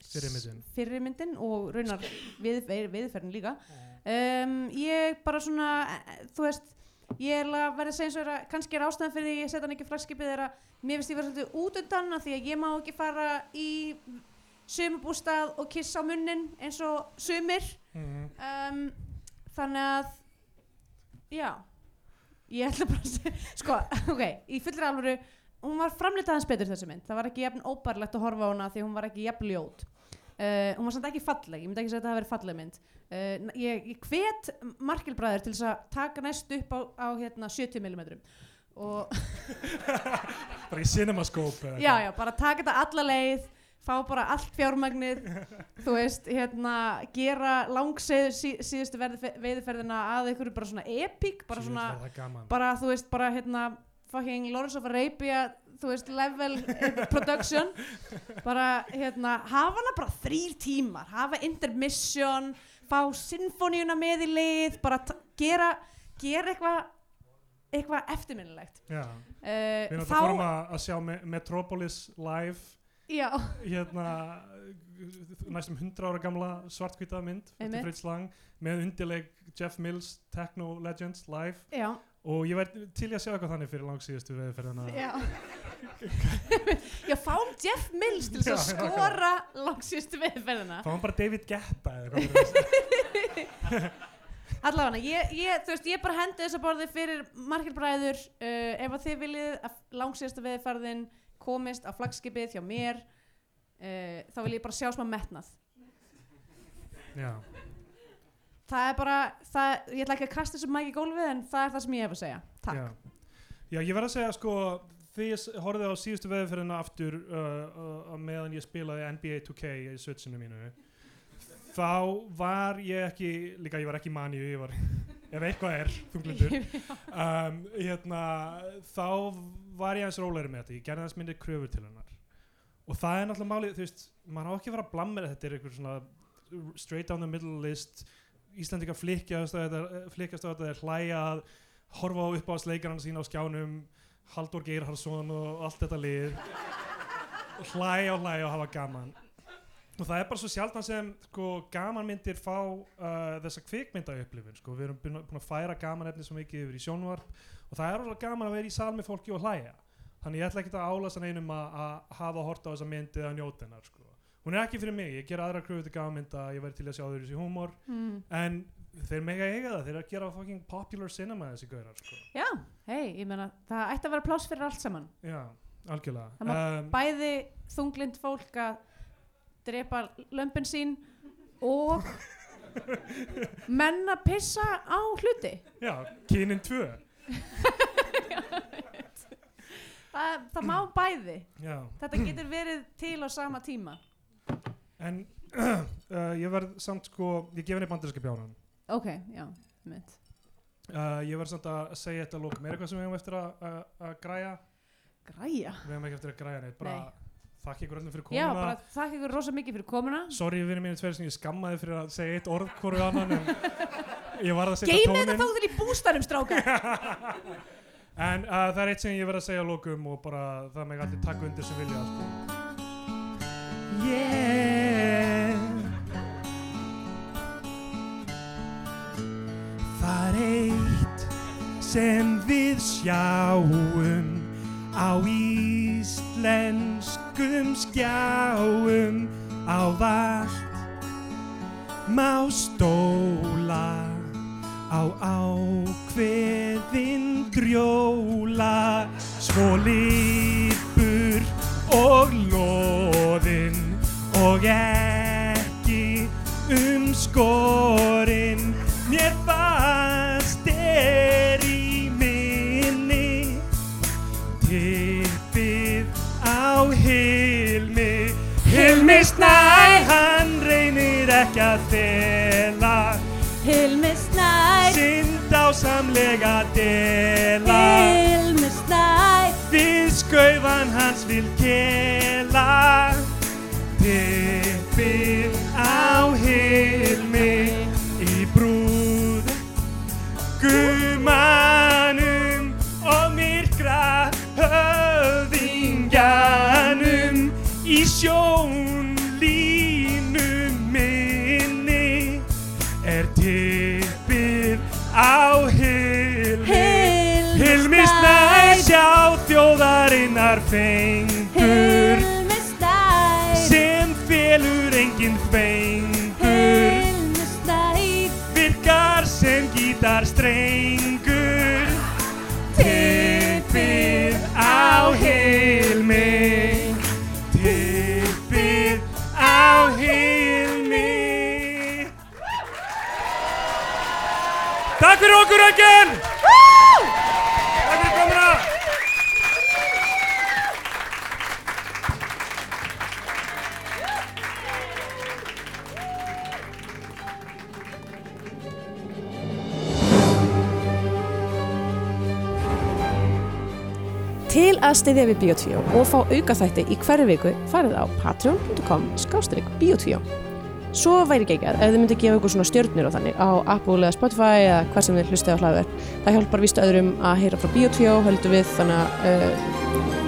[SPEAKER 2] Fyrri myndin.
[SPEAKER 3] fyrri myndin og raunar við, við, viðferðin líka. um, ég bara svona eh, þú veist ég er að verða að segja eins og er að kannski er ástæðan fyrir því ég setja hann ekki á flagskipið er að mér finnst ég vera svolítið út undan af því að ég má ekki fara í sumubústað og kissa á munnin eins og sumir
[SPEAKER 2] Mm.
[SPEAKER 3] um, þannig að já ég ætla bara að segja sko, ok, í fullri alvöru hún var framlitað hans betur þessi mynd það var ekki jafn óbærlegt að horfa á hana því hún var ekki jafn ljót uh, hún var samt ekki falleg, ég myndi ekki segja að þetta hafi verið falleg mynd uh, ég, ég hvet markilbræður til þess að taka næst upp á, á hérna 70 mm og
[SPEAKER 2] Bara í cinemaskóp.
[SPEAKER 3] já,
[SPEAKER 2] eða eitthvað.
[SPEAKER 3] já, bara taka þetta alla leið fá bara allt fjármagnið þú veist, hérna, gera langseiður sí, síðustu verði, veiðferðina að ykkur bara svona epík bara
[SPEAKER 2] Djöfull
[SPEAKER 3] svona,
[SPEAKER 2] var það gaman.
[SPEAKER 3] bara þú veist, bara hérna fucking Lawrence of Arabia þú veist, level eh, production bara, hérna, hafa hana bara þrýr tímar, hafa intermission fá sinfoníuna með í leið bara ta- gera gera eitthvað eitthvað eftirminnilegt
[SPEAKER 2] Já,
[SPEAKER 3] uh,
[SPEAKER 2] við erum alltaf fórum að, að sjá Me Metropolis live
[SPEAKER 3] já,
[SPEAKER 2] hérna næstum 100 ára gamla svartkvitað mynd eftir
[SPEAKER 3] Einmitt.
[SPEAKER 2] Fritz Lang með undirleik Jeff Mills Techno Legends live
[SPEAKER 3] já
[SPEAKER 2] og ég væri til í að sjá eitthvað þannig fyrir langsíðustu veðferðina
[SPEAKER 3] Já Já, fáum Jeff Mills til þess að
[SPEAKER 2] Já, já, já.
[SPEAKER 3] skora langsýstu viðferðina
[SPEAKER 2] fáum bara David Guetta eða eitthvað fyrir þessu.
[SPEAKER 3] Allavega, ég, ég, þú veist, ég bara eh, hendi þess að borði fyrir margir bræður uh, ef að þið viljið að langsýstu viðferðin komist á flagskipið hjá mér uh, þá vil ég bara sjá smá metnað
[SPEAKER 2] já,
[SPEAKER 3] það er bara, það, ég ætla ekki að kasta þessu mæk í gólfið en það er það sem ég hef að segja takk,
[SPEAKER 2] já. já, ég verð að segja sko því ég s- horfði á síðustu veðurferðina aftur uh, uh, uh, meðan ég spilaði NBA 2K í switchinu mínu þá var ég ekki líka ég var ekki manið, ég var ef eitthvað er, þunglindur um, hérna, þá var ég aðeins rólegri með þetta, ég gerði aðeins minni kröfur til hennar og það er náttúrulega málið, þú veist, maður á ekki að fara að blammera þetta er einhver svona straight down the middle list Íslandingar flikkjast á þetta, flikkjast eh, á þetta er hlæja að horfa á upp á sleikarana sína á skjánum Haldur Geirharsson og allt þetta lið hlæja og hlæja og hafa gaman og það er bara svo sjaldan sem sko, gamanmyndir fá uh, þessa kvikmynda upplifin sko. við erum búin að- búin að færa gamanefni svo mikið yfir í sjónvarp og það er alveg gaman að vera í sal með fólki og hlæja þannig ég ætla ekki að álasa neinum að, að hafa hort á þessa myndi eða njóta hennar sko. hún er ekki fyrir mig, ég ger aðra kröfu til gamanmynda ég verð til að sjá þau í þessi húmor
[SPEAKER 3] mm.
[SPEAKER 2] en þeir mega eiga það, þeir eru að gera fucking popular cinema þessi gaurar sko.
[SPEAKER 3] já, hei, ég meina það ætti að vera pláss fyrir allt saman
[SPEAKER 2] já,
[SPEAKER 3] Það
[SPEAKER 2] algjörlega
[SPEAKER 3] má-
[SPEAKER 2] um,
[SPEAKER 3] bæði þunglind fólk að drepa lömpin sín og menn að pissa á hluti
[SPEAKER 2] já, kynin tvö
[SPEAKER 3] það, það má bæði
[SPEAKER 2] já,
[SPEAKER 3] þetta getur verið til á sama tíma
[SPEAKER 2] en uh, ég verð samt sko ég gef henni bandarinska bjánan
[SPEAKER 3] ok, já, mynd
[SPEAKER 2] uh, ég verð samt að segja þetta að lókum er eitthvað sem við hefum eftir að, að, að græja
[SPEAKER 3] græja,
[SPEAKER 2] við hefum ekki eftir að græja neitt bara þakk ykkur öllum fyrir
[SPEAKER 3] já,
[SPEAKER 2] komuna
[SPEAKER 3] bara þakka ykkur rosa mikið fyrir komuna
[SPEAKER 2] sorry vinni mínu tveir sem ég skammaði fyrir að segja eitt orð hvoru annan en ég varð að setja
[SPEAKER 3] geymið þetta
[SPEAKER 2] tónin
[SPEAKER 3] þá til í bústanum strákar
[SPEAKER 2] en uh, það er eitt sem ég verð að segja að lókum og bara það meg allir takk undir sem vilja sko. Yeah Það er eitt sem við sjáum á íslenskum skjáum á vart má stóla á ákveðin drjóla svo lípur og loðin og ekki um skorin mér fast er í minni tippið á Hilmi Hilmi Snær hann reynir ekki að þela
[SPEAKER 3] Hilmi Snær,
[SPEAKER 2] sind á samlega dela
[SPEAKER 3] Hilmi Snær
[SPEAKER 2] við skaufan hans vil kela tippið á Hilmi í brúð gumanum og myrkra höfðingjanum í sjónlínu minni er tippið á Hilmi Hilmi snæ sjá þjóðarinnar fengur
[SPEAKER 7] Hilmi Snær
[SPEAKER 2] sem félur enginn fengur
[SPEAKER 7] Hilmi Snær
[SPEAKER 2] virkar sem gítarstrengur Tippið á hilmi Tippið á hilmi Takk fyrir okkur öggjörn! Takk fyrir komuna!
[SPEAKER 6] Til að styðja við Bíotvíó og fá aukaþætti í hverju viku farið á patreon.com skástrík Bíotvíó. Svo væri geggjað ef þið myndið gefa ykkur svona stjörnir og þannig á Apple eða Spotify eða hvað sem þið hlustið á hlaðverð. Það hjálpar vístu öðrum að heyra frá Bíotvíó, höldum við, þannig að uh,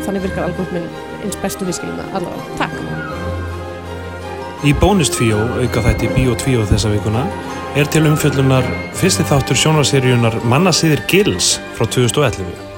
[SPEAKER 6] þannig virkar algoritminn eins bestu viðskilum það allavega. Takk!
[SPEAKER 8] Í bónustvíó, auka þætti Bíó 2 þessa vikuna, er til umfjöllunar fyrsti þáttur sjónarseríunar Mannasýðir Gils frá 2011.